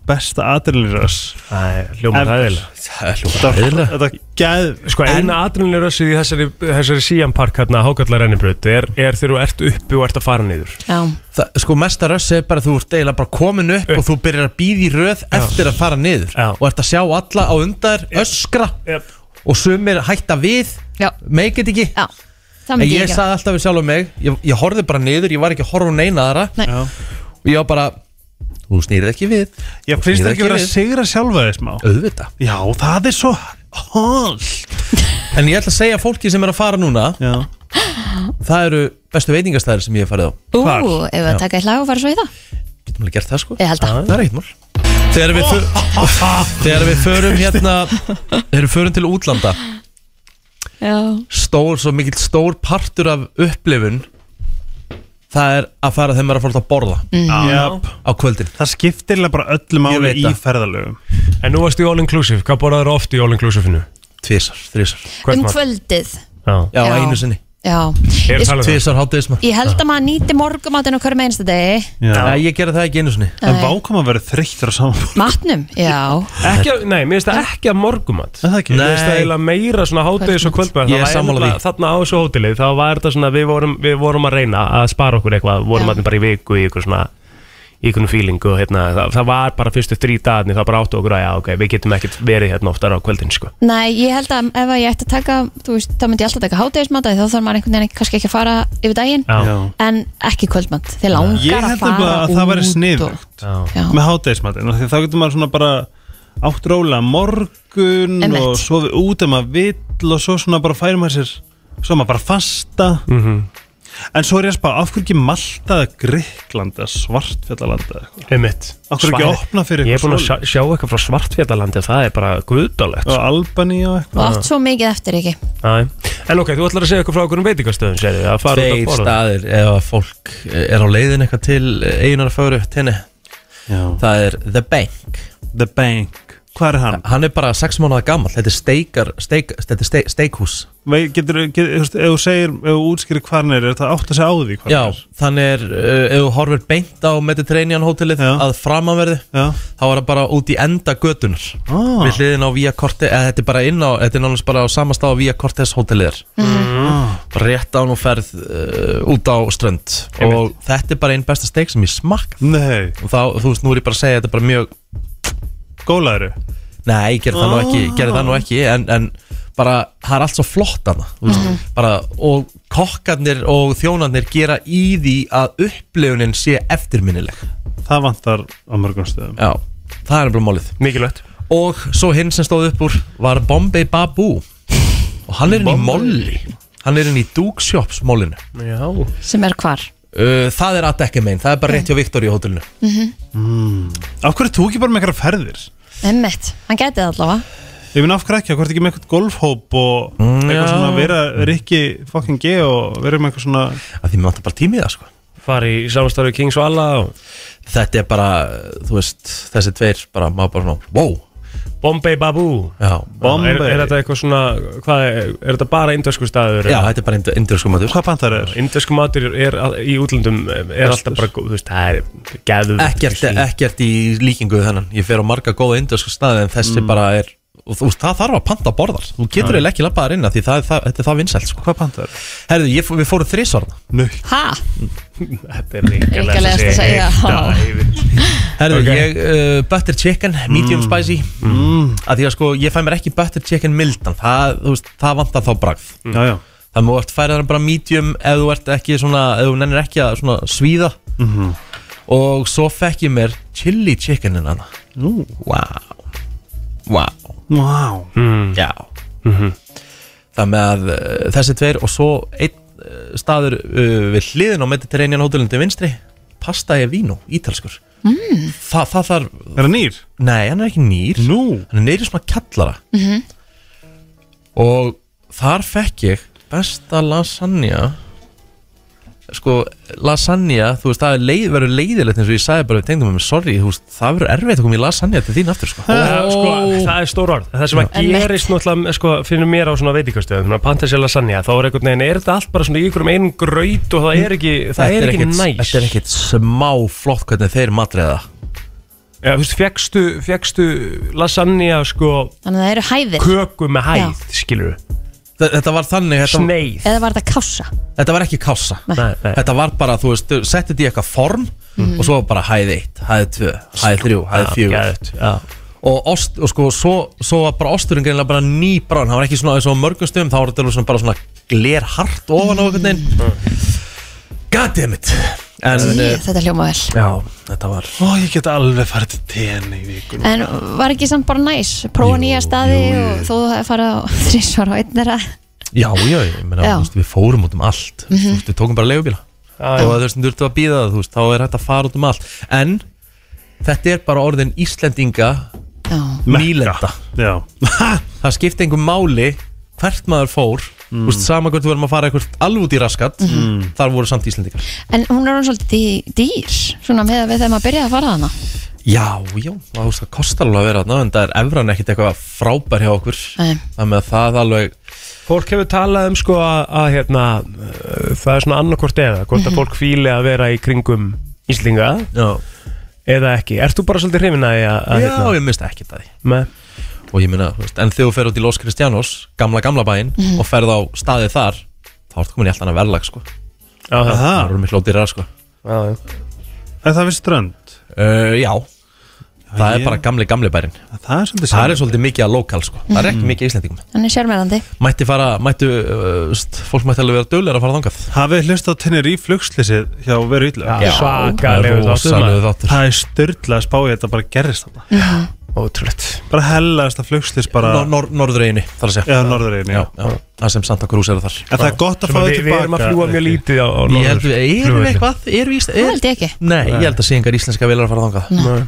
[SPEAKER 7] besta adrenalinrás
[SPEAKER 3] Æ, Hljóma
[SPEAKER 7] En-
[SPEAKER 3] það eiginlega
[SPEAKER 1] Það er hljóma
[SPEAKER 7] þetta, þetta geð
[SPEAKER 3] Sko eina adrenalinni rössið í þessari, þessari síjan park hérna hákallar ennibraut er, er þegar þú ert uppi og ert að fara niður
[SPEAKER 2] Já,
[SPEAKER 1] Það, sko mesta rössi er bara að þú ert eiginlega bara komin upp og þú byrjar að býða í röð eftir að fara niður
[SPEAKER 3] Já.
[SPEAKER 1] og ert að sjá alla á undar öskra
[SPEAKER 3] Yep.
[SPEAKER 1] og sumir hætta við
[SPEAKER 2] já,
[SPEAKER 1] make it ekki
[SPEAKER 2] já Það
[SPEAKER 1] en
[SPEAKER 2] myndi
[SPEAKER 1] ég
[SPEAKER 2] ég ekki
[SPEAKER 1] sagði alltaf við sjálf um mig ég, ég horfði bara niður, ég var ekki að horfa hún eina aðra
[SPEAKER 2] Nei.
[SPEAKER 7] Já.
[SPEAKER 1] og ég var bara þú snýrið ekki við
[SPEAKER 7] Ég
[SPEAKER 1] Þú
[SPEAKER 7] finnst
[SPEAKER 1] snýrð
[SPEAKER 7] það ekki verið að
[SPEAKER 1] við.
[SPEAKER 7] sigra sjálfa þig smá
[SPEAKER 1] auðvita
[SPEAKER 7] Já, það er svo Hall
[SPEAKER 1] en ég ætla að segja fólki sem er að fara núna
[SPEAKER 7] Já,
[SPEAKER 1] það eru bestu veitingastæðir sem ég hef farið á
[SPEAKER 2] Ú, ef við að taka eitt lag og fara svo í það
[SPEAKER 1] getum alveg gert það sko
[SPEAKER 2] Ég held að.
[SPEAKER 1] það er ekkert mál þegar við, för, þegar við förum hérna þegar við förum til útlanda
[SPEAKER 2] Já,
[SPEAKER 1] stór, svo mikill stór partur af upplifun það er að fara þegar maður er að fara út að borða
[SPEAKER 7] já.
[SPEAKER 1] á kvöldin
[SPEAKER 7] Það skiptir eiginlega bara öllu máli
[SPEAKER 1] veit
[SPEAKER 7] í
[SPEAKER 1] það.
[SPEAKER 7] ferðalögum
[SPEAKER 3] En nú varstu í all inclusive, hvað borðaður oft í all inclusive-inu?
[SPEAKER 1] tvisar, þrisar,
[SPEAKER 2] um kvöldið
[SPEAKER 1] já,
[SPEAKER 2] Já.
[SPEAKER 1] einu sinni
[SPEAKER 2] Já,
[SPEAKER 3] Er um
[SPEAKER 2] ég,
[SPEAKER 3] það alveg það?
[SPEAKER 1] tvisar hátuðisma
[SPEAKER 2] ég held að maður nýti morgumáttinu hverjum einsta degi
[SPEAKER 1] Nei, ég gera það ekki einu sinni
[SPEAKER 7] En vákum að vera þreyttur á saman
[SPEAKER 2] Matnum, já
[SPEAKER 3] Ekki, að- nei, mér finnst það ekki að morgumat
[SPEAKER 7] Er það ekki?
[SPEAKER 3] Mér finnst það
[SPEAKER 1] Nei.
[SPEAKER 3] eiginlega meira svona hátegis og kvöldmat
[SPEAKER 1] Ég er sammála því.
[SPEAKER 3] hérna Þarna á þessu hóteli, þá var þetta svona, við vorum, við vorum að reyna að spara okkur eitthvað Vorum
[SPEAKER 2] Já.
[SPEAKER 3] að bara í viku í ykkur svona í einhvern fílingu og hérna, það, það var bara fyrstu þrý dagarni þá bara áttu okkur að já ok, við getum ekkert verið hérna oftar á kvöldin sko.
[SPEAKER 2] Nei, ég held að ef að ég ætti að taka þú veist, þá myndi ég alltaf taka hátegismat þá þarf maður einhvern veginn ekki- kannski ekki að fara yfir daginn
[SPEAKER 3] Já.
[SPEAKER 2] en ekki kvöldmat þeir langar
[SPEAKER 7] Ég
[SPEAKER 2] að
[SPEAKER 7] held
[SPEAKER 2] fara
[SPEAKER 7] bara að það
[SPEAKER 2] út
[SPEAKER 7] væri
[SPEAKER 2] og-
[SPEAKER 7] sniðugt
[SPEAKER 3] Já.
[SPEAKER 2] Já,
[SPEAKER 7] Með hátegismatinn af því Þá getur maður svona bara átt rólega morgun
[SPEAKER 2] Einmitt.
[SPEAKER 7] og sofi út ef maður vill og svo svona bara færi maður sér svo er maður bara fasta -hmm. En svo er ég að spá, af hverju ekki Malta eða Gríkland eða Svartfjallalanda eða eitthvað?
[SPEAKER 3] Einmitt.
[SPEAKER 7] Af hverju ekki
[SPEAKER 3] Svar-
[SPEAKER 7] opna fyrir
[SPEAKER 3] Ég er
[SPEAKER 7] eitthvað
[SPEAKER 3] búin að sjá,
[SPEAKER 7] svoleiðis?
[SPEAKER 3] sjá eitthvað frá svartfjallalandi það er bara guðdálegt
[SPEAKER 7] og Albaní og eitthvað
[SPEAKER 2] og allt svo mikið eftir ekki
[SPEAKER 3] En ok, þú ætlar að segja eitthvað frá okkur um veitingastöðum segir þið, að fara út að
[SPEAKER 1] tveir
[SPEAKER 3] borða
[SPEAKER 1] staðir ef að fólk er á leiðin eitthvað til einar að fara upp tenni
[SPEAKER 7] Já.
[SPEAKER 1] það er The Bank
[SPEAKER 7] The Bank, hvað er hann?
[SPEAKER 1] hann er bara 6 mánuða gammal þetta er steikar, steik, þetta er steik, steikhús
[SPEAKER 7] Vei, getur, getur, þú veist, ef þú segir, ef þú útskýrir hvað hann er, er það átt að segja á því hvað
[SPEAKER 1] Já,
[SPEAKER 7] hann er?
[SPEAKER 1] þannig er, uh, ef þú horfir beint á Mediterranean hótelið
[SPEAKER 7] Já.
[SPEAKER 1] að framanverði
[SPEAKER 7] Já.
[SPEAKER 1] þá er það bara út í enda götunar
[SPEAKER 7] Ah.
[SPEAKER 1] við hliðin á Via Cortes eða þetta er bara inn á, þetta er nánast bara á samastá á Via Cortes hótelið mm.
[SPEAKER 7] Ah.
[SPEAKER 1] rétt án og ferð uh, út á strönd og þetta er bara einn besta steik sem ég smakka
[SPEAKER 7] Nei,
[SPEAKER 1] og þá, þú veist, nú er ég bara að segja þetta er bara mjög
[SPEAKER 7] gólaður
[SPEAKER 1] Nei, ég gerði það nú ekki, gerði það nú ekki en, en bara, það er allt svo flott hana mm. bara, og kokkarnir og þjónarnir gera í því að upplifunin sé eftirminnileg
[SPEAKER 7] Það vantar á mörgum stöðum
[SPEAKER 1] Já, það er bara málið
[SPEAKER 3] Mikilvægt
[SPEAKER 1] Og svo hinn sem stóð upp úr var Bombay Babu og hann er inn í molli hann er inn í Duke Shops mollinu
[SPEAKER 3] Já,
[SPEAKER 2] sem er hvar
[SPEAKER 1] uh, Það er að dekka megin, það er bara rétt hjá Viktor í hótelinu
[SPEAKER 7] Af hverju ert þú ekki bara með eitthvað ferðir?
[SPEAKER 2] Emmett, hann gæti það allavega
[SPEAKER 7] Ég minn af hverju ekki, af hverju ertu ekki með eitthvað golfhóp og eitthvað
[SPEAKER 1] já.
[SPEAKER 7] svona vera Rikki fucking G og vera með eitthvað svona
[SPEAKER 1] að því mér vantar bara tími í það sko
[SPEAKER 3] fara í samstarfi Kings Vala og
[SPEAKER 1] Þetta er bara, þú veist, þessi tveir bara, maður bara svona, wow
[SPEAKER 3] Bombay Babu
[SPEAKER 1] Já,
[SPEAKER 7] Bombay.
[SPEAKER 3] er, er þetta eitthvað svona, hvað er, er þetta bara indversku staður?
[SPEAKER 1] Já, þetta er bara indröskum matur
[SPEAKER 7] Hvað pantar er?
[SPEAKER 3] Indversku matur er, al- í útlöndum er alltaf bara, góð, þú veist, það er gæðu
[SPEAKER 1] e- ekkert, ekkert í líkingu við þennan ég fer á marga góða indösku staði en þessi bara er og þú veist, það þarf að panta borðar þú getur eiginlega ekki lampað þar inn af því það, það, þetta er það vinsælt sko.
[SPEAKER 7] Hvað pantaður?
[SPEAKER 1] herðu, ég, við fórum þrísvarna
[SPEAKER 7] Nöitt
[SPEAKER 2] Ha?
[SPEAKER 3] Þetta er ríkilega
[SPEAKER 2] Ríkalegast að segja
[SPEAKER 1] herðu, ég, uh, butter chicken, medium spicy mm. að því að sko, ég fæ mér ekki butter chicken mildan það, þú veist, það vantar þá bragð
[SPEAKER 7] Já, já
[SPEAKER 1] það mjög oft færa þar bara medium ef þú ert ekki svona, ef þú nennir ekki að svona svíða og svo fekk ég mér chili chickenin hana
[SPEAKER 7] Nú
[SPEAKER 1] wow, wow
[SPEAKER 7] Vá
[SPEAKER 1] Já Mhm. Það með að uh, þessi tveir og svo einn uh, staður uh, við hliðin á Mediterranean hótelum til vinstri Pasta e vino, ítalskur mm. Þa, Það þarf,
[SPEAKER 7] Er það nýr?
[SPEAKER 1] nei hann er ekki nýr
[SPEAKER 7] Nú
[SPEAKER 1] Hann er neyri svona kallara -hmm. Og þar fekk ég besta lasagna Sko, lasagna, þú veist, það er leið, verður leiðilegt eins og ég sagði bara við tengdum með sorry, þú veist, það verður erfitt að koma í lasagna til þín aftur, sko
[SPEAKER 3] Það, sko, það er stór orð Það sem að
[SPEAKER 2] Einmitt.
[SPEAKER 3] gerist náttúrulega sko, finnum mér á svona veitikastöðum þannig að panta sér lasagna þá er einhvern veginn er þetta allt bara svona í einhverjum einum gröyt og það er ekki, það er ekki næs
[SPEAKER 1] Þetta er ekkert smá flott hvernig þeir matræða
[SPEAKER 3] Já, þú veist, fegstu, fegstu lasagna sko
[SPEAKER 2] Þannig að það eru hæðir
[SPEAKER 3] köku með hæð, skilur
[SPEAKER 1] Þe- Þetta var þannig, þetta, var-
[SPEAKER 3] sneið
[SPEAKER 2] Eða var þetta kása?
[SPEAKER 1] þetta var ekki kása
[SPEAKER 3] Nei, nei.
[SPEAKER 1] Þetta var bara, þú veist, þú settir þetta í eitthvað form og svo var bara hæð 1, hæð 2, hæð 3, hæð 4
[SPEAKER 3] Geðveikt, Mhm. Sko, já.
[SPEAKER 1] og, ost, og sko, svo, svo var bara osturinn greinlega bara nýbrán, það var ekki svona eins og á mörgum stöðum, þá var þetta alveg svona bara svona glerhart ofan á einhvern veginn
[SPEAKER 3] Mm.
[SPEAKER 1] Goddammit En,
[SPEAKER 2] Í,
[SPEAKER 1] eh,
[SPEAKER 2] Þetta hljóma vel
[SPEAKER 1] já, þetta var
[SPEAKER 7] Ó, ég get alveg farið til tenni í vikun
[SPEAKER 2] En var ekki samt bara næs? Prófa nýja staði og þó þú hefði farið á þrísvar á einn þeirra
[SPEAKER 1] Já, já, ég meina,
[SPEAKER 2] Já. Mhm.
[SPEAKER 1] þú veist, við fórum út um allt mm -hmm. Við tókum bara leigubíla
[SPEAKER 3] Já, já.
[SPEAKER 1] Og þú veist, þú ert að býða það, þú veist, þá er hægt að fara út um allt En þetta er bara orðin Íslendinga
[SPEAKER 2] Já,
[SPEAKER 1] nýlenda
[SPEAKER 7] Já
[SPEAKER 1] Það skipti einhver máli hvert maður fór Þú veist, sama hvort við varum að fara eitthvað alveg út í raskat
[SPEAKER 2] Mhm.
[SPEAKER 1] Þar voru samt Íslendingar
[SPEAKER 2] en hún er hún svolítið dý- dýr Svona með að við þegar maður byrjaði að fara þarna
[SPEAKER 1] Já, já, það, þú veist, það kostar alveg að vera þarna En það er evran ekkit eitthvað frábær hjá okkur
[SPEAKER 2] Nei.
[SPEAKER 1] Þannig að það alveg
[SPEAKER 3] Fólk hefur talað um sko að, að hérna, uh, það er svona annarkvort eða hvort
[SPEAKER 2] Mhm.
[SPEAKER 3] að fólk fíli að vera í kringum Íslinga
[SPEAKER 1] Já,
[SPEAKER 3] eða ekki Ert þú bara svolítið hrifin að, að, að
[SPEAKER 1] já hérna. ég misti ekki það
[SPEAKER 3] með,
[SPEAKER 1] og ég meina, þú veist, en þegar þú fer út í Los Cristianos gamla gamla bæinn og ferð á staðið þar þá ertu komin í allt annað verðlag sko
[SPEAKER 3] á, það,
[SPEAKER 1] það eru miklu ódýrar sko
[SPEAKER 3] á, já.
[SPEAKER 7] Er það við strönd?
[SPEAKER 1] uh, já, það er
[SPEAKER 7] ég-
[SPEAKER 1] bara gamli gamli bærin
[SPEAKER 7] Það er svolítið
[SPEAKER 1] það er svolítið mikið að lokal sko það er ekki mikið íslendingum
[SPEAKER 2] Hann er sérmærandi
[SPEAKER 1] mætti fara, mættu, uh, st, fólk mætti alveg vera dölir að fara þangað
[SPEAKER 7] Hafið hlust á tennir í flugslýsið hjá veru yllu
[SPEAKER 3] Já. Svakalegu þáttur,
[SPEAKER 1] rosalegu
[SPEAKER 3] maður.
[SPEAKER 1] þáttur
[SPEAKER 7] Það er styrla að spá ég þetta bara gerist þarna
[SPEAKER 3] Ótrúlegt
[SPEAKER 7] Bara hellaðast að flugslýs bara
[SPEAKER 1] Nor- nor- norðreginni, þar að segja
[SPEAKER 7] Eða norðurinn,
[SPEAKER 1] já,
[SPEAKER 7] já
[SPEAKER 1] já, það sem Santa Cruz eru þar
[SPEAKER 7] En það er gott að
[SPEAKER 3] Sem
[SPEAKER 7] fá
[SPEAKER 3] að
[SPEAKER 7] þau
[SPEAKER 3] Við við
[SPEAKER 7] tilbaka
[SPEAKER 3] erum að fljúa mjög
[SPEAKER 7] ekki?
[SPEAKER 3] lítið á, á
[SPEAKER 1] ég held við, erum við
[SPEAKER 3] flugvelli.
[SPEAKER 1] eitthvað, erum við
[SPEAKER 2] Það
[SPEAKER 1] íslendingar
[SPEAKER 2] held ég ekki
[SPEAKER 1] nei, ég held að sé engar íslenska vilar að fara þangað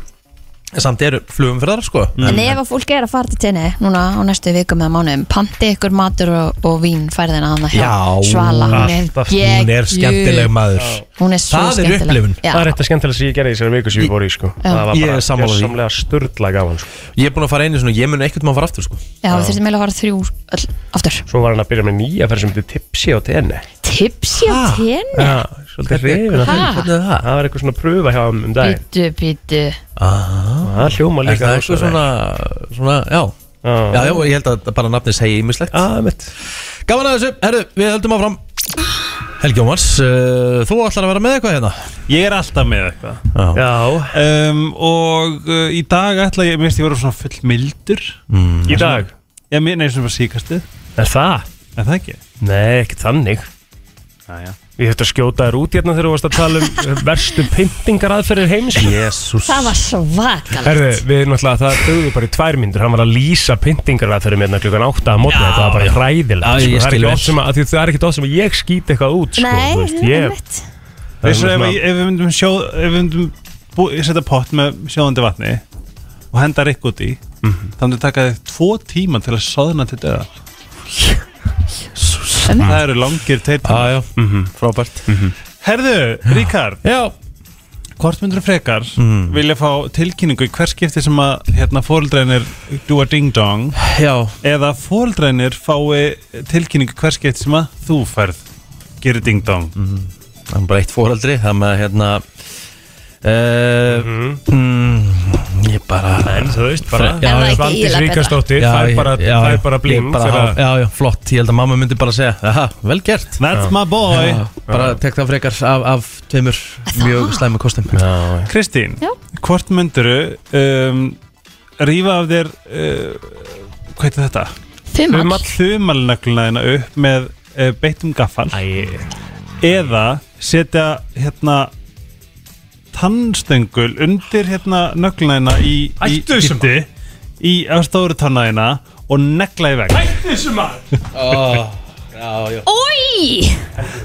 [SPEAKER 1] En samt eru flugum fyrir sko
[SPEAKER 2] En ef að fólk er að fara til tenni núna á næstu vikum eða mánuðum panti ykkur matur og, og vín færðina hana hjá
[SPEAKER 1] Já,
[SPEAKER 2] Svala hún er,
[SPEAKER 3] alltaf.
[SPEAKER 1] hún er
[SPEAKER 2] geggjuð.
[SPEAKER 1] skemmtileg maður
[SPEAKER 2] Hún er svo
[SPEAKER 1] Það er
[SPEAKER 2] skemmtileg
[SPEAKER 1] upplifun.
[SPEAKER 2] Já.
[SPEAKER 3] Það er eitt að skemmtilega sem ég gerði í þessari viku sem ég voru í sko Það var
[SPEAKER 1] Ég er
[SPEAKER 3] bara
[SPEAKER 1] sammála því.
[SPEAKER 3] samlega sturdla gafan sko
[SPEAKER 1] Ég er búin að fara einu svona, ég mun ekkert maður fara aftur sko
[SPEAKER 2] Já, við þurfum eiginlega að fara þrjú öll, aftur
[SPEAKER 3] Svo var hann að byrja með nýja ferð sem þetta tipsi á tenni
[SPEAKER 2] Tipsi á
[SPEAKER 1] Ha?
[SPEAKER 2] tenni
[SPEAKER 3] Já, svolítið hrifin að
[SPEAKER 2] Ha?
[SPEAKER 3] það
[SPEAKER 1] Hvernig er það?
[SPEAKER 3] Það var eitthvað svona prufa hjá hann um daginn
[SPEAKER 2] Pítu, pítu
[SPEAKER 3] Og Það hljóma
[SPEAKER 1] Er
[SPEAKER 3] líka
[SPEAKER 1] það eitthvað svona, svona, já Já, já, og ég held að bara nafnið segi ímislegt
[SPEAKER 3] Aðeimitt
[SPEAKER 1] Gaman að þessu, herru, við höldum áfram Helgi Ómars, uh, þú ætlar að vera með eitthvað hérna
[SPEAKER 7] Ég er alltaf með eitthvað
[SPEAKER 1] Já,
[SPEAKER 3] Já,
[SPEAKER 7] um, Og uh, í dag ætla ég, minnst ég vera svona full mildur
[SPEAKER 1] Mm.
[SPEAKER 3] í dag
[SPEAKER 7] Ég minn eins og var síkastið
[SPEAKER 3] Er það?
[SPEAKER 7] Er það ekki?
[SPEAKER 3] Nei, ekkert þannig
[SPEAKER 7] Næja
[SPEAKER 3] Ég þurfti að skjóta þér út hérna þegar þú varst að tala um verstu pyntingar aðferðir heims
[SPEAKER 1] Jésús
[SPEAKER 2] Það var svakalegt
[SPEAKER 3] Herðu, við náttúrulega, það dögðu bara í tvær myndur Hann var að lýsa pyntingar aðferðum hérna klukkan 8 að mótna Þetta var bara hræðilegt
[SPEAKER 1] Já,
[SPEAKER 3] sko.
[SPEAKER 1] ég
[SPEAKER 3] það, er
[SPEAKER 1] skil
[SPEAKER 3] ekki
[SPEAKER 1] vel.
[SPEAKER 3] oft sem að, af því það er ekki oft sem að ég skýt eitthvað út sko,
[SPEAKER 2] Nei,
[SPEAKER 3] þú
[SPEAKER 2] veist,
[SPEAKER 3] veist, ég, það er
[SPEAKER 7] Þessu ef,
[SPEAKER 3] svona-
[SPEAKER 7] ef við myndum sjóð ef við myndum bú, setja pott með sjóðandi vatni og henda rikk út í þá myndi taka þig tvo tíma til að soðna til döða Það eru langir teitt
[SPEAKER 1] Já, já, Mhm, frábært
[SPEAKER 7] Herðu, Ríkard,
[SPEAKER 1] Já,
[SPEAKER 7] hvort myndur frekar
[SPEAKER 1] Mhm.
[SPEAKER 7] vilja fá tilkynningu í hver skipti sem að hérna, fóreldreinir dúa ding dong
[SPEAKER 1] já,
[SPEAKER 7] eða fóreldreinir fái tilkynningu í hver skipti sem að þú færð gerir ding dong
[SPEAKER 1] það er Mhm. bara eitt fóraldri Það með hérna uh, eh, mm. Ég bara
[SPEAKER 3] En þú veist, bara
[SPEAKER 1] Já,
[SPEAKER 2] já.
[SPEAKER 3] Svandís
[SPEAKER 2] Íla betra.
[SPEAKER 3] Ríkastóttir,
[SPEAKER 1] Já,
[SPEAKER 3] það er bara,
[SPEAKER 1] já,
[SPEAKER 3] það
[SPEAKER 1] já,
[SPEAKER 3] er bara
[SPEAKER 1] ég
[SPEAKER 3] bling
[SPEAKER 1] bara, já, já, flott, ég held að mamma myndi bara segja Aha, vel gert
[SPEAKER 7] That's my boy
[SPEAKER 1] já, Bara tek það frekar af, af tveimur mjög slæmi kostum
[SPEAKER 3] Já,
[SPEAKER 7] Kristín,
[SPEAKER 2] Já.
[SPEAKER 7] hvort mynduru um, rífa af þér uh, hvað heitir þetta?
[SPEAKER 3] Um
[SPEAKER 2] Fimmall
[SPEAKER 7] Þumalnaglina þina upp með uh, beittum gaffal
[SPEAKER 3] Æ,
[SPEAKER 7] eða setja hérna tannstöngul undir hérna nöglina þina í, í,
[SPEAKER 3] Hættu þessu
[SPEAKER 7] í, í, í stóru tanna þina og negla í veg
[SPEAKER 2] Új,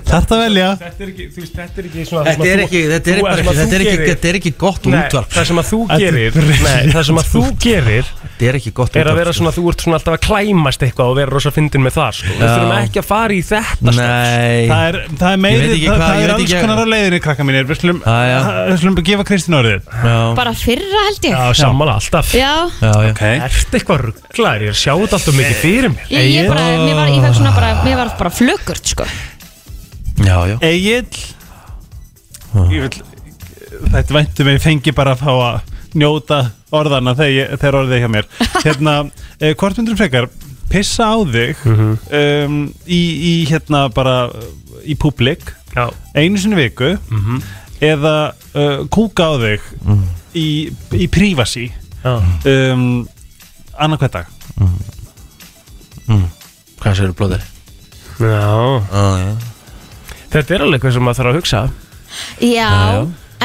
[SPEAKER 7] Þetta velja
[SPEAKER 3] þetta er ekki, þú veist, þetta er ekki svona
[SPEAKER 1] Þetta er ekki, þetta er
[SPEAKER 3] þú-
[SPEAKER 1] bara
[SPEAKER 3] það
[SPEAKER 1] ekki,
[SPEAKER 3] sem að
[SPEAKER 1] þetta er
[SPEAKER 3] þú
[SPEAKER 1] ekki,
[SPEAKER 3] gerir-
[SPEAKER 1] þetta er ekki gott
[SPEAKER 3] Nei,
[SPEAKER 1] útvarp
[SPEAKER 3] það sem að þú
[SPEAKER 7] er
[SPEAKER 3] gerir
[SPEAKER 7] brjálað.
[SPEAKER 3] nei, Það sem að þú gerir
[SPEAKER 1] Þetta er ekki gott
[SPEAKER 3] er að vera
[SPEAKER 1] útvarp sko.
[SPEAKER 3] svona, þú ert svona alltaf að klæmast eitthvað og vera rosa fyndin með það sko. Við
[SPEAKER 1] Já.
[SPEAKER 3] þurfum ekki að fara í þetta sko.
[SPEAKER 1] Nei
[SPEAKER 7] Það er, það er meiri,
[SPEAKER 1] Ég veit ekki
[SPEAKER 7] það,
[SPEAKER 1] hvað- ég
[SPEAKER 7] það er
[SPEAKER 1] veit
[SPEAKER 7] alls
[SPEAKER 1] ekki-
[SPEAKER 7] konar á leiðinni krakka mínir Við slum,
[SPEAKER 1] Já, já.
[SPEAKER 7] við slum bara gefa Kristín orðið
[SPEAKER 1] Já,
[SPEAKER 2] bara fyrra held ég
[SPEAKER 3] Já, sammála alltaf
[SPEAKER 2] Já,
[SPEAKER 1] já, já
[SPEAKER 3] Ertu eitthvað rugglar, ég er að sjá þetta alltaf mikið fyrir mér
[SPEAKER 2] ég, ég bara, mér var, ég fekk svona
[SPEAKER 3] Ah.
[SPEAKER 2] bara, mér var bara flökkurt sko
[SPEAKER 1] Já, já
[SPEAKER 7] Egil Ég vil Þetta væntum ég fengi bara að fá að njóta orðana þegar, ég- þegar orðið er hjá mér Hérna, eh, hvort myndur frekar pissa á þig
[SPEAKER 3] Mhm.
[SPEAKER 7] um, í, í hérna bara uh, í públik
[SPEAKER 3] Já,
[SPEAKER 7] einu sinni í viku
[SPEAKER 3] Mhm.
[SPEAKER 7] eða uh, kúka á þig í, í prífasi
[SPEAKER 3] já
[SPEAKER 7] um, annar hvert dag
[SPEAKER 1] Hvað séu blóðir?
[SPEAKER 3] Já,
[SPEAKER 2] Ah,
[SPEAKER 1] Já, já
[SPEAKER 3] þetta er alveg eitthvað sem maður þarf að hugsa
[SPEAKER 2] Já,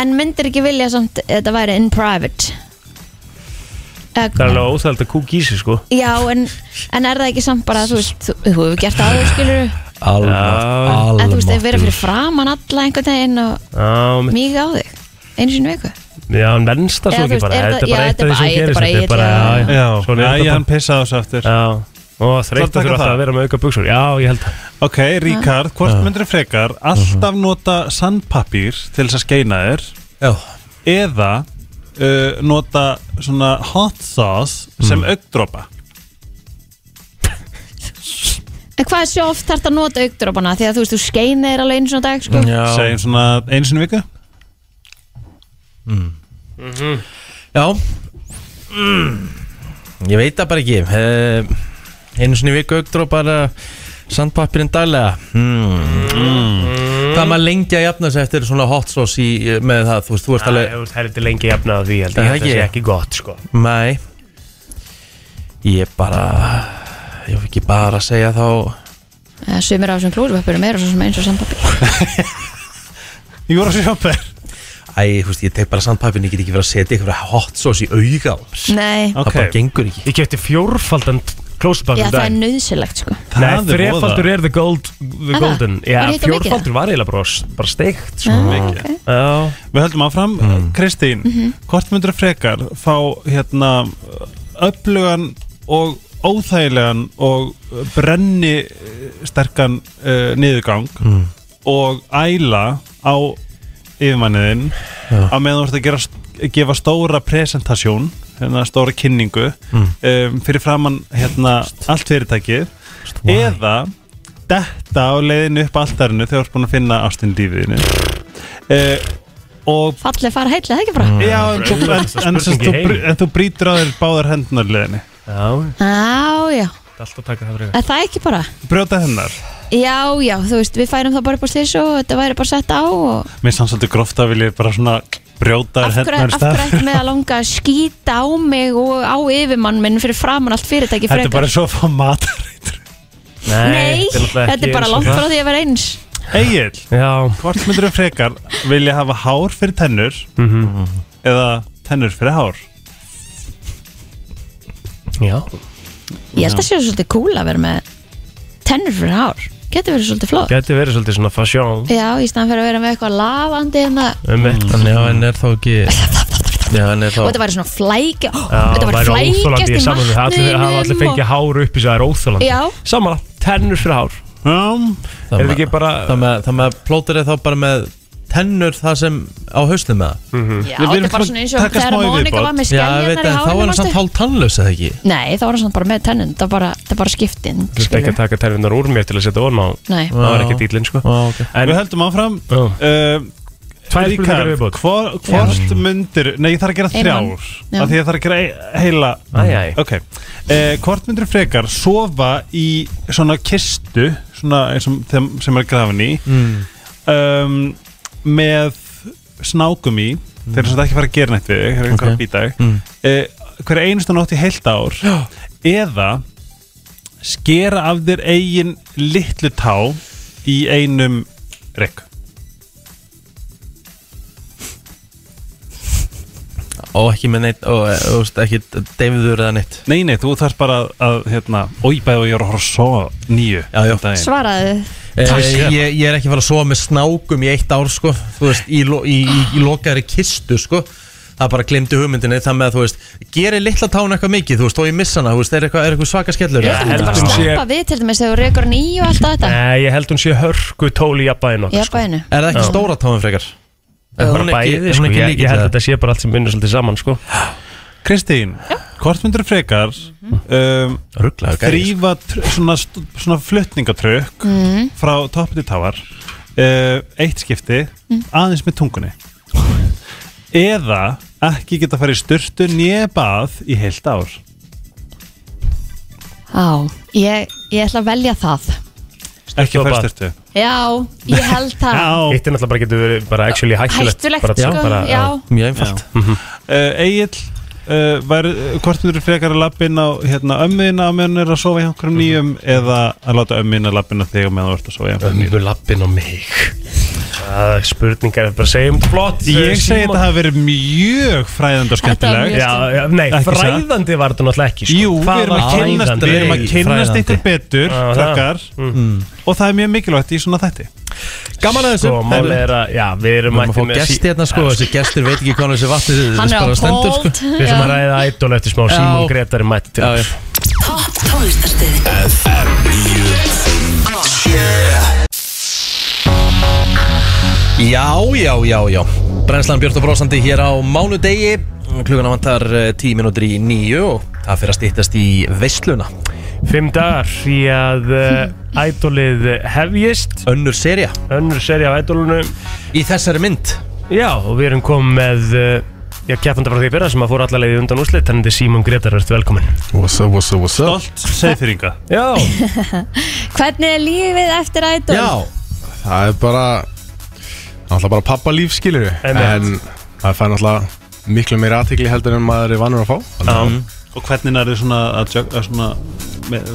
[SPEAKER 2] en myndir ekki vilja samt að þetta væri in private
[SPEAKER 3] Það er
[SPEAKER 2] Eða-
[SPEAKER 3] alveg óþæld að kúk í sig sko
[SPEAKER 2] Já, en, en er það ekki samt bara þú veist, þú, þú hefur gert áður skilur en
[SPEAKER 1] Almátt,
[SPEAKER 2] þú veist,
[SPEAKER 1] almátt
[SPEAKER 2] þeir vera fyrir framan alla einhvern veginn og
[SPEAKER 3] Já, men-
[SPEAKER 2] mýga á þig einu sinni í viku
[SPEAKER 3] já, en venst það
[SPEAKER 2] Já,
[SPEAKER 3] svo
[SPEAKER 2] þú
[SPEAKER 3] ekki
[SPEAKER 2] veist,
[SPEAKER 3] bara
[SPEAKER 2] er
[SPEAKER 3] Þetta
[SPEAKER 2] það-
[SPEAKER 3] er bara
[SPEAKER 2] já,
[SPEAKER 3] eitt
[SPEAKER 2] þetta
[SPEAKER 3] af
[SPEAKER 2] er
[SPEAKER 3] því sem
[SPEAKER 2] bara-
[SPEAKER 3] gerist
[SPEAKER 2] þetta er
[SPEAKER 3] Þetta er
[SPEAKER 2] bara
[SPEAKER 3] bara,
[SPEAKER 2] eitt,
[SPEAKER 3] já, já Svona
[SPEAKER 7] Æ,
[SPEAKER 3] er
[SPEAKER 7] hann
[SPEAKER 3] þetta
[SPEAKER 7] pissaði á þessu aftur
[SPEAKER 3] bara Já, og þreytt
[SPEAKER 7] taka
[SPEAKER 3] að þurfa
[SPEAKER 7] það?
[SPEAKER 3] alltaf að vera með auka buksur Já, ég held það
[SPEAKER 7] Ok, Ríkard, hvort myndir frekar alltaf nota sandpapír til þess að skeina þér
[SPEAKER 1] Já,
[SPEAKER 7] eða uh, nota svona hot sauce sem mm. augdropa
[SPEAKER 2] En hvað er svo oft þarf að nota augdrópana því að þú veist, þú skeinir alveg einu sinni á dag sko?
[SPEAKER 1] já,
[SPEAKER 7] segjum svona einu sinni í viku
[SPEAKER 1] já. Mm. Ég veit það bara ekki Eh, Einu sinni í viku augdrópar eh, Sandpappirinn daglega mm. Hvað maður lengi að jafna sig eftir svona hot sauce í, með það, þú veist, þú ert
[SPEAKER 3] Það
[SPEAKER 1] alveg
[SPEAKER 3] er heldur lengi jafnað á því, held
[SPEAKER 1] Það er
[SPEAKER 3] ég held
[SPEAKER 1] ekki.
[SPEAKER 3] Það sé ekki gott, sko
[SPEAKER 1] Nei Ég bara Ég vil ekki bara segja þá
[SPEAKER 2] Eða Eh, Sumir á þessum klúrvöppurum eru svo sem eins og sandpapír
[SPEAKER 7] Ég voru að sjópa þér
[SPEAKER 1] Æ, þú veist, ég tek bara sandpappirinn, ég get ekki verið að setja eitthvað hot sauce í auga á mér.
[SPEAKER 2] Nei,
[SPEAKER 1] Það bara gengur ekki
[SPEAKER 3] Ég kefti fjórfaldan klósband
[SPEAKER 2] já,
[SPEAKER 3] um
[SPEAKER 2] það er
[SPEAKER 3] daginn
[SPEAKER 2] nöðsilegt sko.
[SPEAKER 3] Nei,
[SPEAKER 7] er voða.
[SPEAKER 3] þrefaldur er the, gold, the
[SPEAKER 2] Er það?
[SPEAKER 3] golden Já,
[SPEAKER 2] Var hitt of mikið
[SPEAKER 3] fjórfaldur var eiginlega bara, bara steikt sko.
[SPEAKER 2] ah, okay.
[SPEAKER 3] Já,
[SPEAKER 7] Við höldum áfram, Kristín hvort myndir frekar fá hérna öflugan og óþægilegan og brenni eh, sterkan uh, niðurgang og æla á yfirmanniðin á meðan þú ert að gera, gefa stóra presentasjón, hérna stóra kynningu um, fyrir framann hérna allt fyrirtækið eða detta á leiðinu upp alltarinu þegar þú ert búin að finna ástin lífiðinu uh, og
[SPEAKER 2] Fallið fara heill, eða ekki bara
[SPEAKER 7] Já, en, þú, en, en, en,
[SPEAKER 3] spurning í
[SPEAKER 7] þú,
[SPEAKER 3] heimi.
[SPEAKER 7] br- en þú brýtur á þér báðar hendunar leðinni
[SPEAKER 3] já,
[SPEAKER 2] Já, já,
[SPEAKER 3] þetta er alltaf að taka það fyrir
[SPEAKER 2] er það ekki bara
[SPEAKER 7] Brjóta hennar
[SPEAKER 2] Já, já, þú veist, við færum það bara upp á slis og þetta væri bara sett á og
[SPEAKER 7] Mér sanns svolítið gróft að vilja bara svona brjóta
[SPEAKER 2] af
[SPEAKER 7] þér
[SPEAKER 2] hverju
[SPEAKER 7] hendunar
[SPEAKER 2] af hverju ætti mig að langa að skýta á mig og á yfirmann minn fyrir framann allt fyrirtæki
[SPEAKER 7] Þetta er
[SPEAKER 2] frekar
[SPEAKER 7] bara svo að fá matarreitur
[SPEAKER 2] Nei, þetta er bara langt frá því að vera eins
[SPEAKER 7] Egil,
[SPEAKER 3] Já,
[SPEAKER 7] hvort myndur þú frekar vilja hafa hár fyrir tennur Mhm. eða tennur fyrir hár
[SPEAKER 3] já
[SPEAKER 2] Ég held að sé svolítið cool að vera með tennur fyrir hár Getur verið svolítið flott
[SPEAKER 3] Gæti verið svolítið svona fasjón
[SPEAKER 2] Já, í staðan fyrir að vera með eitthvað hérna lafandi en það
[SPEAKER 3] um mitt
[SPEAKER 1] Þannig að hann er þá ekki Já, hann er þá
[SPEAKER 2] Og þetta væri svona flækja Ó,
[SPEAKER 3] Já,
[SPEAKER 2] Þetta væri flækjast
[SPEAKER 3] í
[SPEAKER 2] í
[SPEAKER 3] saman Það allir hafa allir
[SPEAKER 2] matnum
[SPEAKER 3] fengið hár upp í sig, það er óþólandi
[SPEAKER 2] Já.
[SPEAKER 3] Samanlega, tennur fyrir hár
[SPEAKER 7] Já,
[SPEAKER 3] Er þetta ekki bara
[SPEAKER 1] Það með, það með plótur er þá bara með tennur það sem á hausnum með það
[SPEAKER 2] Já,
[SPEAKER 7] Við
[SPEAKER 2] þetta
[SPEAKER 7] viljum
[SPEAKER 2] er bara
[SPEAKER 7] svona
[SPEAKER 2] svona eins og
[SPEAKER 7] taka
[SPEAKER 2] þegar
[SPEAKER 7] smá í
[SPEAKER 2] Mónika
[SPEAKER 7] viðbót.
[SPEAKER 2] var með
[SPEAKER 1] Já, ég veit að þá
[SPEAKER 2] skelljarnar í
[SPEAKER 1] er hann samt
[SPEAKER 2] hárinu
[SPEAKER 1] hálf tannlaus eða ekki
[SPEAKER 2] Nei, þá var hann samt bara með tennun Það bara- þetta er bara skiptin
[SPEAKER 3] Þú veist ekki
[SPEAKER 2] skilurðu.
[SPEAKER 3] að taka tennunar úr mér til að setja ofan á
[SPEAKER 2] Nei
[SPEAKER 3] Það var ekki dýlinn sko
[SPEAKER 1] Ó, ok
[SPEAKER 3] En
[SPEAKER 7] Við höldum áfram
[SPEAKER 3] Já.
[SPEAKER 7] uh,
[SPEAKER 3] Tvær spurningar viðbútt
[SPEAKER 7] hvor, Hvort myndir Nei, ég þarf að gera
[SPEAKER 2] Eina.
[SPEAKER 7] þrjár
[SPEAKER 2] Já.
[SPEAKER 7] af Því ég þarf að gera e- heila
[SPEAKER 8] Æ, æ.
[SPEAKER 7] Ok eh, Hvort myndir frekar sofa í svona kistu Svona eins og þeim sem er grafin í um, Með snákum í Þeir eru svona ekki að fara að gera neitt við þig, Þeir eru eitthvað að býta þig
[SPEAKER 1] Mm.
[SPEAKER 7] eh, Hver einustu nótt í heilt ár Já. Eða skera af þér eigin litlu tá í einum reik
[SPEAKER 1] og ekki með neitt og, og, og veist, ekki deyfiður eða neitt
[SPEAKER 7] Nei, nei, þú þarf bara að, að hérna, oi, bæði og ég er að horfa svo nýju
[SPEAKER 1] Já, já.
[SPEAKER 7] Daginn.
[SPEAKER 2] Svaraðu
[SPEAKER 1] Eh, ég, ég er ekki fara að sofa með snákum í eitt ár sko, þú veist, í, lo- í, í, í lokaðri kistu sko það bara glemdi hugmyndinni það með að þú veist gerir litla tán eitthvað mikið, þú veist, og ég missa hana þú veist, er eitthvað, er eitthvað svaka skellur
[SPEAKER 3] Ég held
[SPEAKER 2] Bara
[SPEAKER 3] að hún sé
[SPEAKER 2] slappa við til dæmis þegar þú rekur hann í og allt þetta
[SPEAKER 3] Nei, ég held hún sé hörku tóli jafnbæðin
[SPEAKER 2] Ég
[SPEAKER 3] okkar
[SPEAKER 2] er bæðinu
[SPEAKER 1] er það ekki stóra tán frekar? Er
[SPEAKER 3] sko. Bara
[SPEAKER 1] hún ekki-
[SPEAKER 3] bæði,
[SPEAKER 1] er
[SPEAKER 3] sko,
[SPEAKER 1] hún ekki
[SPEAKER 3] ég,
[SPEAKER 1] líkil
[SPEAKER 3] ég held
[SPEAKER 1] til
[SPEAKER 3] að þetta sé bara allt sem vinnur svolítið saman, sko
[SPEAKER 7] Kristín, hvort myndur frekar um,
[SPEAKER 1] það? Rugglaður gæði, sko.
[SPEAKER 7] þrýfa tr- svona, st- svona flutningatrökk frá toppi til távar uh, eitt skipti aðeins með tungunni eða ekki geta farið í sturtu nýjabað í heilt ár
[SPEAKER 2] Já, ég, ég ætla að velja það
[SPEAKER 7] ekki farið
[SPEAKER 3] bað.
[SPEAKER 7] í sturtu
[SPEAKER 2] Já, ég held það
[SPEAKER 7] Já,
[SPEAKER 3] Eitt er náttúrulega bara getur verið bara actually hættulegt
[SPEAKER 2] Hættulegt
[SPEAKER 3] bara,
[SPEAKER 2] sko
[SPEAKER 3] bara,
[SPEAKER 2] Já,
[SPEAKER 1] mjög einfalt
[SPEAKER 7] uh, Egil uh, var, hvort myndur frekar að lappin á hérna, ömmuðina á meðan hún er að sofa hjá einhverjum
[SPEAKER 1] Mhm.
[SPEAKER 7] nýjum eða að láta ömmuðina lappin á þig á meðan þú ert að sofa hjá einhverjum nýjum
[SPEAKER 3] Ömmu lappin á mig Það er spurningar, bara segjum þetta flott
[SPEAKER 7] Ég segi
[SPEAKER 3] eh, Símon.
[SPEAKER 7] þetta hafi verið mjög fræðandi og skemmtileg
[SPEAKER 2] mjög-
[SPEAKER 3] Já, já, nei,
[SPEAKER 7] Ekki satt?
[SPEAKER 3] fræðandi var þetta náttúrulega ekki, sko
[SPEAKER 7] Jú, við
[SPEAKER 3] Hvað
[SPEAKER 7] erum að
[SPEAKER 3] var
[SPEAKER 7] kynnast,
[SPEAKER 3] fræðandi?
[SPEAKER 7] við erum að kynnast
[SPEAKER 1] Fræðandi. Mm.
[SPEAKER 7] eitthvað
[SPEAKER 3] Já,
[SPEAKER 7] betur
[SPEAKER 3] það.
[SPEAKER 7] krakkar, og það er mjög mikilvægt í svona þætti
[SPEAKER 1] gaman að
[SPEAKER 3] Sko,
[SPEAKER 1] þessu
[SPEAKER 3] mál er að, já, við erum
[SPEAKER 1] maður fá
[SPEAKER 3] mættir með
[SPEAKER 1] gesti hérna sko, þessi gestur veit ekki hvað þessi vatni
[SPEAKER 2] hann er á
[SPEAKER 1] sko.
[SPEAKER 2] hold
[SPEAKER 3] Við erum að ræða ædol eftir smá Símon Gretar er mættir til
[SPEAKER 1] Já, já.
[SPEAKER 3] oss
[SPEAKER 9] Topp tónlistarstöð
[SPEAKER 1] Já, já, já, já Brennslan Björn og Brósandi hér á mánudegi Klukkan vantar eh, 10 minútur í nýju og það fyrir að stýttast í veisluna
[SPEAKER 3] Fimm dagar í að uh, ædolið hefjist
[SPEAKER 1] Önnur seria
[SPEAKER 3] Önnur seri af ædolunum
[SPEAKER 1] Í þessari mynd
[SPEAKER 3] Já, og við erum komið með uh, Já, keppanda frá því fyrra sem að fór allalegið undan úslit Þannig til Símon Gretar, ertu velkomin
[SPEAKER 5] What's up, what's up, what's up?
[SPEAKER 7] Stolt segfyrringa
[SPEAKER 3] Já,
[SPEAKER 2] Hvernig er lífið eftir ædol?
[SPEAKER 1] Já,
[SPEAKER 5] Það er bara Náttúrulega bara pappalíf skilur við
[SPEAKER 3] Einmitt.
[SPEAKER 5] En það fær náttúrulega miklu meira aðtikli heldur en maður er vannur að fá Þannig að,
[SPEAKER 7] og hvernig er þið svona að jug- að svona með,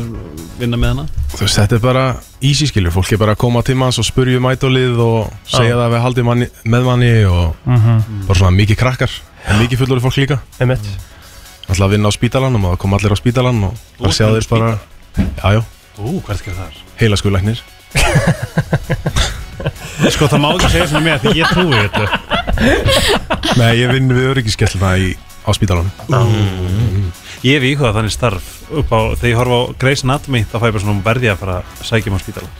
[SPEAKER 7] vinna með hana
[SPEAKER 5] Þú veist, þetta er bara easy skilur Fólk er bara að koma til manns og spurja um ædolið og segja það að við haldið manni, með manni og
[SPEAKER 7] Mhm.
[SPEAKER 5] bara svona mikið krakkar en mikið fullorðið fólk líka
[SPEAKER 3] einmitt
[SPEAKER 5] Náttúrulega að vinna á spítalanum og það kom allir á spítalan og
[SPEAKER 7] ert
[SPEAKER 5] bara sjá
[SPEAKER 7] með
[SPEAKER 5] þeir bara Jájá,
[SPEAKER 7] Ú, hvað er það þar?
[SPEAKER 5] heila skulæknir
[SPEAKER 7] Sko það má ekki segja svona með því ég trúi þetta
[SPEAKER 5] Nei, ég vinn við öryggiskellina í, á spítalanum
[SPEAKER 7] Ég hef íhugað þannig starf upp á, þegar ég horfa á Grey's Anatomy þá fæ ég bara svona verði að fara að sækja mig á spítala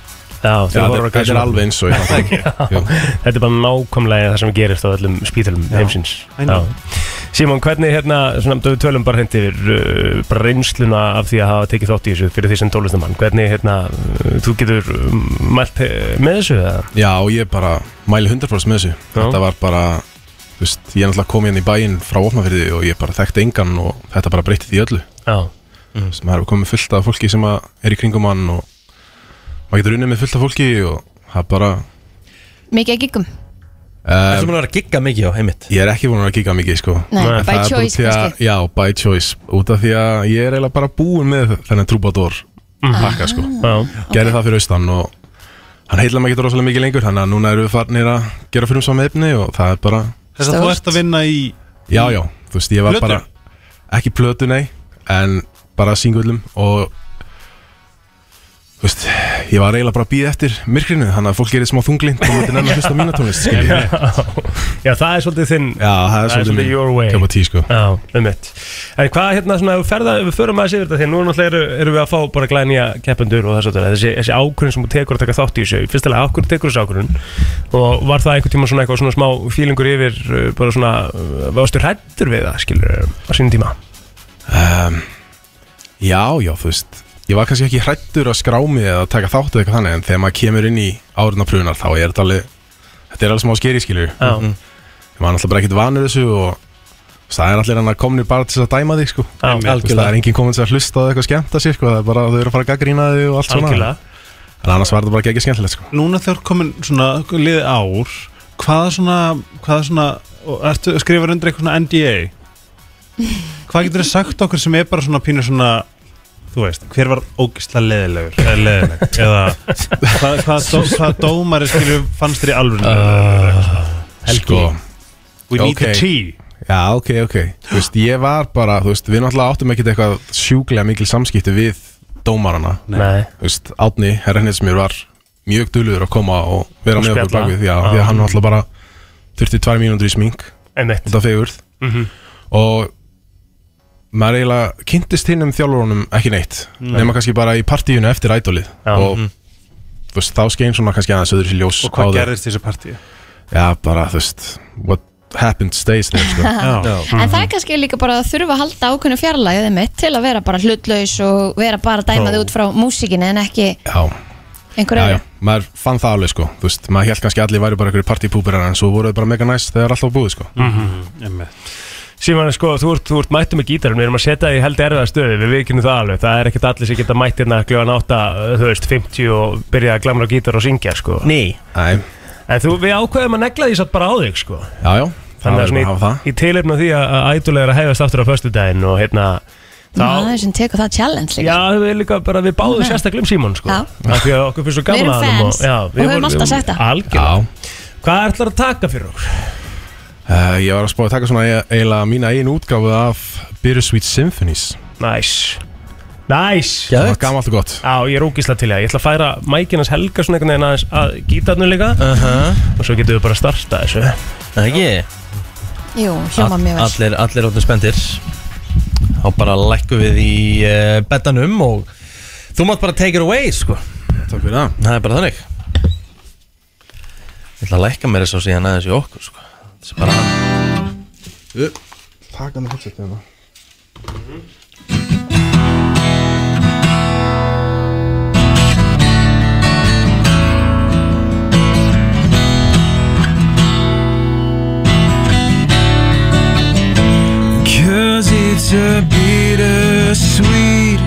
[SPEAKER 3] Já,
[SPEAKER 5] Já,
[SPEAKER 3] þegar voru
[SPEAKER 5] þetta
[SPEAKER 3] að
[SPEAKER 5] þetta er alveg eins og ég Jú.
[SPEAKER 3] Þetta er bara nákvæmlega það sem gerist á öllum spítalum heimsins
[SPEAKER 7] I know.
[SPEAKER 3] Já. Símon, hvernig hérna, svona, við tölum bara hindi yfir uh, bara reynsluna af því að hafa tekið þátt í þessu fyrir því sem tólustamann hvernig hérna, uh, þú getur um, mælt eh, með þessu eða?
[SPEAKER 5] Já, og ég bara mæli 100% með þessu Þetta var bara, þú veist, ég er náttúrulega kom hérna í bæinn frá ofnafyrði og ég bara þekkti engan og þetta bara breytti því öllu
[SPEAKER 3] Já,
[SPEAKER 5] mm. sem það er komið fullt af fólki sem að er í kringum mann og maður getur unnið með fullt af fólki og það bara
[SPEAKER 2] Mikið að giggum?
[SPEAKER 1] það
[SPEAKER 5] um,
[SPEAKER 1] sem hann er að gigga mikið á heimitt
[SPEAKER 5] Ég er ekki búin að kíka mikið, sko
[SPEAKER 2] Nei,
[SPEAKER 3] Nei,
[SPEAKER 2] by
[SPEAKER 5] Það er bara
[SPEAKER 2] choice
[SPEAKER 5] því að-
[SPEAKER 2] kannski
[SPEAKER 5] Já, by choice, út af því að ég er eiginlega bara búin með þennan trúbador pakka, sko
[SPEAKER 2] Ah,
[SPEAKER 3] já,
[SPEAKER 5] gerði það fyrir austan og hann heila maður getur rosalega mikið lengur þannig að núna erum við farnir að gera fyrir um saman efni og það er bara,
[SPEAKER 7] Þess að þú
[SPEAKER 2] Stórt.
[SPEAKER 7] ert að vinna í
[SPEAKER 5] já já þú veist, ég var
[SPEAKER 7] Plötu?
[SPEAKER 5] bara, ekki plötu nei en bara singullum og þú veist, ég var eiginlega bara að býða eftir myrkrinu, þannig að fólk gerir smá þunglind og þetta er nefn að hlusta á mína tónlist skilur við.
[SPEAKER 3] já, það er svolítið þinn
[SPEAKER 5] Já, það er svolítið
[SPEAKER 3] svolítið
[SPEAKER 5] mín
[SPEAKER 3] your way.
[SPEAKER 5] cup of tea, sko.
[SPEAKER 3] Já, um mitt En hvað hérna svona, ef við, ferða, ef við förum aðeins yfir þetta því að Nú náttúrulega eru, eru við að fá bara glænýja keppendur og þess að þessi, þessi ákvörðin sem þú tekur að taka þátt í þessu Fyrstilega, ákvörðin tekur þessu ákvörðin Og var það einhvern tíma svona eitthvað svona smá fílingur yfir uh, Bara svona, uh, varstu hrættur við það, skilur, á sínum tíma
[SPEAKER 5] um, já, já, þú veist ég var kannski ekki hrættur að skrá mig eða taka þáttu eitthvað þannig en þegar maður kemur inn í árunarprunar þá er þetta alveg þetta er alveg smá skeri skilju
[SPEAKER 3] Já. Mhm.
[SPEAKER 5] ég var náttúrulega bara ekkert vanur þessu og þú veist, það er allir hann að komni bara til þess að dæma þig sko
[SPEAKER 3] Já,
[SPEAKER 5] Þú veist, það er enginn komin til að hlusta á eitthvað skemmta sér sko, það er bara að þau eru að fara að gaggrína þig og allt svona
[SPEAKER 3] Algjörlega
[SPEAKER 5] en annars var þetta bara ekki skemmtilegt sko
[SPEAKER 7] Núna þegar komin svona liðið ár Hvaða svona, hvaða svona og Ertu að skrifa undir eitthvað svona NDA Hvað getur þið sagt okkur sem er bara svona pínu svona Þú veist, hver var ógisla leðilegur Eða leðileg Eða hvað, hvað, dó, hvað dómari skilju fannst þér í alvöru
[SPEAKER 5] Helgi
[SPEAKER 7] We need
[SPEAKER 5] ok.
[SPEAKER 7] the tea
[SPEAKER 5] Sko, Já, ok, ok Þú veist, ég var bara, þú veist, við náttúrulega áttum ekkert eitthvað sjúklega mikil samskipti við dómarana
[SPEAKER 3] Nei
[SPEAKER 5] Þú veist, Átni, herrennið sem mér var mjög dulur að koma og vera
[SPEAKER 3] Og
[SPEAKER 5] með okkur
[SPEAKER 3] spjalla.
[SPEAKER 5] bakvið Já, því að hann náttúrulega bara þurfti tvær mínútur í smink
[SPEAKER 3] Einmitt
[SPEAKER 5] út af fegurð
[SPEAKER 7] Mhm.
[SPEAKER 5] og maður eiginlega kynntist hinn um þjálfurunum ekki neitt nema kannski bara í partíinu eftir ædolið
[SPEAKER 3] Já.
[SPEAKER 5] og þú veist, þá skein svona kannski aðeins öðru sér ljós
[SPEAKER 7] Mhm. Og hvað
[SPEAKER 5] á þau.
[SPEAKER 7] gerðist í þessu partíu
[SPEAKER 5] Já, bara, þú veist, what happened stays there, sko
[SPEAKER 7] Já,
[SPEAKER 2] En það er kannski líka bara að þurfa að halda ákveðnu fjarlæðið mitt til að vera bara hlutlaus og vera bara að dæma þig út frá músikinni en ekki
[SPEAKER 5] Já,
[SPEAKER 2] einhverju
[SPEAKER 5] já, já,
[SPEAKER 2] öðru.
[SPEAKER 5] maður fann það alveg sko Þú veist, maður held kannski allir væri bara einhverju partípúberar En svo voru þau bara mega næs þegar alltaf búið
[SPEAKER 7] Mm.
[SPEAKER 5] sko
[SPEAKER 7] einmitt.
[SPEAKER 3] Síman, sko, þú ert, þú ert mættum með gítarinn, við erum að setja þig í held erfiða stöðu, við vikinu það alveg, það er ekkert allir sem geta mætt hérna kljóðan átta, þú veist, 50 og byrja að glamra á gítar og syngja, sko.
[SPEAKER 1] Nei
[SPEAKER 5] Æ,
[SPEAKER 3] En þú, við ákveðum að negla því satt bara á þig, sko.
[SPEAKER 5] já, já, það
[SPEAKER 3] Þannig að
[SPEAKER 5] er bara að
[SPEAKER 3] svona
[SPEAKER 5] hafa það
[SPEAKER 3] í, í tilefni af því að að ædulega er að hefast aftur á föstudaginn og hérna, þá...
[SPEAKER 2] Maður sem tekur það challenge líka.
[SPEAKER 3] Já, við líka bara, við báðum sérstaklega um Símon sko
[SPEAKER 2] Já.
[SPEAKER 3] Af því að okkur finnst svo
[SPEAKER 2] Við
[SPEAKER 3] gaman
[SPEAKER 2] erum
[SPEAKER 3] að honum
[SPEAKER 2] fans og höfum
[SPEAKER 3] vorum-
[SPEAKER 2] alltaf sagt það.
[SPEAKER 3] Algjörlega
[SPEAKER 5] Já,
[SPEAKER 3] Hvað ætlar að taka fyrir okkur?
[SPEAKER 5] uh, ég var að spáði að taka svona eiga- eiginlega mína einu útgáfu af Bittersweet Symphonies
[SPEAKER 3] Nice Nice
[SPEAKER 5] Það var gamalt og gott
[SPEAKER 3] Já, ég er ógísla til það. Ég ætla að færa mækinans helga svona einhvern veginn aðeins að gítarnu líka og svo getum við bara að starta þessu.
[SPEAKER 1] Það ekki
[SPEAKER 2] Jú, hljóma mjög vel.
[SPEAKER 1] Allir, allir áttu spendir Þá bara lækku við í uh, betanum og þú mátt bara take it away sko
[SPEAKER 5] Takk fyrir það
[SPEAKER 1] Það er bara þannig Ég ætla að lækka mér þess að síðan aðeins í okkur sko. Það er bara
[SPEAKER 5] Takk hann að hugsa þetta
[SPEAKER 10] Cause it's a bittersweet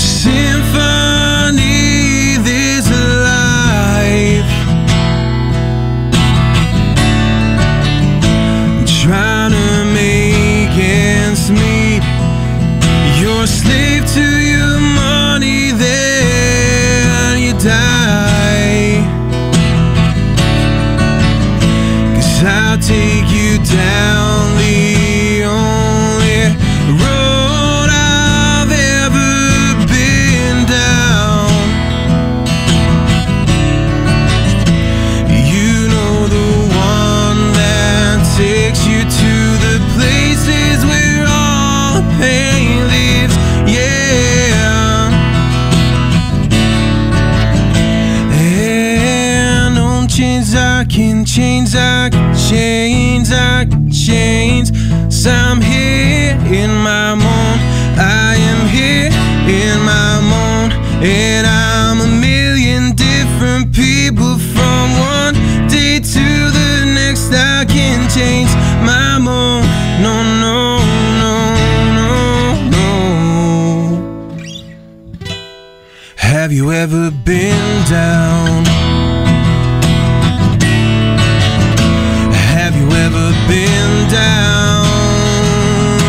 [SPEAKER 10] symphony this life. Trying to make ends meet. You're a slave to your money, then you die. Cause I'll take you down the only road I've ever been down. You know the one that takes you to the places where all the pain lives, yeah. And on chains I can change, I can change, I can change. So I'm here in my moan, I am here in my moan, and I'm a million different people from one day to the next. I can change my moan, no, no, no, no, no. Have you ever been down? Have you ever been down?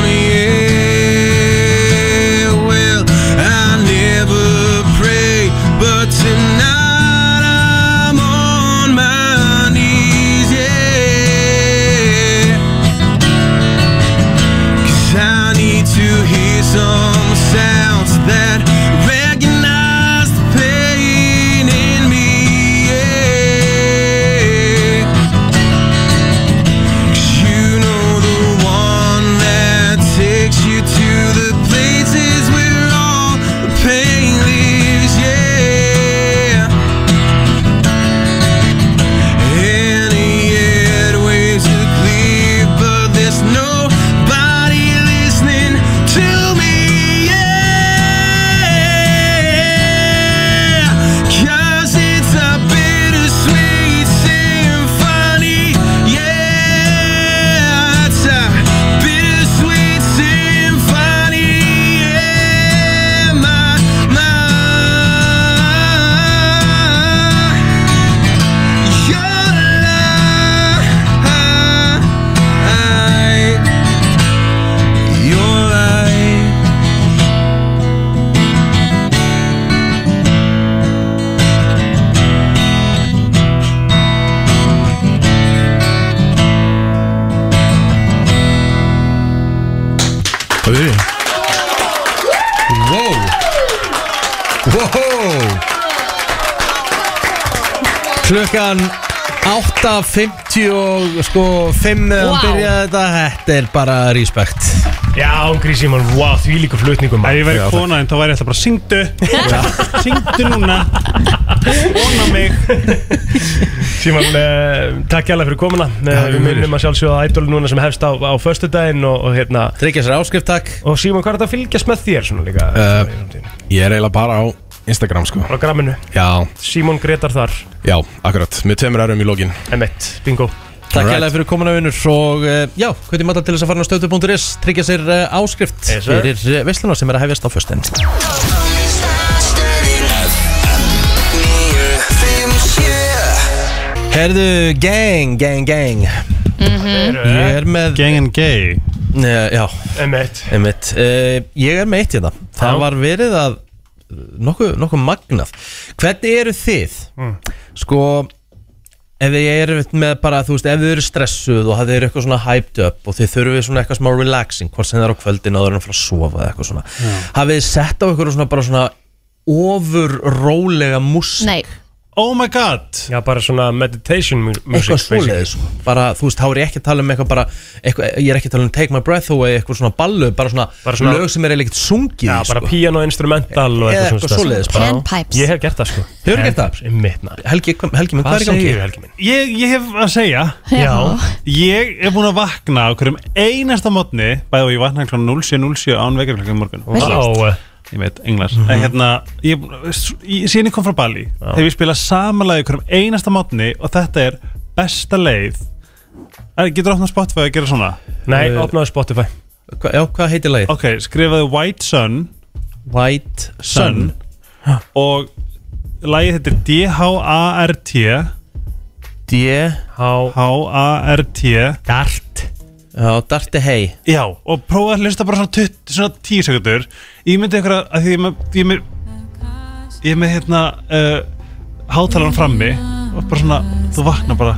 [SPEAKER 10] Yeah, well, I never pray, but tonight I'm on my knees, yeah. Cause I need to hear some sounds that recognize the pain in me.
[SPEAKER 5] Auði. Wow Wow
[SPEAKER 1] Klukkan 8.50 og sko 5 þegar
[SPEAKER 2] Vá.
[SPEAKER 1] hann byrjaði þetta Þetta er bara respect
[SPEAKER 3] Já, Ungri Simon, wow, því líka flutningum
[SPEAKER 7] Ef ég væri
[SPEAKER 5] Já, takk.
[SPEAKER 7] kona þín, þá væri ég alltaf bara syngdu Syngdu núna Kona mig
[SPEAKER 3] Simon, uh, takk hérlega fyrir komuna uh, Við minnum að sjálfsögða ædol núna sem hefst á, á föstudaginn og, og hérna
[SPEAKER 1] Tryggja sér áskrift takk
[SPEAKER 3] Og Simon, hvað er þetta að fylgjast með þér svona líka?
[SPEAKER 5] Eh,
[SPEAKER 3] Uh,
[SPEAKER 5] Ég er eiginlega bara á Instagram sko
[SPEAKER 3] á gramminu,
[SPEAKER 5] Já,
[SPEAKER 3] Simon Gretar þar
[SPEAKER 5] já, akkurat Með tveimur erum í lokin
[SPEAKER 3] M1, bingo
[SPEAKER 1] Takk
[SPEAKER 5] Alright.
[SPEAKER 1] hérlega fyrir komuna vinnur og eh, já, hvernig matta til þess að fara á stöðu.is tryggja sér eh, áskrift
[SPEAKER 3] Yes, sir.
[SPEAKER 1] fyrir veislunar sem er að hefjast á föstudaginn Herðu, gang, gang, gang
[SPEAKER 3] Eh,
[SPEAKER 1] Ég er með
[SPEAKER 7] Gang and gay
[SPEAKER 1] eh, Já,
[SPEAKER 3] M1
[SPEAKER 1] einmitt uh, Ég er með eitt hérna Það
[SPEAKER 3] Já.
[SPEAKER 1] var verið að nokkuð nokku magnað Hvernig eru þið?
[SPEAKER 3] Mm.
[SPEAKER 1] Sko Ef þið eru með bara, þú veist, ef þið eru stressuð og hafið eru eitthvað svona hyped up og þið þurfið svona eitthvað smá relaxing, hvort sem það er á kvöldin áður en að fara að sofa eða eitthvað svona hafið þið sett á eitthvað svona bara svona ofur rólega músík
[SPEAKER 2] Nei,
[SPEAKER 7] Oh my god
[SPEAKER 3] Já, bara svona meditation mu- music
[SPEAKER 1] eitthvað svoleiðis bara, þú veist, þá er ég ekki að tala um eitthvað bara eitthvað, ég er ekki að tala um Take My Breath Away eitthvað svona ballu, bara svona,
[SPEAKER 3] Bara svona-
[SPEAKER 1] lög sem er eiginlega ekkert sungið
[SPEAKER 3] Já,
[SPEAKER 1] í,
[SPEAKER 3] bara piano instrumental og
[SPEAKER 1] eða
[SPEAKER 3] eitthvað
[SPEAKER 1] sko. Eh, eitthvað
[SPEAKER 3] svona
[SPEAKER 1] svoleiðis bara.
[SPEAKER 2] panpipes
[SPEAKER 3] Ég hef gert það sko
[SPEAKER 1] Hefurðu gert það?
[SPEAKER 3] Mitt, na
[SPEAKER 1] Helgi, hvað- Helgi, minn, hvað er í gangi?
[SPEAKER 3] segirðu, Helgi minn?
[SPEAKER 7] Ég, ég hef að segja
[SPEAKER 2] Já.
[SPEAKER 7] Ég er búin að vakna á hverjum einasta mótni Bæði og ég vaknaði kl. 07.07 án vekjarklokkan í morgun
[SPEAKER 2] Vel gert.
[SPEAKER 3] Vá, eh,
[SPEAKER 7] Ég veit, englar En hérna, ég, ég, síðan ég kom frá Bali Hef ég spilað samanlega hverjum einasta mótni Og þetta er besta leið Er, Getur opnað Spotify að gera svona?
[SPEAKER 3] Nei, opnaðu Spotify
[SPEAKER 1] Hva, já, hvað heitir lagið?
[SPEAKER 7] Ok, skrifaði White Sun
[SPEAKER 1] White
[SPEAKER 7] Sun
[SPEAKER 1] Sun
[SPEAKER 7] Og lagið þetta er D-H-A-R-T
[SPEAKER 1] D
[SPEAKER 3] Há
[SPEAKER 7] H-A-R-T
[SPEAKER 3] Dart
[SPEAKER 1] Já, Darti Hey
[SPEAKER 7] Já, og prófa að hlusta bara svona, tutt, svona tíu sekundur Ég myndi ykkur að, að því ég er með- ég er með Ég er með hérna uh, Hátalan frammi Og bara svona, þú vaknar bara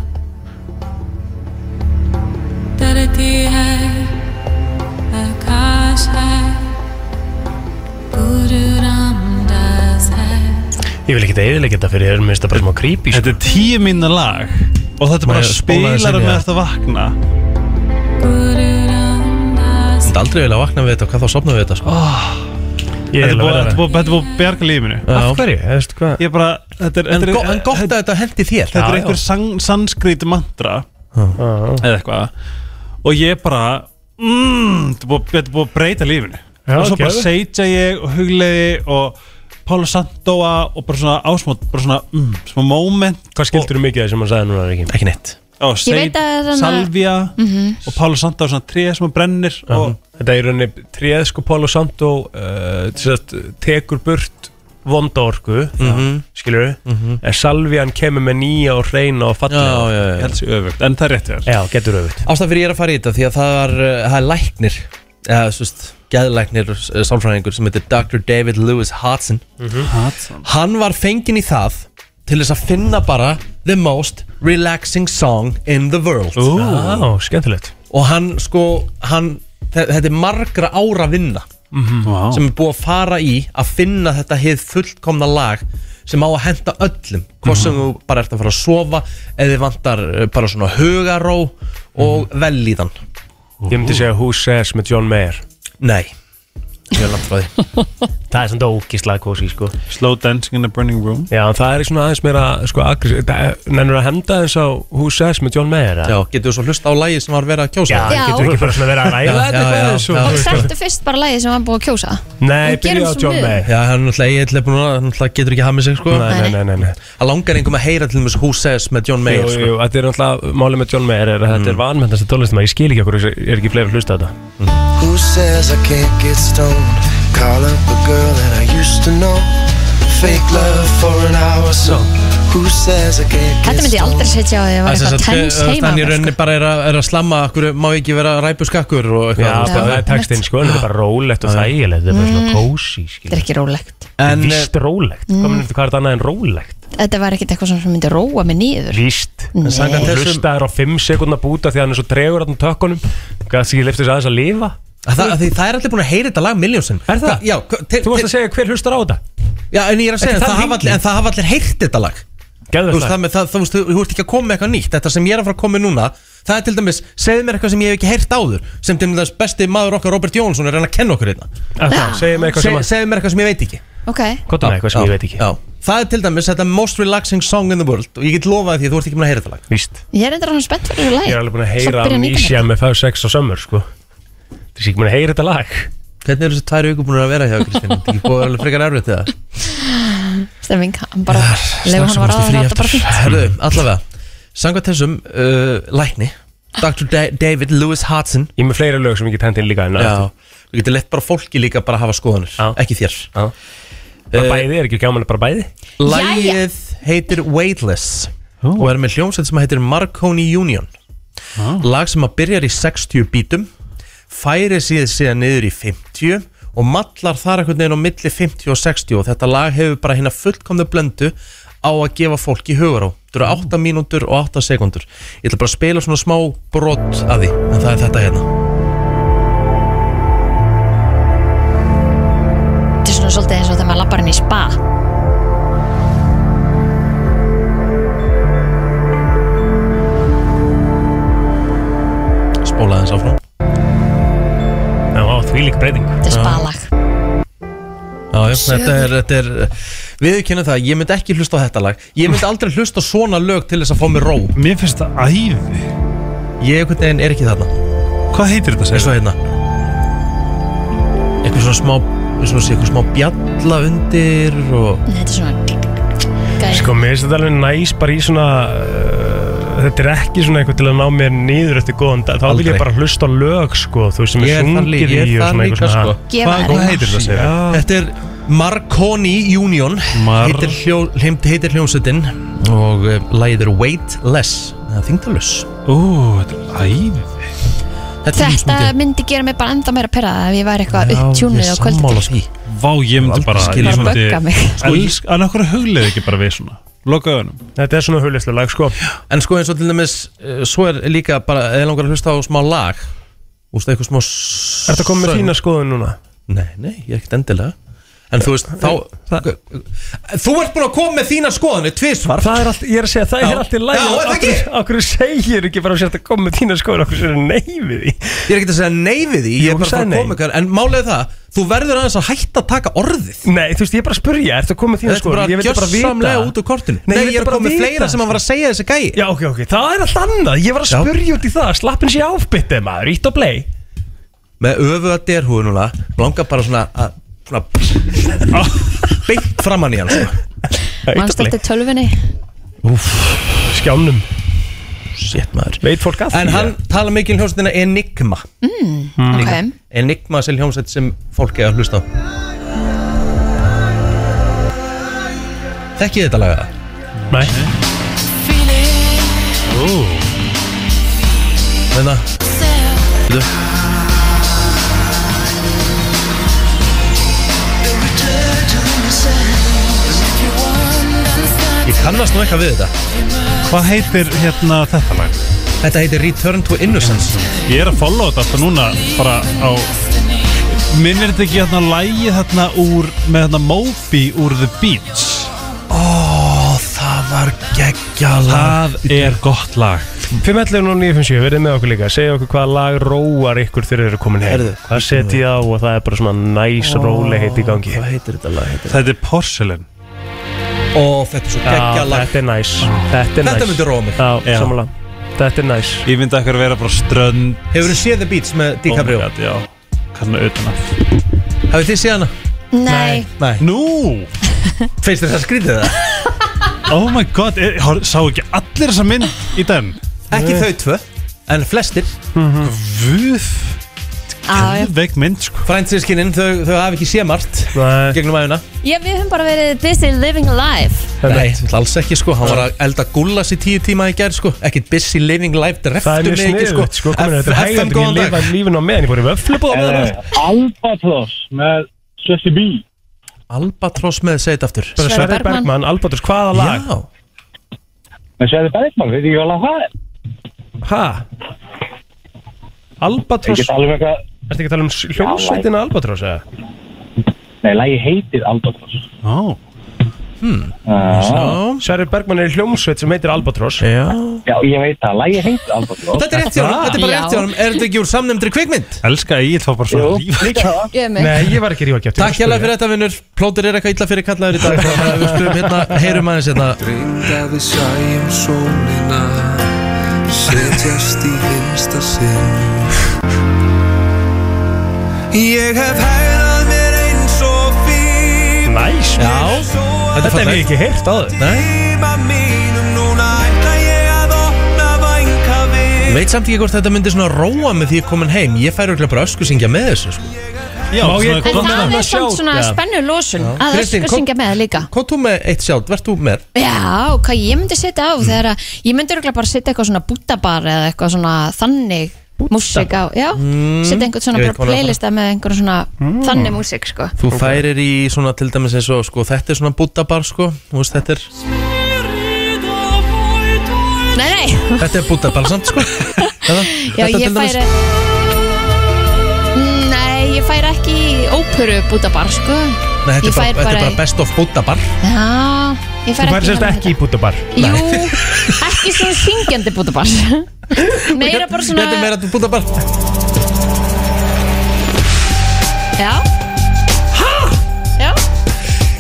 [SPEAKER 3] Ég vil ekki eðilegja þetta fyrir þér, mér finnst það bara smá creepy sko.
[SPEAKER 7] Þetta er tíu minna lag Og þetta er bara
[SPEAKER 1] Má ég spóla aðeins inn
[SPEAKER 7] spilar
[SPEAKER 1] í
[SPEAKER 7] með
[SPEAKER 1] það?
[SPEAKER 7] þetta vakna
[SPEAKER 1] Ég myndi aldrei vilja vakna við þetta og hvað þá sopna við þetta sko.
[SPEAKER 3] Ég
[SPEAKER 7] Þetta
[SPEAKER 3] vil vera
[SPEAKER 7] er búið- þetta er
[SPEAKER 3] það
[SPEAKER 7] búið þetta er búið að bjarga lífinu
[SPEAKER 1] Já.
[SPEAKER 3] Af hverju, Þú veist hvað
[SPEAKER 7] Ég er bara, þetta er
[SPEAKER 1] en,
[SPEAKER 7] þetta er-
[SPEAKER 1] go, en gott að þetta hendi þér
[SPEAKER 7] Þetta er
[SPEAKER 3] Já,
[SPEAKER 7] einhver
[SPEAKER 3] já.
[SPEAKER 7] san- sanskrít mantra Eða eitthvað Og ég bara mm, Þetta er búið- þetta er búið að breyta lífinu
[SPEAKER 3] Já,
[SPEAKER 7] Og svo bara
[SPEAKER 3] gerðu.
[SPEAKER 7] seitja ég og hugleiði Og Pála Sandóa Og bara svona ásmót Bara svona mm, Smá moment
[SPEAKER 3] Hvað skildur þú mikið af því sem hann sagði núna, Ríkjum?
[SPEAKER 1] Ekki neitt
[SPEAKER 7] Og
[SPEAKER 2] Ég veit
[SPEAKER 7] seit,
[SPEAKER 2] að það er svona- Mhm.
[SPEAKER 7] Salvia Og Pála Sandóa Svona tré sem að brennir og,
[SPEAKER 3] Þetta er í rauninni tréð sko Polo Santo uh, sem sagt, tekur burt vonda orku mm
[SPEAKER 1] Mhm.
[SPEAKER 3] -hmm. skilur en Salvian kemur með nýja og reyna og fallega
[SPEAKER 1] Já, já,
[SPEAKER 7] Ég
[SPEAKER 1] já
[SPEAKER 7] held sér öfugt En það er rétt hjá þér
[SPEAKER 3] já getur auðvitt
[SPEAKER 1] Ástæðan fyrir ég er að fara í þetta því að það er, uh, það er læknir eða svo veist, geðlæknir uh, sálfræðingur sem heitir Dr. David Lewis Hodgson Hann var fenginn í það til þess að finna bara the most relaxing song in the world
[SPEAKER 3] Já, skemmtilegt
[SPEAKER 1] og hann sko hann, þe- þetta er margra ára vinna
[SPEAKER 7] Vá.
[SPEAKER 1] sem er búið að fara í að finna þetta hið fullkomna lag sem á að henda öllum hvort sem þú bara ert að fara að sofa eða þið vantar eh, bara svona hugaró og vellíðan
[SPEAKER 3] Ég myndi segja Who Says með John Mayer
[SPEAKER 1] Nei, ég er langt frá því
[SPEAKER 3] Það er svona ógíslega kósi sko
[SPEAKER 7] Slow dancing in a burning room
[SPEAKER 3] Já, en það er svona aðeins meira sko aggressiv Nennur að hemda þess á Who Says með John Mayer eða?
[SPEAKER 1] Já, getur þú svo hlusta á lagið sem var verið að kjósa
[SPEAKER 3] Já,
[SPEAKER 2] Já.
[SPEAKER 3] getur ekki bara svona verið að ræða
[SPEAKER 1] Já,
[SPEAKER 3] þetta
[SPEAKER 1] já,
[SPEAKER 3] eitthvað
[SPEAKER 1] já,
[SPEAKER 3] eins og-
[SPEAKER 1] já.
[SPEAKER 2] Og settu fyrst bara lagið sem hann búið að kjósa
[SPEAKER 3] Nei,
[SPEAKER 2] En gerum
[SPEAKER 3] byrja á
[SPEAKER 2] svo
[SPEAKER 3] John
[SPEAKER 2] við.
[SPEAKER 3] Mayer
[SPEAKER 1] Já, hann er náttúrulega eiginlega búin að, hann náttúrulega getur ekki hamið sig, sko
[SPEAKER 3] Nei, nei, nei, nei, nei.
[SPEAKER 1] Hann langar einhverjum að heyra til þess Who Says með John Mayer,
[SPEAKER 3] Jú,
[SPEAKER 1] sko
[SPEAKER 3] jú, þetta er náttúrulega málið með John Mayer er að þetta er vanmennast að tónlistum ég skil ekki okkur, ég er ekki fleiri að hlusta á þetta
[SPEAKER 10] Who says I can't get stoned? Call up a girl that I used to know. Fake love for an hour or so. Who says I can't get
[SPEAKER 2] Þetta myndi ég
[SPEAKER 10] stoned?
[SPEAKER 2] aldrei setja á því
[SPEAKER 1] Það
[SPEAKER 2] að var
[SPEAKER 1] er sem
[SPEAKER 2] eitthvað
[SPEAKER 1] sagt,
[SPEAKER 2] tens
[SPEAKER 1] eh,
[SPEAKER 2] heima
[SPEAKER 1] Þannig í
[SPEAKER 2] með,
[SPEAKER 1] rauninni
[SPEAKER 2] sko.
[SPEAKER 1] bara er að, er að slamma Akkur má ekki vera ræpu skakkur og
[SPEAKER 3] Já,
[SPEAKER 1] eitthvað
[SPEAKER 3] það
[SPEAKER 1] það
[SPEAKER 3] er textinn sko, en þetta er bara rólegt og þægilegt, þetta er bara svona kósi,
[SPEAKER 2] Mm. Þetta er
[SPEAKER 3] skilur.
[SPEAKER 2] ekki Mm. rólegt
[SPEAKER 1] En eh,
[SPEAKER 3] Víst rólegt, hvað minnum þetta hvað er þetta annað en rólegt?
[SPEAKER 2] Þetta var ekkert eitthvað svona sem myndi róa mig nýður
[SPEAKER 3] Víst.
[SPEAKER 2] Nei.
[SPEAKER 1] samkvæmt-
[SPEAKER 3] Og
[SPEAKER 1] Þessum-
[SPEAKER 3] hlustaður á 5 sekundna búta því að hann er svo tregur á tökkunum, gæti ekki liftið þess aðeins að lifa.
[SPEAKER 1] Að Það, að því, það er allir búin að heyra þetta lag miljónsinn
[SPEAKER 3] Er það?
[SPEAKER 1] Já, hva- til,
[SPEAKER 3] Þú varst
[SPEAKER 1] til,
[SPEAKER 3] að segja hver hlustar á þetta
[SPEAKER 1] já, en ég er að segja
[SPEAKER 3] Ekki
[SPEAKER 1] það
[SPEAKER 3] það
[SPEAKER 1] hafa allir,
[SPEAKER 3] mikið.
[SPEAKER 1] En það hafa allir heyrt þetta lag Þú veist,
[SPEAKER 3] Geðvegt
[SPEAKER 1] það,
[SPEAKER 3] lag.
[SPEAKER 1] með, það, þú veist, þú þú ert ekki að koma með eitthvað nýtt Þetta sem ég er að fara að koma með núna Það er til dæmis, segðu mér eitthvað sem ég hef ekki heyrt áður Sem til dæmis besti maður okkar Robert Jónsson er að reyna að kenna okkur hérna
[SPEAKER 3] Er það? Segja mig eitthvað
[SPEAKER 1] Se,
[SPEAKER 3] sem að
[SPEAKER 1] Segðu mér eitthvað sem um ég veit ekki
[SPEAKER 2] Ok,
[SPEAKER 3] Kottum með eitthvað sem
[SPEAKER 1] Já,
[SPEAKER 3] ég veit ekki
[SPEAKER 1] já. Það er til dæmis þetta most relaxing song in the world Og ég get lofað því að þú ert ekki búin að heyra þetta lag
[SPEAKER 3] Víst
[SPEAKER 2] ég er endur hann spennt fyrir þessu lagi
[SPEAKER 3] Ég er alveg búin að
[SPEAKER 2] Samt
[SPEAKER 3] heyra
[SPEAKER 2] byrja að nýta
[SPEAKER 3] Amnesia með 5-6 á sömur sko Þessi ekki búin að heyra þetta lag
[SPEAKER 1] Hvernig eru þessi tvær viku búin að vera hjá Kristín? Þetta er ekki búið að vera alveg frekar erfitt eða?
[SPEAKER 2] mig. Stemming, hann bara Leifur hann var á það, þetta bara fínt
[SPEAKER 1] Herðu, allavega Sangvað þessum uh, lækni Dr. Da David Lewis Hudson
[SPEAKER 3] Ég er með fleira lög sem ég get hendin líka en að-
[SPEAKER 1] Já, þú getur lett bara fólki líka bara að hafa skoðanir
[SPEAKER 3] Já.
[SPEAKER 1] Ekki þér Uh,
[SPEAKER 3] Já. uh, Bara bæði, er ekki gaman að bara bæði
[SPEAKER 1] Lægið heitir Weightless Og er með hljómsveit sem heitir Marconi Union Lag sem að byrjar í 60 bítum Færi síðan síðan niður í 50 Og mallar þar einhvern veginn á milli 50 og 60 Og þetta lag hefur bara hérna fullkomnu blöndu Á að gefa fólki hugar á Þetta eru 8 mínútur og 8 sekundur Ég ætla bara að spila svona smá brot að því En það er þetta hérna
[SPEAKER 2] Þetta er svona svolítið eins og þegar maður lappar inn í spa
[SPEAKER 1] Spóla aðeins áfram
[SPEAKER 3] Já, á, því líka breyting
[SPEAKER 2] Þetta er spalag
[SPEAKER 1] Já, já, þetta er, þetta er Við kynum það, ég myndi ekki hlusta á þetta lag Ég myndi aldrei hlusta á svona lög til þess að fá mér ró
[SPEAKER 7] Mér finnst það æði
[SPEAKER 1] Ég einhvern veginn er ekki þarna
[SPEAKER 7] Hvað heitir þetta
[SPEAKER 1] Eins og
[SPEAKER 7] segir?
[SPEAKER 1] hérna Eitthvað svona smá Svona sé, eitthvað smá bjalla undir og...
[SPEAKER 2] Nei, þetta er svona Gæði
[SPEAKER 3] Sko, mér finnst þetta alveg næs bara í svona uh, Þetta er ekki svona eitthvað til að ná mér nýður eftir góðan dag Þá vil
[SPEAKER 1] Aldrei.
[SPEAKER 3] ég bara hlusta á lög, sko Þú veist, sem
[SPEAKER 1] Ég
[SPEAKER 3] er
[SPEAKER 1] er þar
[SPEAKER 3] sungið
[SPEAKER 1] líka,
[SPEAKER 3] í
[SPEAKER 1] ég er
[SPEAKER 3] og
[SPEAKER 1] þar
[SPEAKER 3] svona
[SPEAKER 1] líka
[SPEAKER 3] eitthvað
[SPEAKER 1] sko
[SPEAKER 3] svona
[SPEAKER 2] Gefa
[SPEAKER 7] Hvað
[SPEAKER 2] henni.
[SPEAKER 7] heitir þetta segir?
[SPEAKER 3] Já,
[SPEAKER 1] Þetta er Marconi Union
[SPEAKER 7] Mar-
[SPEAKER 1] heitir, hljó, heimt- heitir hljómsveitin Og uh, lagið er Weightless Það þingdalus
[SPEAKER 7] Ú, þetta er æði
[SPEAKER 2] Þetta myndi gera mig bara enda meira perraða ef ég væri eitthvað upptjúnið á kvöldi
[SPEAKER 1] Sammála sko. því
[SPEAKER 7] Vá, ég myndi bara
[SPEAKER 1] Aldrei skilur.
[SPEAKER 7] Ég
[SPEAKER 2] Bara
[SPEAKER 7] myndi
[SPEAKER 2] bögga mig
[SPEAKER 7] Elsk, en okkur hugleið ekki bara við svona Loka öðunum
[SPEAKER 3] Þetta er svona hugleislega lag, sko
[SPEAKER 1] En sko eins og til dæmis eh, Svo er líka bara Eða langar að hlusta á smá lag Ústu eitthvað smá s-
[SPEAKER 3] Ertu að koma með
[SPEAKER 1] söng?
[SPEAKER 3] þína skoðun núna?
[SPEAKER 1] Nei, nei, ég er ekkert endilega En þú veist, þá Þú ert búin að koma með þína skoðinu Tvísvar
[SPEAKER 3] Það er allt, ég er að segja, það
[SPEAKER 1] Já.
[SPEAKER 3] er allt í
[SPEAKER 1] Já,
[SPEAKER 3] lægi
[SPEAKER 1] er það ekki?
[SPEAKER 3] Okkur segir ekki bara sért að koma með þína skoðun Okkur sér nei við því
[SPEAKER 1] Ég er ekkert að segja nei við því Ég
[SPEAKER 3] Jú,
[SPEAKER 1] er bara að fara
[SPEAKER 3] sagði
[SPEAKER 1] að
[SPEAKER 3] nei.
[SPEAKER 1] koma ykkur En málið er það, þú verður aðeins að hætta að taka orðið
[SPEAKER 3] Nei, þú veist, ég er bara að spurja, ertu að koma með þína
[SPEAKER 1] Þetta er
[SPEAKER 3] skoðun
[SPEAKER 1] bara gjössamlega út úr kortinu Nei, ég
[SPEAKER 3] vildi
[SPEAKER 1] er að
[SPEAKER 3] bara
[SPEAKER 1] koma með
[SPEAKER 3] vita.
[SPEAKER 1] fleira sem að var að segja þessi gæi
[SPEAKER 3] Já, ok, ok, það er allt annað, ég var að
[SPEAKER 1] Já.
[SPEAKER 3] spurja út í það Slappin sér áfbyttið maður, ítt og play
[SPEAKER 1] Með öfuða derhúi núna Langar bara svona að svona, Beint framann í hann sko.
[SPEAKER 2] Manst eftir tölvinni
[SPEAKER 3] Skjánum,
[SPEAKER 1] Shit maður
[SPEAKER 3] veit fólk að
[SPEAKER 1] En hann tala mikið um hljómsveitina Enigma
[SPEAKER 2] Ok,
[SPEAKER 1] Enigma sem hljómsveit sem fólk er að hlusta á Þekkið þetta laga?
[SPEAKER 3] Nei,
[SPEAKER 1] Þetta Þetta Ég kannast nú eitthvað við þetta
[SPEAKER 7] Hvað heitir hérna þetta lag?
[SPEAKER 1] Þetta heitir Return to Innocence
[SPEAKER 7] Ég er að followa þetta alltaf núna bara á Minnir þetta ekki hérna lægi þarna úr með hérna Moby úr The Beach
[SPEAKER 1] Ó, það var geggjala
[SPEAKER 7] Það er gott lag
[SPEAKER 3] 511 og 957, verðið með okkur líka Segja okkur hvaða lag róar ykkur þegar þeir eru komin heim
[SPEAKER 1] Herðu,
[SPEAKER 3] Hvað set ég á og það er bara svona næs oh, róli heitt í gangi
[SPEAKER 1] Hvað heitir þetta lag? Heitir?
[SPEAKER 7] Þetta er Porcelain
[SPEAKER 1] Ó, þetta er svo
[SPEAKER 3] Já,
[SPEAKER 1] geggjala
[SPEAKER 3] þetta er næs Þetta er næs
[SPEAKER 1] Þetta myndi róa mig
[SPEAKER 3] Já,
[SPEAKER 7] Já.
[SPEAKER 3] samanlega Þetta er næs
[SPEAKER 7] Ég myndi ekki að vera bara á strönd
[SPEAKER 1] Hefur þið séð The Beats með DiCaprio?
[SPEAKER 7] Oh my God, Já, kannu utan að
[SPEAKER 1] Hafið þið séð hana?
[SPEAKER 2] nei
[SPEAKER 1] Nei
[SPEAKER 7] Nú,
[SPEAKER 1] Feist þér það skrítið það?
[SPEAKER 7] oh my god, er, har, sá ekki allir þessa mynd í den
[SPEAKER 1] Ekki þau tvö En flestir
[SPEAKER 7] Vuð,
[SPEAKER 2] Á, já.
[SPEAKER 7] veik mynd sko
[SPEAKER 1] Frænsinskinninn, þau, þau hafi ekki séð margt
[SPEAKER 3] Nei,
[SPEAKER 1] Gegnum æfina
[SPEAKER 2] Ég, við höfum bara verið busy living life
[SPEAKER 1] Nei, alls ekki sko, hann var að elda gullas í tíu tíma í gerð sko Ekkit busy living life,
[SPEAKER 3] Það er
[SPEAKER 1] dreftu
[SPEAKER 3] mjög
[SPEAKER 1] mig ekki sko
[SPEAKER 3] sniðut sko komin, Þetta er
[SPEAKER 1] FM,
[SPEAKER 3] hægandi Ég
[SPEAKER 1] góðan dag
[SPEAKER 3] lifa lífin á meðan Ég fór í vöflubóð með það
[SPEAKER 1] Albatross með seit aftur
[SPEAKER 3] Bara
[SPEAKER 2] Sverrir
[SPEAKER 3] Sverri
[SPEAKER 2] Bergmann.
[SPEAKER 3] Bergmann, Albatur, hvaða lag?
[SPEAKER 1] Já,
[SPEAKER 3] Hæ? Albatur
[SPEAKER 11] alveg eitthvað
[SPEAKER 3] Ertu ekki að tala um s- hljómsveitina Albatross eða?
[SPEAKER 10] Nei, lagi heitir Albatross
[SPEAKER 7] Ó,
[SPEAKER 10] uh,
[SPEAKER 3] Sverri Bergmann er í hljómsveit sem heitir Albatross
[SPEAKER 1] Já
[SPEAKER 10] Já, ég veit það, lagi heitir Albatross
[SPEAKER 1] Þetta er rétt hjá hann, þetta er bara
[SPEAKER 2] Já.
[SPEAKER 1] rétt hjá hann Er þetta ekki úr samnefndri kvikmynd?
[SPEAKER 7] elska Egil þá bara svona
[SPEAKER 10] Jú,
[SPEAKER 7] rífa
[SPEAKER 10] líka það
[SPEAKER 2] Ég er með.
[SPEAKER 3] Nei, ég var ekki rífa kjátt
[SPEAKER 1] Takk hérlega fyrir þetta vinnur Plótur er eitthvað illa fyrir kallaður í dag Þannig að við skulum hérna, heyrum aðeins hérna
[SPEAKER 12] Dreymt að við sæjum sólina Setjast í vinsta sinn Ég hef hæðað mér eins og fín
[SPEAKER 3] Næs
[SPEAKER 1] Já,
[SPEAKER 12] Svo
[SPEAKER 1] þetta er
[SPEAKER 3] Þetta hef ég
[SPEAKER 1] fallegt
[SPEAKER 3] ekki heyrt áður
[SPEAKER 1] Nei,
[SPEAKER 12] tíma mínum núna ætla ég að opna vænka við
[SPEAKER 1] veit samt ekki hvort þetta myndi svona róa með því ég komin heim Ég fær auðvitað bara ösku syngja með þessu sko.
[SPEAKER 7] Já,
[SPEAKER 3] Má ég-
[SPEAKER 2] En
[SPEAKER 7] svona
[SPEAKER 2] það
[SPEAKER 7] gott-
[SPEAKER 2] er samt svona spennu losun að
[SPEAKER 1] Kristín,
[SPEAKER 2] öskur
[SPEAKER 1] kom-
[SPEAKER 2] syngja með líka
[SPEAKER 1] Hvað þú með eitt sjálf, verð þú með?
[SPEAKER 2] Já, hvað ég myndi setja
[SPEAKER 1] Mm.
[SPEAKER 2] á þegar að ég myndi örgulega bara setja eitthvað svona bútabar eða eitthvað svona þannig músík á, já, setja einhvern svona
[SPEAKER 1] Mm. Ég veit hvað það
[SPEAKER 2] bara
[SPEAKER 1] er. Mm.
[SPEAKER 2] playlista með einhvern svona þannig músík sko.
[SPEAKER 1] Þú færir í svona til dæmis eins og sko, þetta er svona bútabar sko, þú veist, þetta er,
[SPEAKER 2] Nei, nei,
[SPEAKER 1] þetta er bútabar samt sko Eða?
[SPEAKER 2] já,
[SPEAKER 1] Þetta til
[SPEAKER 2] ég
[SPEAKER 1] dæmis-
[SPEAKER 2] færi Nei, ég færi ekki í óperu bútabar sko.
[SPEAKER 1] Nei, þetta
[SPEAKER 2] ég
[SPEAKER 1] er bara,
[SPEAKER 2] fær
[SPEAKER 1] þetta er
[SPEAKER 2] bara
[SPEAKER 1] bara
[SPEAKER 2] í-
[SPEAKER 1] best of bútabar
[SPEAKER 2] Já, ég
[SPEAKER 3] Þú
[SPEAKER 2] færi
[SPEAKER 3] færi
[SPEAKER 2] ekki,
[SPEAKER 3] sérst ekki í bútabar
[SPEAKER 2] Jú, ekki svona syngjandi bútabar Meira bara svona
[SPEAKER 1] Þetta er meira bútabar
[SPEAKER 2] Já Já,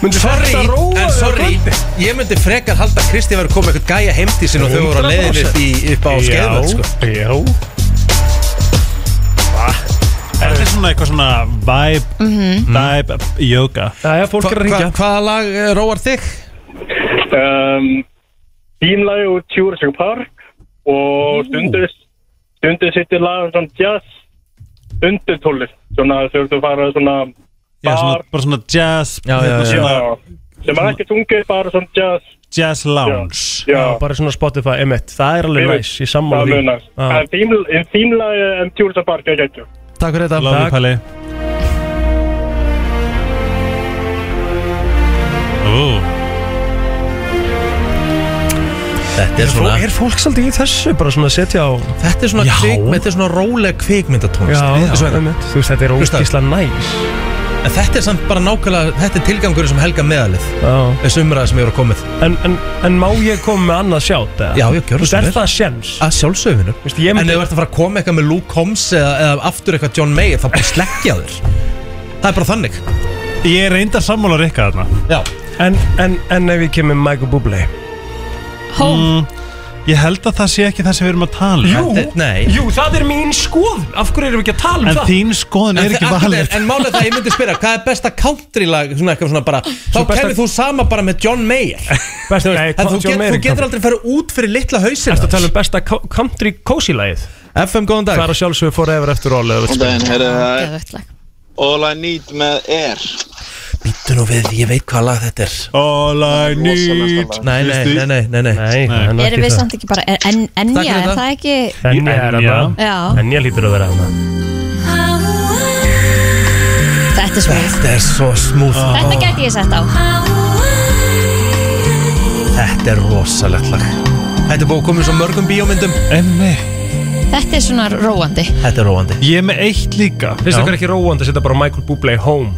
[SPEAKER 3] Myndi
[SPEAKER 1] Sorry,
[SPEAKER 3] þetta róa
[SPEAKER 1] en
[SPEAKER 3] þig á
[SPEAKER 1] sorry
[SPEAKER 3] kvöldi?
[SPEAKER 1] Ég myndi frekar halda að Kristi var að koma eitthvað gæja heim til sín og þau voru að leiðin upp, í, upp á skeiðvöld sko.
[SPEAKER 3] Já, já
[SPEAKER 7] Þetta er svona eitthvað svona vibe,
[SPEAKER 2] Mhm.
[SPEAKER 7] vibe, yoga
[SPEAKER 3] Jæja, fólk er að
[SPEAKER 1] Hva,
[SPEAKER 3] ringja
[SPEAKER 1] Hvaða lag eh, róar þig?
[SPEAKER 10] um, Bímlagi úr Jurassic Park og stundur stundur sittir lagar svona jazz undir tólið svona þegar þú fara svona
[SPEAKER 7] Já, svona,
[SPEAKER 10] Bar.
[SPEAKER 7] bara svona jazz
[SPEAKER 1] Já, já, já.
[SPEAKER 7] Svona
[SPEAKER 10] sem er ekki tungið bara svona jazz
[SPEAKER 7] jazz lounge
[SPEAKER 10] já,
[SPEAKER 3] Já, bara svona Spotify, emitt, það er alveg
[SPEAKER 10] Fyrir-
[SPEAKER 3] næs, ég sammála
[SPEAKER 10] það
[SPEAKER 3] því
[SPEAKER 10] munar
[SPEAKER 3] Já.
[SPEAKER 10] en Bím- en Bímlagi um Jurassic Park er ekki
[SPEAKER 1] Takk fyrir þetta
[SPEAKER 7] Lofið Palli Ó,
[SPEAKER 1] Þetta er svona,
[SPEAKER 3] Er fólk svolítið í þessu, bara svona að setja á
[SPEAKER 1] þetta er svona,
[SPEAKER 7] Já.
[SPEAKER 1] kvik, þetta er svona róleg kvikmyndatónst
[SPEAKER 3] Já,
[SPEAKER 1] Svo-
[SPEAKER 3] einmitt. þú veist, þetta er
[SPEAKER 1] Hlusta.
[SPEAKER 3] ógísla næs
[SPEAKER 1] En þetta er samt bara nákvæmlega, þetta er tilgangur sem helga meðalið
[SPEAKER 3] Já
[SPEAKER 1] Þessu umræða sem ég voru að komið
[SPEAKER 3] En, en, en má ég koma með annað sjátt? eða?
[SPEAKER 1] Já, já, gjörðu
[SPEAKER 3] Þú veist,
[SPEAKER 1] svo
[SPEAKER 3] er
[SPEAKER 1] vel.
[SPEAKER 3] það sjens?
[SPEAKER 1] Að sjálfsögvinu
[SPEAKER 3] Vist, ég
[SPEAKER 1] En ef
[SPEAKER 3] myndi,
[SPEAKER 1] þú ert að fara að koma eitthvað með Luke Holmes eða, eða aftur eitthvað John Mayer þá bara slekkja þér Það er bara þannig
[SPEAKER 7] Ég er reyndar sammála Rikka þarna
[SPEAKER 1] Já,
[SPEAKER 3] en, en, en ef ég kemur Michael Bublé
[SPEAKER 2] home
[SPEAKER 1] Mm.
[SPEAKER 7] Ég held að það sé ekki það sem við erum að tala um.
[SPEAKER 1] Þetta- nei
[SPEAKER 3] Jú, það er mín skoð Af hverju erum við ekki að tala um
[SPEAKER 7] En
[SPEAKER 3] það?
[SPEAKER 7] þín skoðun
[SPEAKER 1] En,
[SPEAKER 7] er ekki
[SPEAKER 1] þe-
[SPEAKER 7] valið
[SPEAKER 1] en, en málega það, ég myndi spyrja, hvað er besta country lag, svona eitthvað svona bara Þá
[SPEAKER 3] besta-
[SPEAKER 1] kemur þú sama bara með John Mayer
[SPEAKER 3] Besta, nei,
[SPEAKER 1] En þú,
[SPEAKER 3] John
[SPEAKER 1] get, þú
[SPEAKER 3] Mayer
[SPEAKER 1] getur
[SPEAKER 3] kom.
[SPEAKER 1] aldrei að fara út fyrir litla hausin
[SPEAKER 3] Ertu að tala um besta co- country cozy lagið
[SPEAKER 1] FM, góðan dag
[SPEAKER 3] Það er að sjálfsögur fóra efur eftir all
[SPEAKER 2] Geðvögt lag
[SPEAKER 13] All I need með er
[SPEAKER 1] Býttu nú við, ég veit hvað lag þetta er
[SPEAKER 7] All I need
[SPEAKER 1] Nei, nei,
[SPEAKER 7] Veistu?
[SPEAKER 1] nei, nei, nei, nei.
[SPEAKER 3] Nei, en
[SPEAKER 2] Erum við samt ekki bara en- en-
[SPEAKER 1] Takk
[SPEAKER 2] Enja,
[SPEAKER 1] fyrir
[SPEAKER 2] er
[SPEAKER 1] það.
[SPEAKER 2] það ekki
[SPEAKER 3] En ég er
[SPEAKER 7] Ennja.
[SPEAKER 3] að
[SPEAKER 2] Já,
[SPEAKER 3] En ég lítur að vera að
[SPEAKER 2] þetta er smúð
[SPEAKER 1] Þetta er svo smúð
[SPEAKER 2] Þetta gæti ég sett á
[SPEAKER 1] Þetta er rosalegt lag Þetta er búið að koma í svo mörgum bíómyndum
[SPEAKER 7] En nei
[SPEAKER 2] Þetta er svona róandi
[SPEAKER 1] Þetta er róandi
[SPEAKER 7] Ég er með eitt líka
[SPEAKER 3] Finnst það ekki róandi að setja bara Michael Bublé home?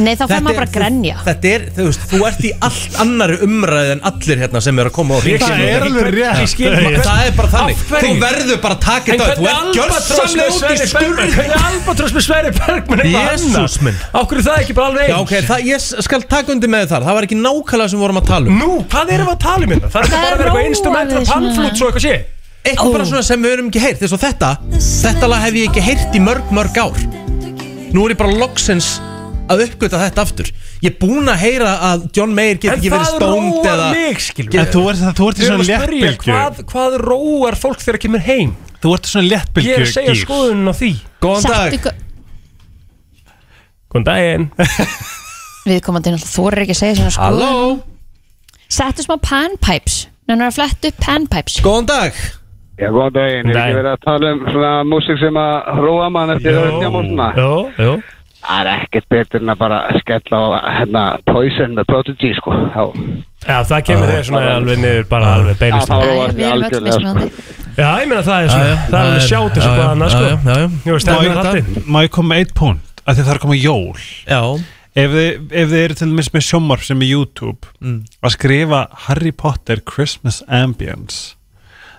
[SPEAKER 2] Nei, þá fær
[SPEAKER 1] Þetta
[SPEAKER 2] maður
[SPEAKER 1] er-
[SPEAKER 2] bara að grenja
[SPEAKER 1] Þetta er, þú veist, þú ert í allt annari umræði en allir hérna sem eru að koma á því
[SPEAKER 7] Það er alveg rétt
[SPEAKER 3] Ég skil
[SPEAKER 1] Ma- Það er bara þannig
[SPEAKER 3] Af hverju?
[SPEAKER 1] Þú verður bara að taka þetta upp. Þú ert gjörsamlega út í skurð
[SPEAKER 3] Hvernig albatross með Sverri Bergman
[SPEAKER 1] Jesús minn.
[SPEAKER 3] Okkur er það ekki bara alveg
[SPEAKER 1] Já, ok, það, ég skal taka undir með þar Það var ekki nákvæmlega sem við vorum að tala um
[SPEAKER 3] Nú, hvað erum við að tala um hérna? Það er
[SPEAKER 2] Það
[SPEAKER 3] bara að vera
[SPEAKER 2] róaði
[SPEAKER 3] eitthvað instrument að
[SPEAKER 2] svona.
[SPEAKER 3] pannflút svo eitthvað sé
[SPEAKER 1] Eitthvað bara svona sem við höfum ekki heyrt Þess og þetta, þetta lag hef ég ekki heyrt í mörg, mörg ár Nú er ég bara loksins að uppgöta þetta aftur Ég er búinn að heyra að John Mayer get
[SPEAKER 3] En
[SPEAKER 1] ekki verið
[SPEAKER 3] það
[SPEAKER 1] stónd
[SPEAKER 3] róar
[SPEAKER 1] eða
[SPEAKER 3] mig, skilur
[SPEAKER 7] En þú ert, þú ert í
[SPEAKER 3] Við erum
[SPEAKER 7] svona
[SPEAKER 3] að spyrja
[SPEAKER 7] léttbylgju
[SPEAKER 3] hvað, hvað róar fólk þegar kemur heim
[SPEAKER 7] Þú ert í svona léttbylgju
[SPEAKER 3] Ég er að segja
[SPEAKER 7] gír.
[SPEAKER 3] skoðunum á því
[SPEAKER 1] Góðan dag
[SPEAKER 2] Settu
[SPEAKER 3] Góðan daginn
[SPEAKER 2] Við komandi náttúrulega þorir ekki að segja svona
[SPEAKER 1] Halló,
[SPEAKER 2] sko Settu smá panpipes Nennar að fletta upp panpipes
[SPEAKER 1] góðan dag
[SPEAKER 10] Já, góðan
[SPEAKER 3] Góðan
[SPEAKER 10] daginn,
[SPEAKER 3] daginn.
[SPEAKER 10] hefur ekki verið að tala um svona músík sem að róa mann eftir öðrum hjá
[SPEAKER 3] Jó, jó
[SPEAKER 10] Það er ekkert betur en að bara skella á hérna Poison með Prodigy, sko. Já,
[SPEAKER 3] Já, það kemur þér svona alveg niður bara alveg
[SPEAKER 10] Já,
[SPEAKER 3] beinist
[SPEAKER 10] það
[SPEAKER 2] Æ,
[SPEAKER 10] róa
[SPEAKER 2] Við erum
[SPEAKER 10] því
[SPEAKER 2] öll
[SPEAKER 10] algjörlega,
[SPEAKER 2] mismunandi
[SPEAKER 10] sko.
[SPEAKER 3] Já, ég meina það er svona, það er alveg sjátt þessu hvað annað, sko. Jú,
[SPEAKER 7] Má
[SPEAKER 3] stefnir
[SPEAKER 7] ég-
[SPEAKER 3] hattinn.
[SPEAKER 7] Má ég koma með eitt punkt að þið þarf að koma jól
[SPEAKER 1] Já
[SPEAKER 7] Ef þið, ef þið eru til dæmis með sjómar sem er YouTube
[SPEAKER 1] Mm.
[SPEAKER 7] að skrifa Harry Potter Christmas Ambience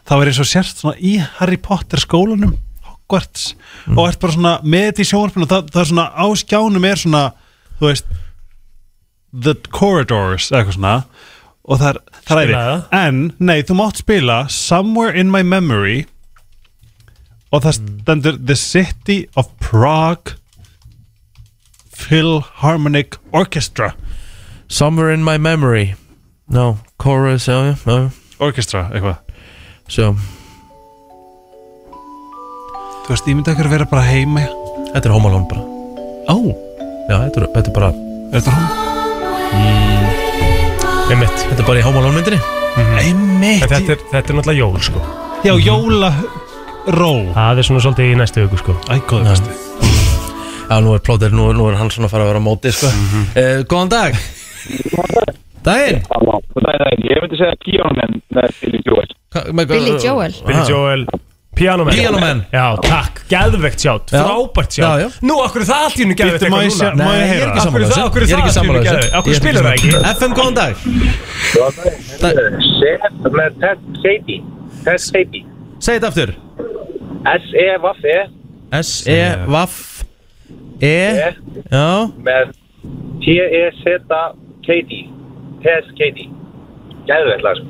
[SPEAKER 7] þá er eins og sérst svona í Harry Potter skólanum Hogwarts og ert bara svona með þetta í sjónvarpinu og það, það er svona á skjánum er svona þú veist The Corridors eða eitthvað svona og það er, það er
[SPEAKER 3] Spilaðu
[SPEAKER 7] æði. en nei, þú mátt spila Somewhere in my memory og það stendur The City of Prague Philharmonic Orchestra
[SPEAKER 1] Somewhere in my memory No, chorus, já, já, já
[SPEAKER 7] Orchestra, eitthvað
[SPEAKER 1] Svo,
[SPEAKER 7] Þú veist, ég myndi að vera bara heima
[SPEAKER 1] þetta er Home Alone bara
[SPEAKER 7] Ó,
[SPEAKER 1] Já, þetta er, þetta er bara
[SPEAKER 7] er þetta hún?
[SPEAKER 3] Einmitt.
[SPEAKER 1] Þetta er bara í Home Alone myndinni
[SPEAKER 3] En
[SPEAKER 7] Einmitt
[SPEAKER 3] Þetta er þetta er náttúrulega jól, sko.
[SPEAKER 7] Já, jóla ró
[SPEAKER 3] Það er svona svolítið í næstu viku, sko.
[SPEAKER 7] Ægóðu
[SPEAKER 1] Já.
[SPEAKER 7] besti
[SPEAKER 1] Já, nú er plóter, nú, nú er hann svona að fara að vera á móti, sko
[SPEAKER 3] Mhm.
[SPEAKER 1] uh, Góðan dag Daginn
[SPEAKER 10] Ég myndi segja Kíónum en það er Billy Joel
[SPEAKER 1] Hva- með- Ah,
[SPEAKER 2] Billy Joel.
[SPEAKER 3] Billy Joel, Piano Man.
[SPEAKER 1] Piano Man.
[SPEAKER 3] Já, takk. Geðvegt sjátt.
[SPEAKER 1] Já.
[SPEAKER 3] Frábært
[SPEAKER 1] Já, já.
[SPEAKER 3] sjátt. Nú, okkur er það allt í hennu geðvegt
[SPEAKER 7] Bíddu, má ég sjá-
[SPEAKER 3] eitthvað
[SPEAKER 7] má
[SPEAKER 3] núna?
[SPEAKER 1] Nei, ég er ekki
[SPEAKER 3] Af hverju
[SPEAKER 1] sammála
[SPEAKER 3] það- af hverju
[SPEAKER 1] Ég er ekki
[SPEAKER 3] það
[SPEAKER 1] sammála
[SPEAKER 3] allt í einu
[SPEAKER 1] þessu
[SPEAKER 3] geðveikt? Af
[SPEAKER 1] Ég
[SPEAKER 3] hverju
[SPEAKER 1] er
[SPEAKER 3] spilur það
[SPEAKER 1] sammála
[SPEAKER 3] ekki?
[SPEAKER 1] þessu. FM, góðan dag
[SPEAKER 10] E Seth með Ted Sadie Ted Sadie
[SPEAKER 1] Segð þetta aftur
[SPEAKER 10] E
[SPEAKER 1] E
[SPEAKER 10] S-E-V-A-F-E
[SPEAKER 1] S-E-V-A-F-E E? Já,
[SPEAKER 10] E, með E T-E-Z-K-D Ted Sadie Gæðveld lag sko.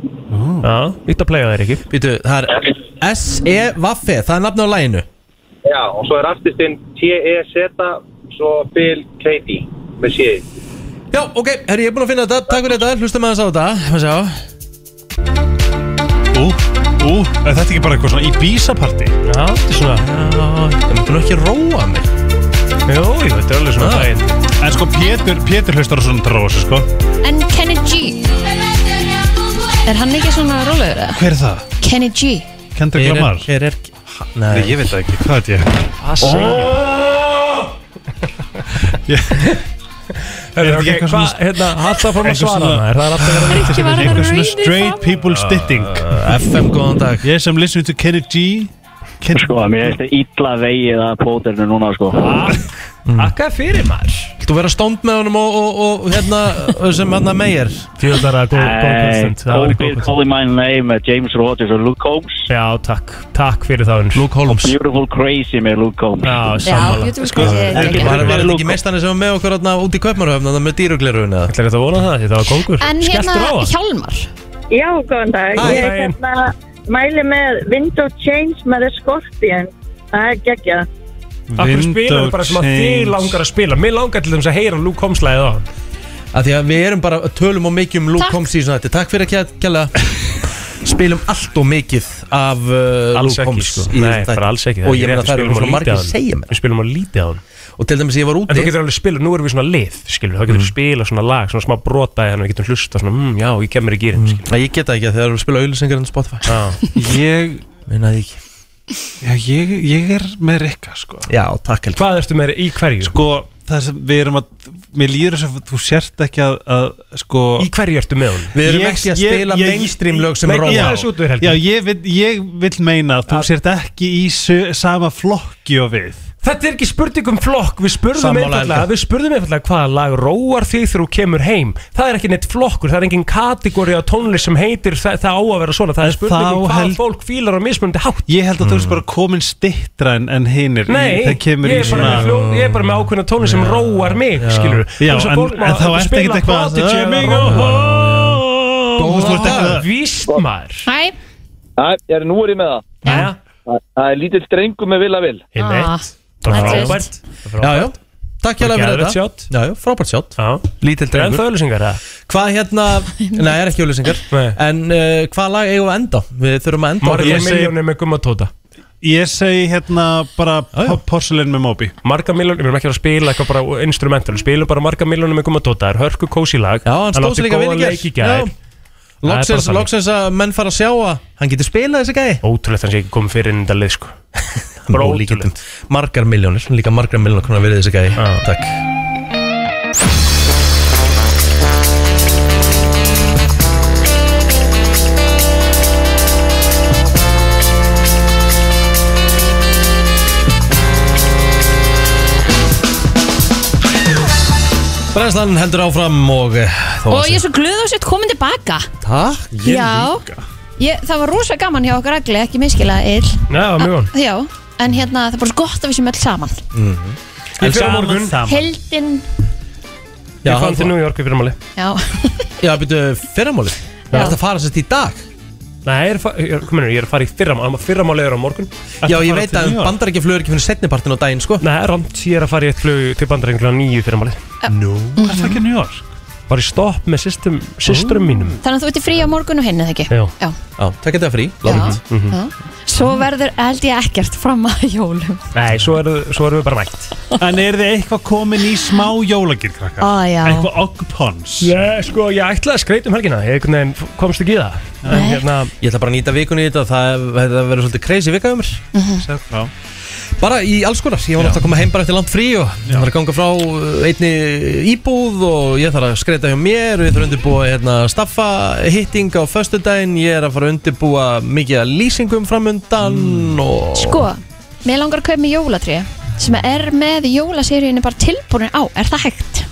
[SPEAKER 3] Já, ít að playa þér ekki.
[SPEAKER 1] býtu, það er S-E-V-A-F-E, það er nafn á læginu
[SPEAKER 10] Já, og svo er aftistinn T-E-Z svo Bill K-D með séð
[SPEAKER 1] Já, ok, herri, ég er búinn að finna þetta, takk fyrir þetta, hlustum aðeins á þetta Má sjá
[SPEAKER 7] Ú, ú, er þetta ekki bara eitthvað svona Ibiza-party?
[SPEAKER 3] Já, þetta er svona,
[SPEAKER 1] Það myndir nú ekki róa mig
[SPEAKER 3] jú, jú, þetta er alveg svona
[SPEAKER 1] Já.
[SPEAKER 3] daginn.
[SPEAKER 7] Ah. En sko, Pétur, Pétur hlustar á svona drósi, sko
[SPEAKER 2] En Kenny G Er hann ekki svona rólegur eða?
[SPEAKER 7] Hver er það?
[SPEAKER 2] Kenny G
[SPEAKER 7] Kendrick
[SPEAKER 1] Hver er,
[SPEAKER 7] Lamar?
[SPEAKER 1] hver er ha- Nei,
[SPEAKER 7] Nei, ég veit það ekki, hvað er þetta?
[SPEAKER 3] Er
[SPEAKER 7] þetta ekki
[SPEAKER 3] ok,
[SPEAKER 7] eitthvað
[SPEAKER 3] hvað,
[SPEAKER 7] svona-
[SPEAKER 3] hérna, Halla fór að
[SPEAKER 7] eitthvað
[SPEAKER 3] svara
[SPEAKER 7] svona-
[SPEAKER 3] hana, er það alltaf verið að nýta
[SPEAKER 2] Ekki
[SPEAKER 3] sér?
[SPEAKER 2] var hann
[SPEAKER 7] Eitthvað
[SPEAKER 2] að
[SPEAKER 7] svona
[SPEAKER 2] reyði
[SPEAKER 7] straight
[SPEAKER 2] fram
[SPEAKER 3] Ah.
[SPEAKER 7] people stitting
[SPEAKER 1] FM, góðan dag
[SPEAKER 7] Yes, I'm listening to Kenny G Kenny
[SPEAKER 10] Sko, mér finnst þetta illa vegið að plóterinu núna, sko.
[SPEAKER 3] Akka fyrir maður.
[SPEAKER 1] Þú verður stónd með honum og, og, og hérna sem hérna meir
[SPEAKER 3] Tjóðar að góð góð konstant, það var í góð
[SPEAKER 10] Covid
[SPEAKER 3] konstant.
[SPEAKER 10] calling my name með James Rogers og Luke Combs.
[SPEAKER 3] Já, takk, takk fyrir það, Unur.
[SPEAKER 1] Luke Holmes
[SPEAKER 10] Beautiful crazy með Luke Combs.
[SPEAKER 3] Já,
[SPEAKER 2] Já,
[SPEAKER 3] sammála.
[SPEAKER 2] beautiful crazy er
[SPEAKER 10] ekki
[SPEAKER 2] geggjað.
[SPEAKER 1] Var, var þetta
[SPEAKER 10] Luke-
[SPEAKER 1] ekki mestanir sem var með okkur hérna út í Kaupmannahöfn Þannig með dýrugleruðin eða
[SPEAKER 3] Ætlar þetta að vona það, því það var kongur.
[SPEAKER 2] En
[SPEAKER 3] Skelltur á
[SPEAKER 2] hérna
[SPEAKER 3] það.
[SPEAKER 2] Hjálmar
[SPEAKER 14] Já, góðan dag.
[SPEAKER 1] Hæ.
[SPEAKER 14] ég
[SPEAKER 3] Daginn.
[SPEAKER 14] hérna, mæli með Window Change með The Scorpion. Það er geggjað.
[SPEAKER 3] Akkur spilum við bara sem að þið langar að spila Mér langar til þess að heyra Luke Combs-læðið á
[SPEAKER 1] Af því að við erum bara tölum og mikið um Luke
[SPEAKER 2] Takk.
[SPEAKER 1] Holmes í svona þetta Takk fyrir að kjæ- kjalla Spilum allt og mikið af uh,
[SPEAKER 3] Alls
[SPEAKER 1] Luke
[SPEAKER 3] ekki,
[SPEAKER 1] Holmes
[SPEAKER 3] sko.
[SPEAKER 1] í
[SPEAKER 3] Nei,
[SPEAKER 1] þætti.
[SPEAKER 3] bara alls ekki, það
[SPEAKER 1] Og
[SPEAKER 3] er
[SPEAKER 1] ég meina
[SPEAKER 3] rétt, um
[SPEAKER 1] það
[SPEAKER 3] við
[SPEAKER 1] eru
[SPEAKER 3] spilum
[SPEAKER 1] svona
[SPEAKER 3] of
[SPEAKER 1] margir
[SPEAKER 3] lítið
[SPEAKER 1] að
[SPEAKER 3] af
[SPEAKER 1] segja mér
[SPEAKER 3] Við spilum að lítið á hann
[SPEAKER 1] Og til dæmis ég var
[SPEAKER 3] En þú
[SPEAKER 1] úti
[SPEAKER 3] getur alveg spila, nú erum við svona lið, skilur Þá
[SPEAKER 1] Mm.
[SPEAKER 3] getur við spila svona lag, svona smá brota Þannig við getum hlusta svona, mm, já, ég kemur í gýrin
[SPEAKER 1] Nei, Ég geta ekki að þegar við spila auðlýsingar en Spotify
[SPEAKER 7] Ég,
[SPEAKER 1] Minna því ekki
[SPEAKER 7] já, ég, ég er með Rikka, sko
[SPEAKER 1] Já, takk heldur
[SPEAKER 3] Hvað ertu með í hverju?
[SPEAKER 7] Sko, það sem við erum að, mér líður þess að þú sért ekki að, að sko
[SPEAKER 3] Í hverju ertu með hann?
[SPEAKER 1] Við erum
[SPEAKER 7] Ég-
[SPEAKER 1] ekki að
[SPEAKER 7] ég-
[SPEAKER 1] spila
[SPEAKER 7] ég-
[SPEAKER 1] mainstream lög sem
[SPEAKER 3] Nei,
[SPEAKER 1] róa
[SPEAKER 3] já,
[SPEAKER 1] á.
[SPEAKER 3] þessu út við, Helgi.
[SPEAKER 7] Já, ég vil, ég vil meina að þú sért ekki í sö, sama flokki og við
[SPEAKER 3] Þetta er ekki spurning um flokk, við spurðum
[SPEAKER 1] Sammála,
[SPEAKER 3] einfallega
[SPEAKER 1] Helga.
[SPEAKER 3] Við spurðum einfallega hvaða lag róar þig þegar þú kemur heim Það er ekki neitt flokkur, það er engin kategóri á tónlist sem heitir það, það á að vera svona Það er spurning um
[SPEAKER 7] Þá
[SPEAKER 3] hvað
[SPEAKER 7] held-
[SPEAKER 3] fólk fílar á mismunandi hátt
[SPEAKER 7] Ég held að þú sért bara komin stittra en, en hinir
[SPEAKER 3] Hmm. Nei,
[SPEAKER 7] Í- Það
[SPEAKER 3] ég,
[SPEAKER 7] kemur í
[SPEAKER 3] er bara
[SPEAKER 7] svona
[SPEAKER 3] með hljó- ég er bara með ákveðna tónlist sem róar mig, skilur
[SPEAKER 7] Já, en, en þá ert ekkert eitthvað
[SPEAKER 3] Prodigy
[SPEAKER 7] að-
[SPEAKER 3] eða
[SPEAKER 7] Já,
[SPEAKER 3] róa
[SPEAKER 7] já, já. Þú veist, þú ert ekki að-
[SPEAKER 3] Víst maður
[SPEAKER 2] Hæ
[SPEAKER 10] Æ, ég er nú er ég með það.
[SPEAKER 3] Jæja,
[SPEAKER 10] Það- Það er lítill drengu með vil að vil.
[SPEAKER 2] Ah,
[SPEAKER 3] einmitt Það
[SPEAKER 2] þetta
[SPEAKER 3] er
[SPEAKER 2] er
[SPEAKER 3] frábært
[SPEAKER 1] Já, já, takk hjá fyrir
[SPEAKER 3] Geðveikt
[SPEAKER 1] þetta
[SPEAKER 3] sjátt.
[SPEAKER 1] hérna. Já, já, frábært sjátt
[SPEAKER 3] já
[SPEAKER 1] Lítil
[SPEAKER 3] En
[SPEAKER 1] drengur
[SPEAKER 3] það öllusingar það
[SPEAKER 1] Hvað hérna, nei, er ekki auðlýsingar
[SPEAKER 3] Nei.
[SPEAKER 1] En uh, hvað lag eigum við að enda? Við þurfum að enda á
[SPEAKER 3] Marga
[SPEAKER 7] ég segi-
[SPEAKER 3] miljónir með gumma tóta
[SPEAKER 7] Ég segi hérna bara
[SPEAKER 1] já.
[SPEAKER 7] po- porcelain með Moby
[SPEAKER 3] Marga miljónir, við erum ekki að fara að spila eitthvað bara instrumental Við spilum bara marga miljónir með gumma tóta Það er hörku kósi lag
[SPEAKER 1] Já, hann stóð sér líka vel í gær.
[SPEAKER 3] í gær
[SPEAKER 1] Já. Loksins,
[SPEAKER 3] Það er bara þannig.
[SPEAKER 1] loksins að menn fara að sjá að hann getur spilað þessi gæði
[SPEAKER 3] Ótrúlegt hann sé ekki komið fyrir inn í þetta lið sko Bara ótrúlegt
[SPEAKER 1] Margar miljónir, líka margar miljónir konar verið þessi gæði
[SPEAKER 3] Já.
[SPEAKER 1] Takk Brennslan heldur áfram og eh, þó að
[SPEAKER 2] Og ég
[SPEAKER 1] sé-
[SPEAKER 2] er svo glöð á sér komin tilbaka
[SPEAKER 1] Takk
[SPEAKER 2] Já, ég, það var rosa gaman hjá okkur allir, ekki miskila ill
[SPEAKER 3] Já, mjög gaman.
[SPEAKER 2] Já, en hérna það er bara svo gott að við séum öll saman
[SPEAKER 3] En saman
[SPEAKER 2] Heldin,
[SPEAKER 1] Já,
[SPEAKER 3] Ég fann
[SPEAKER 1] hann
[SPEAKER 3] til
[SPEAKER 1] fór-
[SPEAKER 3] New York í fyrramáli
[SPEAKER 2] já,
[SPEAKER 1] Já, byrju, fyrramáli Það er að fara sérst í dag
[SPEAKER 3] Nei, ég er, fa- ég er, kominur, ég er að fara í fyrramáli Fyrramáli er á morgun
[SPEAKER 1] Já, ég veit að bandarækja flögur ekki finnir setnipartin á daginn, sko
[SPEAKER 3] Nei, rámt, ég er að fara í eitt flug til bandarengulega nýju fyrramáli Nú
[SPEAKER 2] Mhm. Ertu ekki
[SPEAKER 3] í New York? Bara í stopp með systum, systurum mínum
[SPEAKER 2] þannig að þú ert í frí á morgun og hinn eða ekki
[SPEAKER 3] Já. Mhm.
[SPEAKER 2] Já.
[SPEAKER 1] Já, takk þetta frí
[SPEAKER 2] langt. Já. Svo verður held ég ekkert fram að jólum
[SPEAKER 3] Nei, svo eru, svo eru við bara mætt
[SPEAKER 7] En er þið eitthvað komin í smá jólagir, krakkar?
[SPEAKER 2] Á, já.
[SPEAKER 7] Eitthvað oggpons?
[SPEAKER 3] Ég, sko, ég ætlaði að skreita um helgina Ég einhvern veginn f- komst ekki í það En hérna,
[SPEAKER 1] Ég ætla bara að nýta vikunni í þetta Það, það verður svolítið crazy vika um mér
[SPEAKER 7] Sett frá
[SPEAKER 1] Bara í alls konar, ég var náttúrulega að koma heim bara eftir langt frí og ég var að ganga frá uh, einni íbúð og ég þarf að skreita hjá mér og ég þarf að undirbúa hérna, staffa hitting á föstudaginn, ég er að fara að undirbúa mikið að lýsingum framundan og...
[SPEAKER 2] Sko, mér langar að kaupa mig jólatrí sem er með jólaseríunni bara tilbúin á, er það hægt?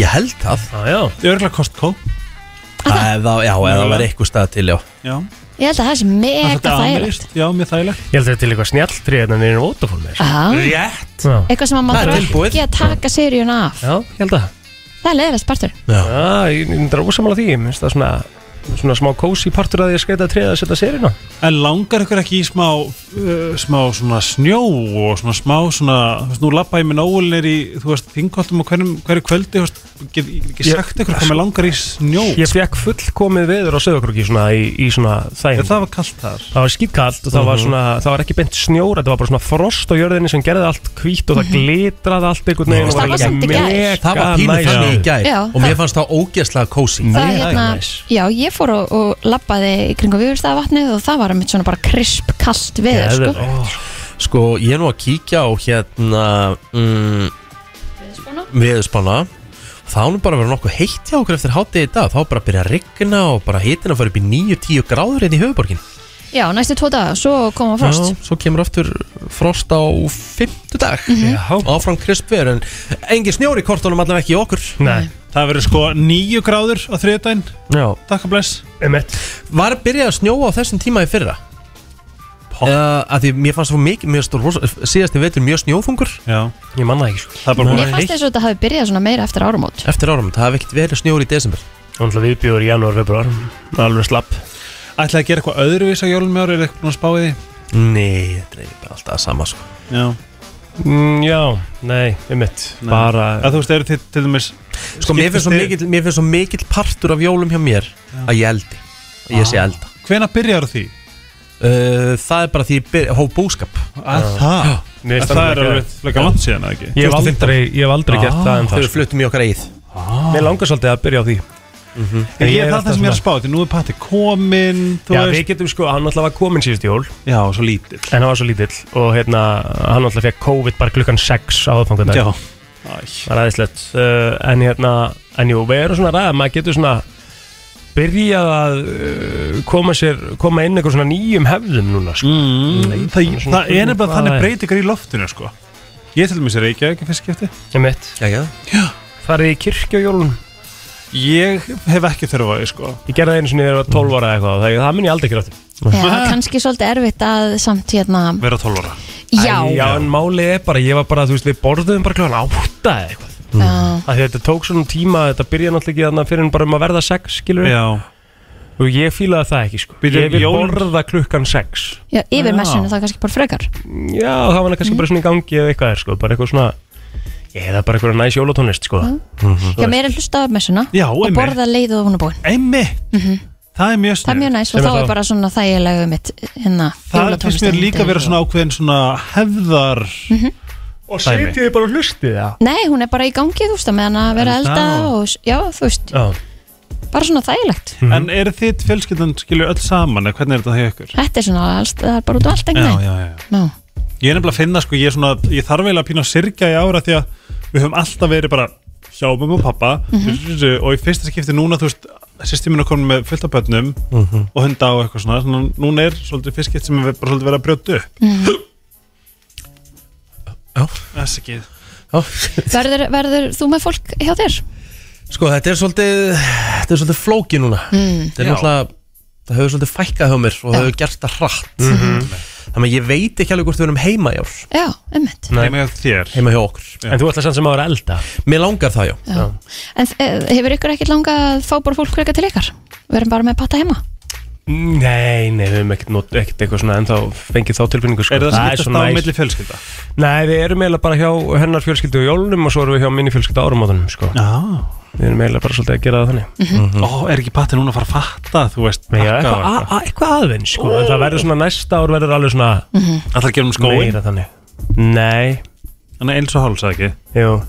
[SPEAKER 1] Ég held það
[SPEAKER 3] ah, Já,
[SPEAKER 7] örgulega Costco
[SPEAKER 1] Eða, já, eða það var eitthvað stað til, já
[SPEAKER 7] Já,
[SPEAKER 2] Ég held að það sé mega þægilegt
[SPEAKER 7] Já, mjög þægilegt
[SPEAKER 3] ég held að þetta er til eitthvað snjalltrið En það er ótafól með
[SPEAKER 2] Já.
[SPEAKER 3] Rétt Já,
[SPEAKER 2] Eitthvað sem að maður
[SPEAKER 3] Það er
[SPEAKER 2] þarf ekki að taka seríuna af
[SPEAKER 3] Já, ég held að
[SPEAKER 2] Það er leðilegt partur
[SPEAKER 1] Já,
[SPEAKER 3] ég ég myndi að ósamála því Mér finnst það svona, svona smá kósi partur að ég skreita trið að setja serina
[SPEAKER 7] En langar ykkur ekki í smá, uh, smá svona snjó og svona smá svona, þú veist, nú lappa ég minn óulinir í, þú veist, þingoltum og hverjum, hverju kvöldi, þú veist, get ég get ekki
[SPEAKER 3] Ég-
[SPEAKER 7] sagt ykkur hvað mér langar í snjó.
[SPEAKER 3] Ég fekk fullkomið veður á söðokrúki svona í, í svona þægum
[SPEAKER 7] Ég, það var kallt þar.
[SPEAKER 3] Það var skýtkallt og það var svona, það var ekki beint snjóra, það var bara svona frost á jörðinni sem gerði allt hvítt og það glitraði allt einhvern veginn og
[SPEAKER 2] Það var
[SPEAKER 3] alveg
[SPEAKER 2] samt í gær.
[SPEAKER 3] mega
[SPEAKER 1] Það var pínu
[SPEAKER 3] næs.
[SPEAKER 1] þannig í gær
[SPEAKER 2] Já,
[SPEAKER 1] og mér fannst það ógeðslega kósi
[SPEAKER 2] það, hérna, Já, ég fór og, og labbaði í kringum viðurstaðavatnið og það var mitt svona bara krisp, kalt veður sko.
[SPEAKER 1] Sko, ég er nú að kíkja á hérna mm, Viðspána Það ánum bara að vera nokkuð heitt hjá okkur eftir hátið í dag Þá bara byrja að rigna og bara hitina að fara upp í 9-10 gráður hérna í höfuborgin
[SPEAKER 2] Já, næstu tvo daga, svo koma frost
[SPEAKER 1] Svo kemur aftur frost á fimmtudag mm
[SPEAKER 2] Mhm.
[SPEAKER 1] -hmm. Áfram krispveður en engin snjór í kortunum allavega ekki í okkur
[SPEAKER 3] Nei.
[SPEAKER 7] Það verður sko nýju gráður á þriðdæn.
[SPEAKER 1] Já
[SPEAKER 7] Takk að bless.
[SPEAKER 3] Emmett.
[SPEAKER 1] Var að byrja að snjóa á þessum tíma í fyrra? Uh, að því mér fannst svo mikið mér stór, síðast í vetur mjög snjóþungur
[SPEAKER 7] Já.
[SPEAKER 3] ég manna ekki sko.
[SPEAKER 7] það er
[SPEAKER 1] bara
[SPEAKER 2] Mér
[SPEAKER 1] búin að
[SPEAKER 2] fannst
[SPEAKER 1] heitt
[SPEAKER 2] þess að þetta hafi byrjað svona meira eftir áramót
[SPEAKER 1] eftir árum það hafði ekkert verið snjór í desember
[SPEAKER 3] Þannig að viðbjóður í janúar, februar, alveg slapp
[SPEAKER 7] Ætlaði að gera eitthvað öðruvís á jólum ári, er eitthvað búin að spá í því?
[SPEAKER 1] Nei, þetta er bara alltaf sama sko
[SPEAKER 7] Já.
[SPEAKER 3] Mm, já, nei, einmitt, bara
[SPEAKER 7] Að þú veist, eru til, til dæmis...
[SPEAKER 1] Sko mér finnst svo mikill, mér finnst svo mikill partur af jólum hjá mér að ég eldi að ég sé
[SPEAKER 7] Ah.
[SPEAKER 1] elda
[SPEAKER 7] Hvena byrjar því?
[SPEAKER 1] uh, Það er bara því ég byrja, hó búskap
[SPEAKER 7] Að það?
[SPEAKER 3] Mér finnst
[SPEAKER 7] Að það
[SPEAKER 3] það
[SPEAKER 7] er
[SPEAKER 3] alveg-
[SPEAKER 7] alveg fleika langt síðan, eða ekki?
[SPEAKER 3] Ég hef aldrei, ég hef aldrei gert það en það
[SPEAKER 1] Þau fluttum í okkar eigið
[SPEAKER 3] Mér langar svolítið að byrja á því
[SPEAKER 7] Ég, ég, það er það sem ég er að
[SPEAKER 3] svona-
[SPEAKER 7] spá, því nú er patti komin, þú
[SPEAKER 3] Já, við
[SPEAKER 7] veist.
[SPEAKER 3] getum sko, hann alltaf var komin síðust jól
[SPEAKER 7] Já, svo lítill.
[SPEAKER 3] En hann var svo lítill og hérna, hann alltaf fekk COVID bara klukkan 6 á aðfangundag
[SPEAKER 7] Já.
[SPEAKER 3] Það er aðeinslegt uh, En hérna, en jú, við erum svona ræða Maður getur svona byrjað að uh, koma sér Koma inn einhver svona nýjum hefðum núna sko.
[SPEAKER 7] Mm,
[SPEAKER 3] svona
[SPEAKER 7] það, það er
[SPEAKER 3] spurning
[SPEAKER 7] nefnilega
[SPEAKER 3] hvað
[SPEAKER 7] þannig
[SPEAKER 3] er.
[SPEAKER 7] breytingar í loftinu sko. Ég til dæmis er Reykjavík í fyrst skipti
[SPEAKER 3] Ég mitt,
[SPEAKER 1] Já, já
[SPEAKER 3] farið í kirkju á jólun
[SPEAKER 7] Ég hef ekki þurfa því sko.
[SPEAKER 3] Ég gerði það einu sinni þegar ég var 12 ára eða eitthvað Það, það mun ég aldrei grátt
[SPEAKER 2] Já, kannski svolítið erfitt að samt hérna
[SPEAKER 7] Verða 12 ára
[SPEAKER 2] Já,
[SPEAKER 3] Já, en málið er bara, ég var bara, þú veist, við borðum bara kljóðan átta eða eitthvað
[SPEAKER 2] já.
[SPEAKER 3] að þetta tók svona tíma, þetta byrjaði náttúrulega ekki þannig fyrir en bara um að verða sex, skilur við
[SPEAKER 7] Já,
[SPEAKER 3] og ég fílaði það ekki, sko
[SPEAKER 7] Byrju,
[SPEAKER 3] ég vil
[SPEAKER 7] jól-
[SPEAKER 3] borða klukkan sex
[SPEAKER 2] já yfir
[SPEAKER 7] Já.
[SPEAKER 2] messinu það kannski bara frekar
[SPEAKER 3] já, það var kannski bara svona í gangi eða eitthvað er, sko, bara eitthvað svona eða bara eitthvað næs jólatónlist, sko
[SPEAKER 2] Já, meira hlusta af messuna
[SPEAKER 7] Mm, Já,
[SPEAKER 2] og
[SPEAKER 7] einmitt.
[SPEAKER 2] borða leið og hún er búin
[SPEAKER 7] emmi Mhm. Það er mjög
[SPEAKER 2] Það er
[SPEAKER 7] snið
[SPEAKER 2] mjög næst
[SPEAKER 3] Sem
[SPEAKER 2] og
[SPEAKER 3] er
[SPEAKER 2] þá
[SPEAKER 3] þá-
[SPEAKER 2] er bara svona þægilega um mitt hérna
[SPEAKER 7] Það finnst mér
[SPEAKER 2] jólatónlistin.
[SPEAKER 7] líka vera svona ákveðin svona hefðar
[SPEAKER 3] og
[SPEAKER 7] Dæmi.
[SPEAKER 3] setjið bara og hlustið það
[SPEAKER 2] Nei, hún er bara í gangi, þú veist, á meðan að vera að
[SPEAKER 7] Elda
[SPEAKER 2] elda
[SPEAKER 7] og-
[SPEAKER 2] og, já, þú veist,
[SPEAKER 3] já,
[SPEAKER 2] bara svona þægilegt
[SPEAKER 7] En er þitt fjölskyldan skilur öll saman eða hvernig er þetta hjá ykkur?
[SPEAKER 2] Þetta er svona, alls, það er bara út á allt
[SPEAKER 7] Já,
[SPEAKER 2] einhvern
[SPEAKER 7] já, já
[SPEAKER 2] veginn Já.
[SPEAKER 7] Ég er nefnilega að finna sko, ég, er svona, ég þarf eiginlega að pína að sirkja í ára því að við höfum alltaf verið bara hjá mamma og pappa og í fyrsta skipti núna þú veist sýstir mín er komin með fullt af börnum
[SPEAKER 3] Mhm.
[SPEAKER 7] og hunda og eitthvað svona, svona núna er svolítið fyrst skipt sem við bara svolítið verið að brjóta upp
[SPEAKER 1] Já.
[SPEAKER 7] Þess ekki
[SPEAKER 1] Já.
[SPEAKER 2] Verður, verður þú með fólk hjá þér?
[SPEAKER 1] Sko, þetta er svolítið, þetta er svolítið flóki núna
[SPEAKER 2] Mm.
[SPEAKER 1] Þetta er
[SPEAKER 2] Já.
[SPEAKER 1] náttúrulega, það hefur svolítið fækkað hjá mér og það hefur gert það hratt Mm-hmm. Þannig að ég veit ekki alveg hvort við erum heima í ár
[SPEAKER 2] Já, einmitt
[SPEAKER 1] Heima hjá þér Heima hjá okkur
[SPEAKER 3] En þú ætlar samt sem að vera elda
[SPEAKER 1] Mér langar það, já,
[SPEAKER 2] Já. En eh, hefur ykkur ekkert langað að fá bara fólk freka til ykkar? Við erum bara með patta heima
[SPEAKER 3] Nei, nei, við höfum ekkert, not- ekkert eitthvað svona ennþá fengið þá tilbynningu sko.
[SPEAKER 7] Er það skiptast
[SPEAKER 3] svona
[SPEAKER 7] á
[SPEAKER 3] næs-
[SPEAKER 7] milli fjölskylda?
[SPEAKER 3] Nei, við erum eiginlega bara hjá hennar fjölskyldu og jólunum og svo erum við hjá minni fjölskyldu áramóðunum sko.
[SPEAKER 7] Já
[SPEAKER 3] Við erum eiginlega bara svolítið að gera það þannig
[SPEAKER 7] Mhm. Ó, er ekki patti núna að fara að fatta, þú veist
[SPEAKER 3] Já, eitthvað, að- að- eitthvað aðeins sko. En það verður svona næsta ár verður alveg svona
[SPEAKER 7] Mhm. Ætlarðu að gefa honum skóinn?
[SPEAKER 3] Meira þannig Nei
[SPEAKER 7] Þannig eins og háls, eða ekki?
[SPEAKER 3] Jú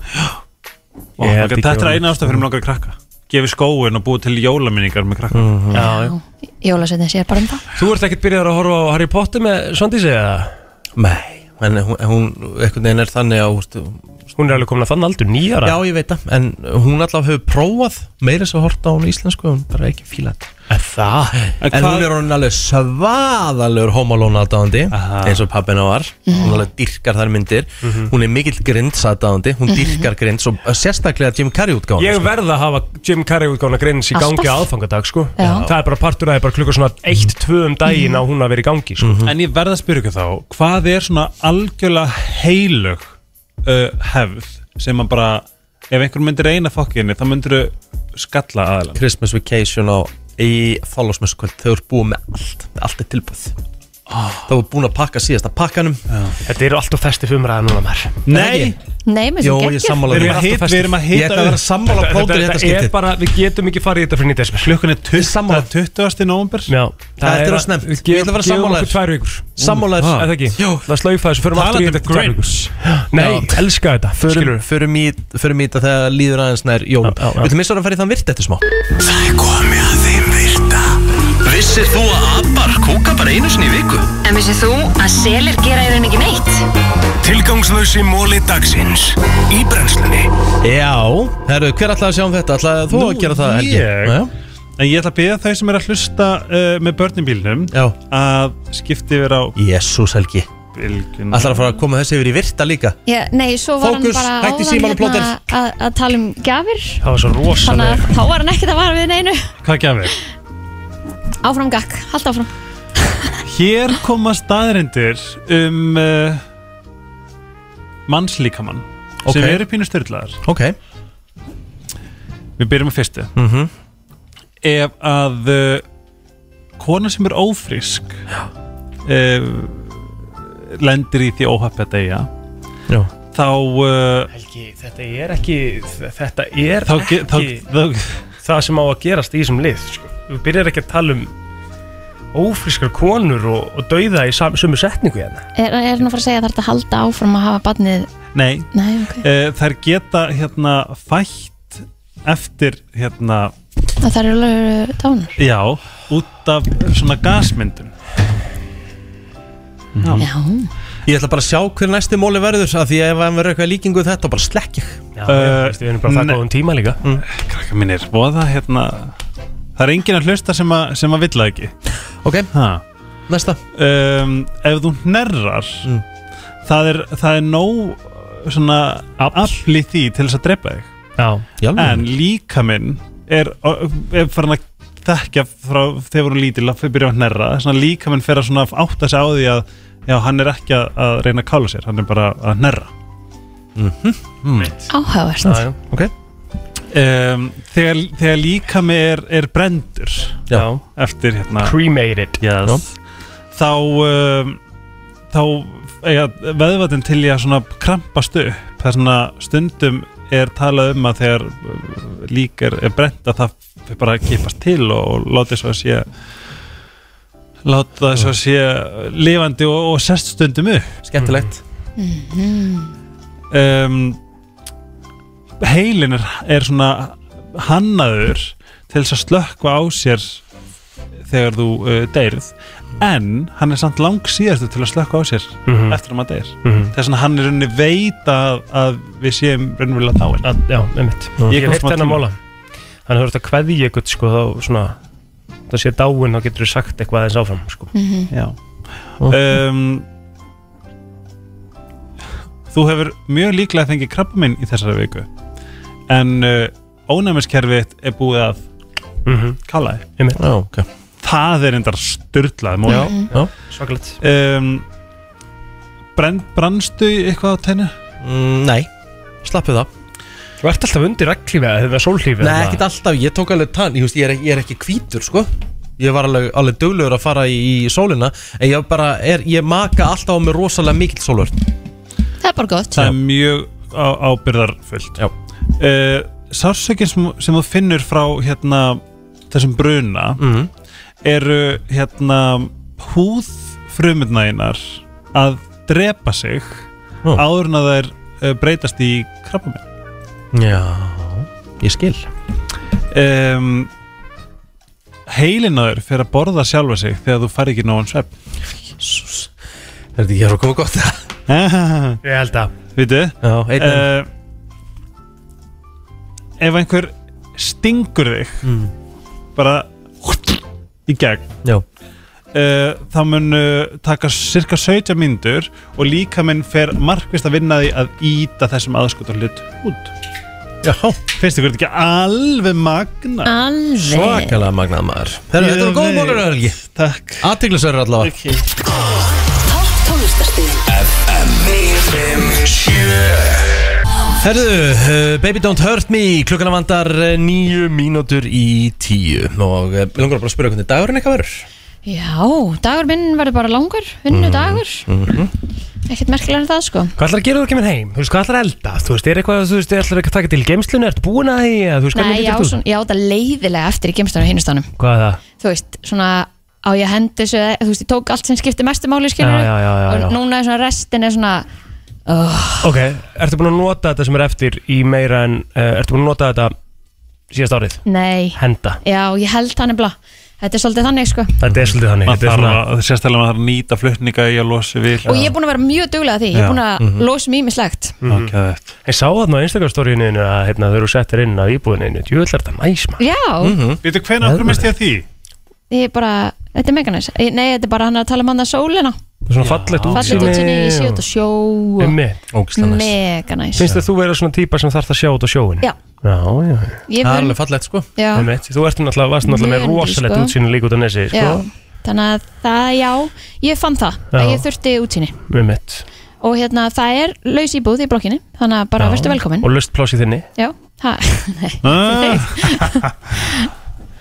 [SPEAKER 7] Ó,
[SPEAKER 3] Ég held
[SPEAKER 7] ok,
[SPEAKER 3] ekki
[SPEAKER 7] Þetta er
[SPEAKER 3] að-
[SPEAKER 7] eina ástaf fyrir mig langar að krakka Gefi skóin og búið til jólaminningar með krakka
[SPEAKER 3] Mhm. Já, já
[SPEAKER 2] Jólasveitin sér bara um það
[SPEAKER 3] Þú ert ekkert byrjar að horfa á Harry Potter með Svandísi eða?
[SPEAKER 1] Nei, en hún, hún einhvern veginn er þannig að hún,
[SPEAKER 3] hún er alveg komin að þann aldur nýjara
[SPEAKER 1] Já, ég veit það, en hún allavega hefur prófað meira sem horta á hún í íslensku hún bara ekki fíla þetta
[SPEAKER 3] En það?
[SPEAKER 1] En, hún er hún alveg svaðalur homalóna aðdáðandi eins og pappina var hún alveg dyrkar þar myndir hún er mikill grinds aðdáðandi hún dyrkar grinds og eh, sérstaklega Jim Carrey Sko, útgáðan
[SPEAKER 3] Ég verð að hafa Jim Carrey útgána grins í gangi á
[SPEAKER 1] Alltaf.
[SPEAKER 3] aðfangadag sko
[SPEAKER 1] Já.
[SPEAKER 3] Það er bara partur að það er bara klukka svona 1-2 um daginn á hún að vera í gangi sko
[SPEAKER 7] En ég verð að spyrja ykkur þá Hvað er svona algjörlega heilug uh, hefð sem að bara ef einhver myndir reyna fokkinni þá myndir skalla aðalega
[SPEAKER 1] Christmas Vacation á í þálasmesskvöld þau eru búið með allt, allt er tilbúið það voru búin að pakka síðasta pakkanum
[SPEAKER 3] Þetta eru alltaf festi fumraða núna mér
[SPEAKER 1] Nei,
[SPEAKER 2] Nei, með
[SPEAKER 1] Jó,
[SPEAKER 2] sem
[SPEAKER 1] ég sammála
[SPEAKER 3] Við
[SPEAKER 1] þér.
[SPEAKER 3] erum að hita- við erum að hita
[SPEAKER 1] Ég ætla að vera
[SPEAKER 3] upp.
[SPEAKER 1] sammála
[SPEAKER 3] Þetta-
[SPEAKER 1] plótur í
[SPEAKER 3] þetta-
[SPEAKER 1] þetta
[SPEAKER 3] þetta er
[SPEAKER 1] skipti
[SPEAKER 3] bara, Við getum ekki farið í þetta fyrir nýtt desember Klukkan er
[SPEAKER 7] 20. november
[SPEAKER 3] Já,
[SPEAKER 1] Það er of snemmt.
[SPEAKER 3] Við
[SPEAKER 1] Ég ætla að
[SPEAKER 3] gefum
[SPEAKER 1] vera sammála
[SPEAKER 3] gefum okkur
[SPEAKER 1] þér. Mm.
[SPEAKER 3] tvær vikur
[SPEAKER 1] Sammála þér.
[SPEAKER 3] Er Það ekki Það slaufa þessu Förum aftur í
[SPEAKER 1] Talandi
[SPEAKER 3] þetta
[SPEAKER 1] um
[SPEAKER 3] tvær vikur.
[SPEAKER 1] Grinch.
[SPEAKER 3] Nei, elska þetta
[SPEAKER 1] Förum, förum, í, förum í þetta þegar líður aðeins nær jólum Við ætlum eins og að fara í þann virt eftir smá
[SPEAKER 10] Það er komið að þeim virta
[SPEAKER 1] Vissir þú að abar kúka bara einu sinni í viku?
[SPEAKER 10] En vissið þú að selir gera í raun ekki neitt?
[SPEAKER 3] Tilgangslösi móli dagsins Í brennslunni
[SPEAKER 1] Já, herru, hver ætlaði að sjá um þetta? Ætlaði þú að gera það, Helgi?
[SPEAKER 7] ég, En ég ætla að byrja þau sem er að hlusta uh, með börninbílnum
[SPEAKER 1] Já.
[SPEAKER 7] að skipti vera á
[SPEAKER 1] Jésús Helgi
[SPEAKER 7] Bylgjuna
[SPEAKER 1] Ætlaði að fara að koma þessi yfir í virta líka
[SPEAKER 2] Já, nei, svo var
[SPEAKER 1] Fókus,
[SPEAKER 2] hann bara hérna
[SPEAKER 1] hætti símanum, plóter.
[SPEAKER 2] að, að tala um gjafir
[SPEAKER 3] Það var svo
[SPEAKER 2] Þannig að þá var hann ekkert að vara við neinu
[SPEAKER 7] Hvað gefur?
[SPEAKER 2] Áfram gakk, halda áfram
[SPEAKER 7] Hér koma staðrindir um uh, mannslíkamann sem
[SPEAKER 1] Ok.
[SPEAKER 7] eru pínu styrlaðar
[SPEAKER 1] Ok
[SPEAKER 7] Við byrjum með fyrstu
[SPEAKER 1] Mhm.
[SPEAKER 7] Ef að uh, kona sem er ófrísk uh, lendir í því óhafpi að deyja
[SPEAKER 1] Já.
[SPEAKER 7] þá uh,
[SPEAKER 3] Helgi, þetta er ekki Þetta er
[SPEAKER 7] Þá ge- þá-
[SPEAKER 3] ekki Það sem á að gerast í þessum lið sko. Við byrjar ekki að tala um Ófrískar konur og, og dauða í sam, sömu setningu hérna
[SPEAKER 2] Er, er hann að fara að segja að það er hægt að halda áfram að hafa barnið
[SPEAKER 7] nei,
[SPEAKER 2] Nei, ok
[SPEAKER 7] uh, þær geta hérna fætt eftir hérna
[SPEAKER 2] Það þarf alveg dánar
[SPEAKER 7] Já, út af svona gasmyndun Já.
[SPEAKER 1] Ég ætla bara að sjá hver næsti móli verður af Því að ef hann verður eitthvað í líkingu við þetta, bara slekk ég
[SPEAKER 3] Já,
[SPEAKER 1] Eh,
[SPEAKER 3] uh, við erum bara það góðum tíma líka
[SPEAKER 7] mm. Krakka mínir, voða hérna Það er enginn að hlusta sem að, sem að vill það ekki
[SPEAKER 1] Ok,
[SPEAKER 7] ha.
[SPEAKER 1] næsta
[SPEAKER 7] um, Ef þú hnerrar það, er, það er nóg uh, svona afli því til þess að drepa þig
[SPEAKER 3] Já,
[SPEAKER 1] Mm.
[SPEAKER 7] En líka minn er, uh, er farin að þekkja frá þegar voru lítil að byrja að hnerra svona líka minn fer að svona átta sig á því að já, hann er ekki að, að reyna að kála sér hann er bara að hnerra mm -hmm.
[SPEAKER 2] Áhugavert
[SPEAKER 1] Já, já, ok
[SPEAKER 7] um, þegar, þegar líka mig er, er brendur
[SPEAKER 1] Já.
[SPEAKER 7] eftir hérna
[SPEAKER 3] Cremated
[SPEAKER 7] yes. þá um, þá eiga veðvatinn til ég að svona krampast upp það er svona stundum er talað um að þegar uh, lík er, er brent að það fer bara að kipast til og, og láti svo að sé láta það svo að sé lifandi og, og sest stundum upp
[SPEAKER 1] skemmtilegt
[SPEAKER 2] Mhm,
[SPEAKER 7] um, heilin er, er svona hannaður til þess að slökkva á sér þegar þú uh, deyrð en hann er samt lang síðastu til að slökkva á sér
[SPEAKER 3] Mhm.
[SPEAKER 7] eftir að maður deyr
[SPEAKER 3] Mhm.
[SPEAKER 7] þess að hann er raunni veit að, að við séum raunverulega dáin
[SPEAKER 3] að, Já, einmitt
[SPEAKER 7] Ég
[SPEAKER 3] Ég hef
[SPEAKER 7] komst
[SPEAKER 3] heilt
[SPEAKER 7] smá
[SPEAKER 3] þennan
[SPEAKER 7] tíma.
[SPEAKER 3] mála Þannig þú ert að kveðja ykkur sko, þá svona Það sé dáin, þá getur þú sagt eitthvað aðeins áfram sko.
[SPEAKER 2] Mhm.
[SPEAKER 7] Já um, Þú hefur mjög líklega fengið krabba minn í þessari viku En uh, ónæmiskerfið er búið að
[SPEAKER 3] Mhm.
[SPEAKER 7] kalla þið
[SPEAKER 1] Já, okay.
[SPEAKER 7] það er endar styrlað mót.
[SPEAKER 3] Já,
[SPEAKER 1] já.
[SPEAKER 3] Svakalegt.
[SPEAKER 7] um, brenn, Brannstu í eitthvað á tennu?
[SPEAKER 1] Mm, nei, slappu það
[SPEAKER 3] Þú ert alltaf undir regnlífi eða þegar sólhlífi
[SPEAKER 1] Nei, ekkert alltaf, ég tók alveg tann ég, veist, ég, er, ekki- ég er ekki hvítur, sko Ég var alveg, alveg duglegur að fara í, í sólina En ég bara, er, ég maka alltaf á mig rosalega mikill sólvörn
[SPEAKER 2] Það er bara gott
[SPEAKER 7] það er mjög á, ábyrðarfullt
[SPEAKER 1] Já
[SPEAKER 7] uh, Sársökin sem, sem þú finnur frá hérna þessum bruna
[SPEAKER 1] Mm.
[SPEAKER 7] eru hérna húðfrumundnæginar að drepa sig
[SPEAKER 1] Ó.
[SPEAKER 7] áður en að þær uh, breytast í krabbamenn
[SPEAKER 1] Já, ég skil
[SPEAKER 7] um, Heilinaður fyrir að borða sjálfa sig þegar þú fari ekki nógan svepp
[SPEAKER 1] Jésús Er þetta ekki að koma gott það?
[SPEAKER 7] Ég
[SPEAKER 3] held að
[SPEAKER 7] Vítu?
[SPEAKER 1] Já, einn um.
[SPEAKER 7] Eh,
[SPEAKER 1] enn.
[SPEAKER 7] Ef einhver stingur þig
[SPEAKER 1] Mm.
[SPEAKER 7] bara í gegn
[SPEAKER 1] Já.
[SPEAKER 7] eh, þá mun uh, taka cirka 17 myndur og líka minn fer markvist að vinna því að íta þessum aðskotar hlut út
[SPEAKER 1] Já
[SPEAKER 7] Finnst ykkur þetta ekki alveg magna?
[SPEAKER 2] Alveg
[SPEAKER 1] Svakalega magnað maður Herru,
[SPEAKER 7] Ég
[SPEAKER 1] Þetta var góð
[SPEAKER 7] veit.
[SPEAKER 1] mólur, Helgi
[SPEAKER 7] Takk
[SPEAKER 1] Aðtiklisverður allavega
[SPEAKER 7] okay.
[SPEAKER 15] Tónlistarstíðin
[SPEAKER 1] Herðu, uh, Baby Don't Hurt Me Klukkan að vandar eh, níu mínútur í tíu Og uh, langar bara að spyrja hvernig dagurinn eitthvað verður
[SPEAKER 2] Já, dagur minn verður bara langur Vinnu dagur,
[SPEAKER 3] Mm,
[SPEAKER 2] ekkert merkilega en það sko
[SPEAKER 3] Hvað ætlar að gera þú ekki minn heim? Þú veist, hvað ætlar að elda? Þú veist, er eitthvað, þú veist, ætlar ekki að taka til geimslunni? Ertu búin að því? Eða, Þú veist,
[SPEAKER 2] Nei,
[SPEAKER 3] hvernig
[SPEAKER 2] já,
[SPEAKER 3] getur þú?
[SPEAKER 2] svona, já, það leiðilega eftir í gemstanum og hinustanum
[SPEAKER 3] Hvað er það?
[SPEAKER 2] Þú veist, svona á ég hendi þessu, eða- þú veist, ég tók allt sem skipti mestu máli skilur
[SPEAKER 3] Já, já, já, já, já.
[SPEAKER 2] og núna er svona restin er svona oh,
[SPEAKER 3] Ok, ertu búin að nota þetta sem er eftir í meira en, uh, ertu búin að nota þetta síðast árið?
[SPEAKER 2] nei,
[SPEAKER 3] Henda.
[SPEAKER 2] já, ég held það nefnilega Þetta er svolítið þannig sko
[SPEAKER 3] Þetta er svolítið þannig.
[SPEAKER 7] Maður
[SPEAKER 3] Þetta er
[SPEAKER 7] þarf
[SPEAKER 3] svona,
[SPEAKER 7] að, sérstaklega maður þarf að nýta flutninga í að losa vil
[SPEAKER 2] og ég er búin að vera mjög duglega að því, ég er
[SPEAKER 7] Já,
[SPEAKER 2] búin að
[SPEAKER 3] mhm. Mm-hmm.
[SPEAKER 2] losa um mig ímislegt
[SPEAKER 7] Ágæðið.
[SPEAKER 3] ég sá þarna á Instagram-storyinu að hérna, þau eru settir inn á íbúðinu. Jú, þetta er næs, maður.
[SPEAKER 2] Já,
[SPEAKER 3] Mm-hmm.
[SPEAKER 7] Veitu, hvenær okkur mist ég að því?
[SPEAKER 2] ég er bara, þetta er meganins Nei, þetta er bara hann að tala um hann að sólina
[SPEAKER 3] Svona fallegt útsýni.
[SPEAKER 2] Fallið útsinni, ég sé út á sjó og-
[SPEAKER 3] Einmitt.
[SPEAKER 2] Meganæs
[SPEAKER 3] Finnst þér þú vera svona típa sem þarf að sjá út á sjóin?
[SPEAKER 2] Já.
[SPEAKER 3] Já, já.
[SPEAKER 2] Ég Það er mun- alveg
[SPEAKER 1] fallegt, sko.
[SPEAKER 2] Já.
[SPEAKER 3] Einmitt. Þú ert náttúrulega, varst náttúrulega með
[SPEAKER 2] Mjög
[SPEAKER 3] rosalegt
[SPEAKER 2] sko.
[SPEAKER 3] útsýni líka út á nesi, sko.
[SPEAKER 2] Já, þannig að það, já, ég fann það
[SPEAKER 3] Já.
[SPEAKER 2] að ég þurfti útsýni
[SPEAKER 3] Einmitt.
[SPEAKER 2] og hérna, það er laus íbúð í blokkinni þannig að bara
[SPEAKER 3] Já.
[SPEAKER 2] verðstu velkomin
[SPEAKER 3] Og Ah. löst pláss í þinni.
[SPEAKER 2] Já, ha, nei,
[SPEAKER 7] Ah.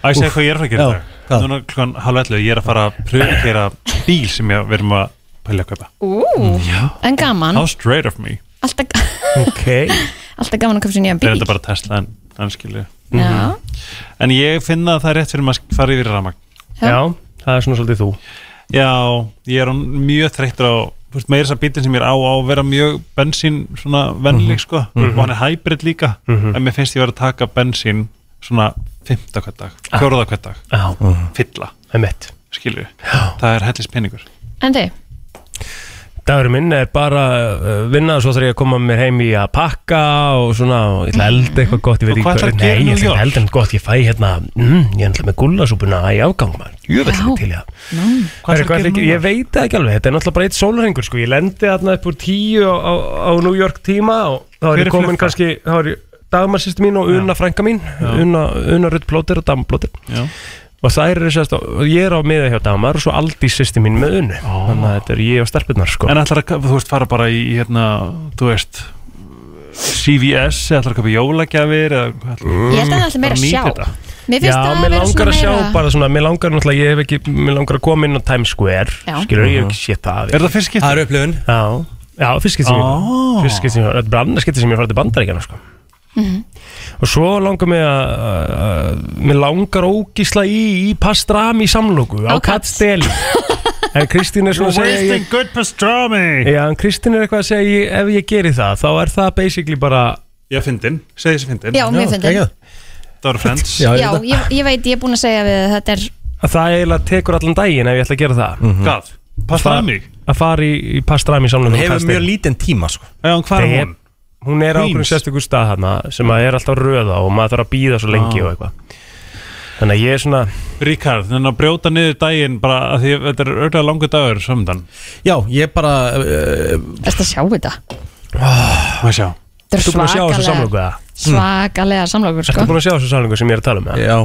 [SPEAKER 7] Á ég segja hvað ég er að fara að gera
[SPEAKER 3] Já,
[SPEAKER 7] í dag Núna klukkan halv 11, ég er að fara að pröfukera bíl sem ég verðum að pælja að kaupa
[SPEAKER 2] ú, en gaman
[SPEAKER 7] How straight of me
[SPEAKER 2] alltaf,
[SPEAKER 3] Ok
[SPEAKER 2] alltaf gaman að köpa sér nýjan
[SPEAKER 7] Er
[SPEAKER 2] bíl
[SPEAKER 7] þetta bara Tesla en hann skilju
[SPEAKER 2] Já.
[SPEAKER 3] Mhm.
[SPEAKER 7] En ég finna að það er rétt fyrir maður að fara yfir rafmagn
[SPEAKER 2] Já. Já,
[SPEAKER 3] það er svona svolítið þú
[SPEAKER 7] Já, ég er orðinn mjög þreyttur á þú veist, meira þess að bílinn sem ég er á á að vera mjög bensín svona vennileg sko
[SPEAKER 3] Mhm.
[SPEAKER 7] og hann er hybrid líka
[SPEAKER 3] Mhm.
[SPEAKER 7] en mér finnst ég vera að taka bensín svona fymta hvert dag,
[SPEAKER 3] Ah.
[SPEAKER 7] fjóruða hvert dag
[SPEAKER 3] Já.
[SPEAKER 7] fylla,
[SPEAKER 3] Einmitt.
[SPEAKER 7] skilju það er hellis peningur
[SPEAKER 2] En þið,
[SPEAKER 3] Dagurinn minn er bara uh, vinna og svo þarf ég að koma mér heim í að pakka og svona, og ég ætla að elda eitthvað gott ég veit
[SPEAKER 7] Og
[SPEAKER 3] ekki
[SPEAKER 7] hvað ætlarðu að
[SPEAKER 3] nei,
[SPEAKER 7] gera í
[SPEAKER 3] ég
[SPEAKER 7] New
[SPEAKER 3] ætla
[SPEAKER 7] York?
[SPEAKER 3] að elda eitthvað gott, ég fæ hérna mm, ég ætla með gullasúpuna í afgang maður, jöfell ég til ég
[SPEAKER 7] Hvað ætlarðu að gera núna?
[SPEAKER 3] Ég veit það ekki alveg, þetta er náttúrulega bara eitt sólarhengur sko. ég lendi þarna upp úr tíu á, á, á New York tíma og þá
[SPEAKER 7] Hver
[SPEAKER 3] er
[SPEAKER 7] er
[SPEAKER 3] ég komin
[SPEAKER 7] Fluffa?
[SPEAKER 3] kannski, þá er ég dagmannsýstu mín og Una frænka mín Una, Una Rutt Plóter og Dama Plóter
[SPEAKER 7] Já.
[SPEAKER 3] og þær eru sérst, á- og ég er á miða hjá Damar og svo Aldi sýstu mín með Unu þannig að þetta er ég og stelpunnar sko.
[SPEAKER 7] En ætlar að, þú veist, fara bara í, í hérna, þú veist CVS, eða ætlar að kaupa jólagjafir eða hvað ætlar
[SPEAKER 2] ég held að það ætla meira að sjá Mér
[SPEAKER 3] Já,
[SPEAKER 2] finnst það að
[SPEAKER 3] mér
[SPEAKER 2] vera
[SPEAKER 3] langar
[SPEAKER 2] svona
[SPEAKER 3] að sjá
[SPEAKER 2] meira
[SPEAKER 3] bara svona, mér langar náttúrulega, ég hef ekki, mér langar að koma inn á Times Square,
[SPEAKER 2] Já.
[SPEAKER 3] skilur, ég hef ekki sétt það.
[SPEAKER 7] Er það fyrst
[SPEAKER 16] Ah.
[SPEAKER 7] skipti?
[SPEAKER 1] Það er upplifun
[SPEAKER 3] Já, já, fyrst skipti sem ég,
[SPEAKER 7] Ó.
[SPEAKER 3] fyrst skipti sem ég, þetta er bara annars skipti sem ég farið til bandaríkjana, sko.
[SPEAKER 2] Mhm.
[SPEAKER 3] Og svo langar mig að, að- að- mér langar ógísla í, í pastrami samlóku
[SPEAKER 2] Á
[SPEAKER 3] á
[SPEAKER 2] Kat.
[SPEAKER 3] kattsteli. En Kristín er svona að segja, ég,
[SPEAKER 7] good pastrami
[SPEAKER 3] já, en Kristín er eitthvað að segja, ég, ef ég geri það, þá er það basically bara,
[SPEAKER 7] Já, fyndin, segi þessi fyndin
[SPEAKER 2] Já, mér finnst það
[SPEAKER 7] Það voru friends
[SPEAKER 2] Já, ég, ég veit, ég er búin að segja við að þetta er
[SPEAKER 3] að það eiginlega tekur allan daginn ef ég ætla að gera það.
[SPEAKER 7] Hvað? Pastrami?
[SPEAKER 3] Að fara í, í pastrami samlóku
[SPEAKER 1] Hún
[SPEAKER 3] á
[SPEAKER 1] hefur
[SPEAKER 3] kattsteli.
[SPEAKER 1] mjög lítinn tíma sko.
[SPEAKER 7] Já, en hvað er
[SPEAKER 3] Þegar-
[SPEAKER 7] hún?
[SPEAKER 3] hún er á
[SPEAKER 7] Queens.
[SPEAKER 3] okkur sérstökur stað hana sem að er alltaf röða og maður þarf að býða svo lengi
[SPEAKER 7] Ah.
[SPEAKER 3] og eitthvað þannig að ég er svona
[SPEAKER 7] Ríkard, þannig að brjóta niður daginn bara að því að þetta er örlega langur dagur sömndan
[SPEAKER 1] Já, ég bara uh,
[SPEAKER 2] Þetta sjá þetta
[SPEAKER 7] Má sjá
[SPEAKER 2] Þetta er
[SPEAKER 3] Þú búin Ah, að sjá þessu
[SPEAKER 2] svakalega
[SPEAKER 3] samlöku það?
[SPEAKER 2] svakalega samlokur
[SPEAKER 3] Ertu
[SPEAKER 2] sko.
[SPEAKER 3] búin að sjá þessu samlingu sem ég er að tala um?
[SPEAKER 1] Já,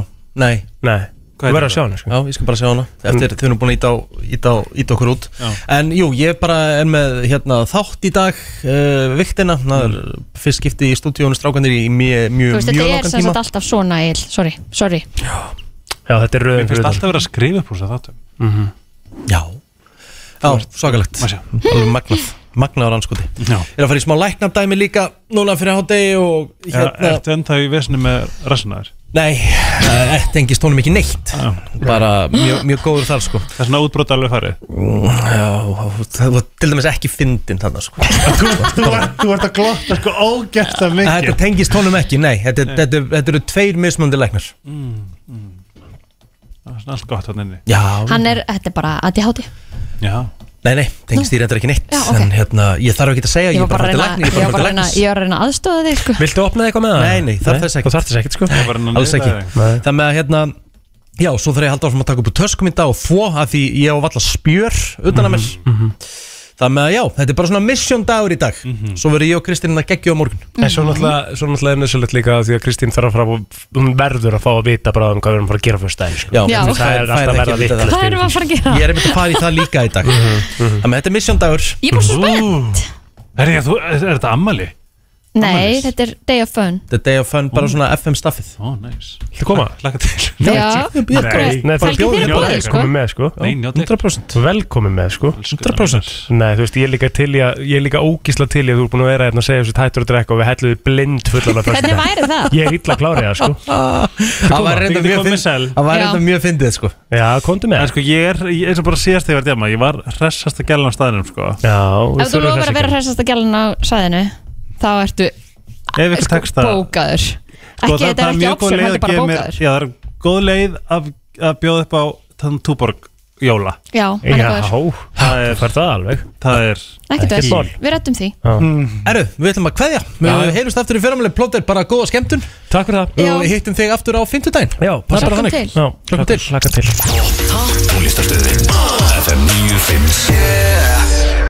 [SPEAKER 1] nei
[SPEAKER 3] Nei,
[SPEAKER 1] Hvað er
[SPEAKER 3] þú verður að sjá
[SPEAKER 1] þetta?
[SPEAKER 3] hana sko.
[SPEAKER 1] Já, ég skal bara sjá hana Eftir þau eru búin að íta, á- íta, á- íta okkur út
[SPEAKER 3] Já.
[SPEAKER 1] En jú, ég bara er með hérna, þátt í dag uh, Viktina, það er fyrst skipti í stúdíónu Strákanir í mjög,
[SPEAKER 2] Þú
[SPEAKER 1] mjög, mjög
[SPEAKER 2] veist, þetta er
[SPEAKER 1] langan
[SPEAKER 2] sem
[SPEAKER 1] tíma
[SPEAKER 2] sagt alltaf svona eil, sorry, sorry
[SPEAKER 3] Já, þetta er röðum
[SPEAKER 7] Mér finnst alltaf verið að skrifa upp úr þess að þáttum
[SPEAKER 3] Mhm.
[SPEAKER 1] Já Já, svakalegt Alveg magnað Magnaður anskoti
[SPEAKER 7] Já.
[SPEAKER 1] Er að fara í smá læknadæmi líka Núna fyrir hádegi og
[SPEAKER 7] hérna.
[SPEAKER 1] hérna
[SPEAKER 7] Ertu ennþá í vesinu með rassinaður?
[SPEAKER 1] Nei, eh, þetta engist honum ekki neitt Bara mjög, mjög góður þar sko
[SPEAKER 7] Það er svona útbrot alveg farið
[SPEAKER 1] Já, það var til dæmis ekki fyndin þarna sko
[SPEAKER 16] Þú ert- þú ert að glotta sko ógæsta mikið
[SPEAKER 1] Þetta tengist honum ekki, nei Þetta, þetta, þetta eru tveir mismöndi læknar
[SPEAKER 7] Það er svona allt gott hann inni
[SPEAKER 1] Já,
[SPEAKER 2] Hann er, þetta er bara ADHD
[SPEAKER 7] Já.
[SPEAKER 1] Nei, nei, tengist því reyndar ekki neitt
[SPEAKER 2] Já, ok.
[SPEAKER 1] En hérna, ég þarf ekki að segja
[SPEAKER 2] Ég
[SPEAKER 1] Ég
[SPEAKER 2] var
[SPEAKER 1] er bara
[SPEAKER 2] bara að
[SPEAKER 1] fyrir læknir
[SPEAKER 2] reyna, ég
[SPEAKER 1] Ég er
[SPEAKER 2] var bara að
[SPEAKER 1] bara
[SPEAKER 2] reyna,
[SPEAKER 1] fyrir
[SPEAKER 2] ég var að reyna aðstóða þig sko
[SPEAKER 3] Viltu opna eitthvað með það?
[SPEAKER 1] Nei, nei, þarf þess ekkert.
[SPEAKER 3] Þú þarf þess ekkert sko
[SPEAKER 7] Ég var hann að
[SPEAKER 1] Alls
[SPEAKER 7] niðurlægja
[SPEAKER 1] ekki
[SPEAKER 7] þig.
[SPEAKER 1] Það með að hérna Já, svo þarf ég að halda áfram að taka upp úr töskum í dag og þvó að því ég á valla spjör utan að mér Það með að já, þetta er bara svona mission dagur í dag Svo verður ég og Kristinn að geggja á morgun
[SPEAKER 3] En svo náttúrulega, svo náttúrulega er nöðsölegt líka því að Kristín þarf að fara og hún verður að fá að vita bara um hvað við erum að fara að gera fyrst daginn sko.
[SPEAKER 1] Já,
[SPEAKER 2] Já.
[SPEAKER 3] það er alltaf að verða vitt
[SPEAKER 2] Hvað erum við að fara að gera?
[SPEAKER 1] Ég er einmitt að fara í það líka í dag Þannig að þetta er mission dagur
[SPEAKER 2] Ég er bara svo spennt
[SPEAKER 7] Er, ég, þú, er, er þetta ammali?
[SPEAKER 2] Nei, þetta er day of fun
[SPEAKER 1] The day of fun, bara svona FM staffið
[SPEAKER 7] Ó, næs
[SPEAKER 3] Þú koma?
[SPEAKER 7] Laka til
[SPEAKER 2] Já,
[SPEAKER 3] Nei, nei,
[SPEAKER 2] fælgi
[SPEAKER 3] bjóða
[SPEAKER 2] þér að
[SPEAKER 3] þér
[SPEAKER 2] bóði sko
[SPEAKER 3] Velkomin með sko
[SPEAKER 7] Nei, njóti
[SPEAKER 1] 100%
[SPEAKER 3] Velkomin með sko
[SPEAKER 1] 100%
[SPEAKER 3] Nei, þú veist, ég er líka til í að, ég er líka ógísla til í að þú er búin að vera hérna að segja þessu tættur að drekka og við helluðu blind fullan af
[SPEAKER 2] Hvernig
[SPEAKER 3] föstudaginn.
[SPEAKER 2] væri það?
[SPEAKER 3] Ég er illa klárið það sko
[SPEAKER 1] Það var reynda
[SPEAKER 7] Þið
[SPEAKER 1] mjög
[SPEAKER 7] komið
[SPEAKER 1] fyndið
[SPEAKER 7] sæl
[SPEAKER 1] Það var
[SPEAKER 2] Já.
[SPEAKER 1] reynda mjög fyndið sko
[SPEAKER 3] Já, komdu
[SPEAKER 7] En
[SPEAKER 3] með
[SPEAKER 7] sko ég er, ég, eins og bara síðast þegar ég var djama Ég var hressast að gæla á staðinum sko
[SPEAKER 3] Já,
[SPEAKER 2] Ef þú lofar að vera hressast að gælun á sæðinu þá ertu
[SPEAKER 7] Ef ykkur
[SPEAKER 2] sko,
[SPEAKER 7] tekst það
[SPEAKER 2] bókaður
[SPEAKER 7] Sko,
[SPEAKER 2] Ekki, þetta er ekki
[SPEAKER 7] mjög góð
[SPEAKER 2] option,
[SPEAKER 7] leið
[SPEAKER 2] þetta er
[SPEAKER 7] að
[SPEAKER 2] bara
[SPEAKER 7] gefa mér-
[SPEAKER 2] bókaður
[SPEAKER 7] Já, það er góð leið að, að bjóða upp á þann túborg jóla
[SPEAKER 2] Já, hann er góður,
[SPEAKER 3] Já,
[SPEAKER 7] Það er,
[SPEAKER 3] það er það alveg
[SPEAKER 7] það er
[SPEAKER 2] ekkert
[SPEAKER 3] ekkert
[SPEAKER 2] verð
[SPEAKER 3] mál.
[SPEAKER 2] Við rættum því
[SPEAKER 1] Erðu, við ætlum að kveðja Við heilumst aftur í fyrramlega plóter, bara góða skemmtun
[SPEAKER 3] Takk fyrir það
[SPEAKER 2] Já.
[SPEAKER 1] Og hittum þig aftur á fimmtudaginn
[SPEAKER 3] Já, það er
[SPEAKER 2] Hlökkum
[SPEAKER 3] bara þannig
[SPEAKER 2] til.
[SPEAKER 3] Já,
[SPEAKER 1] Hlökkum til.
[SPEAKER 3] Hlakka til
[SPEAKER 17] Top
[SPEAKER 18] Tónlistar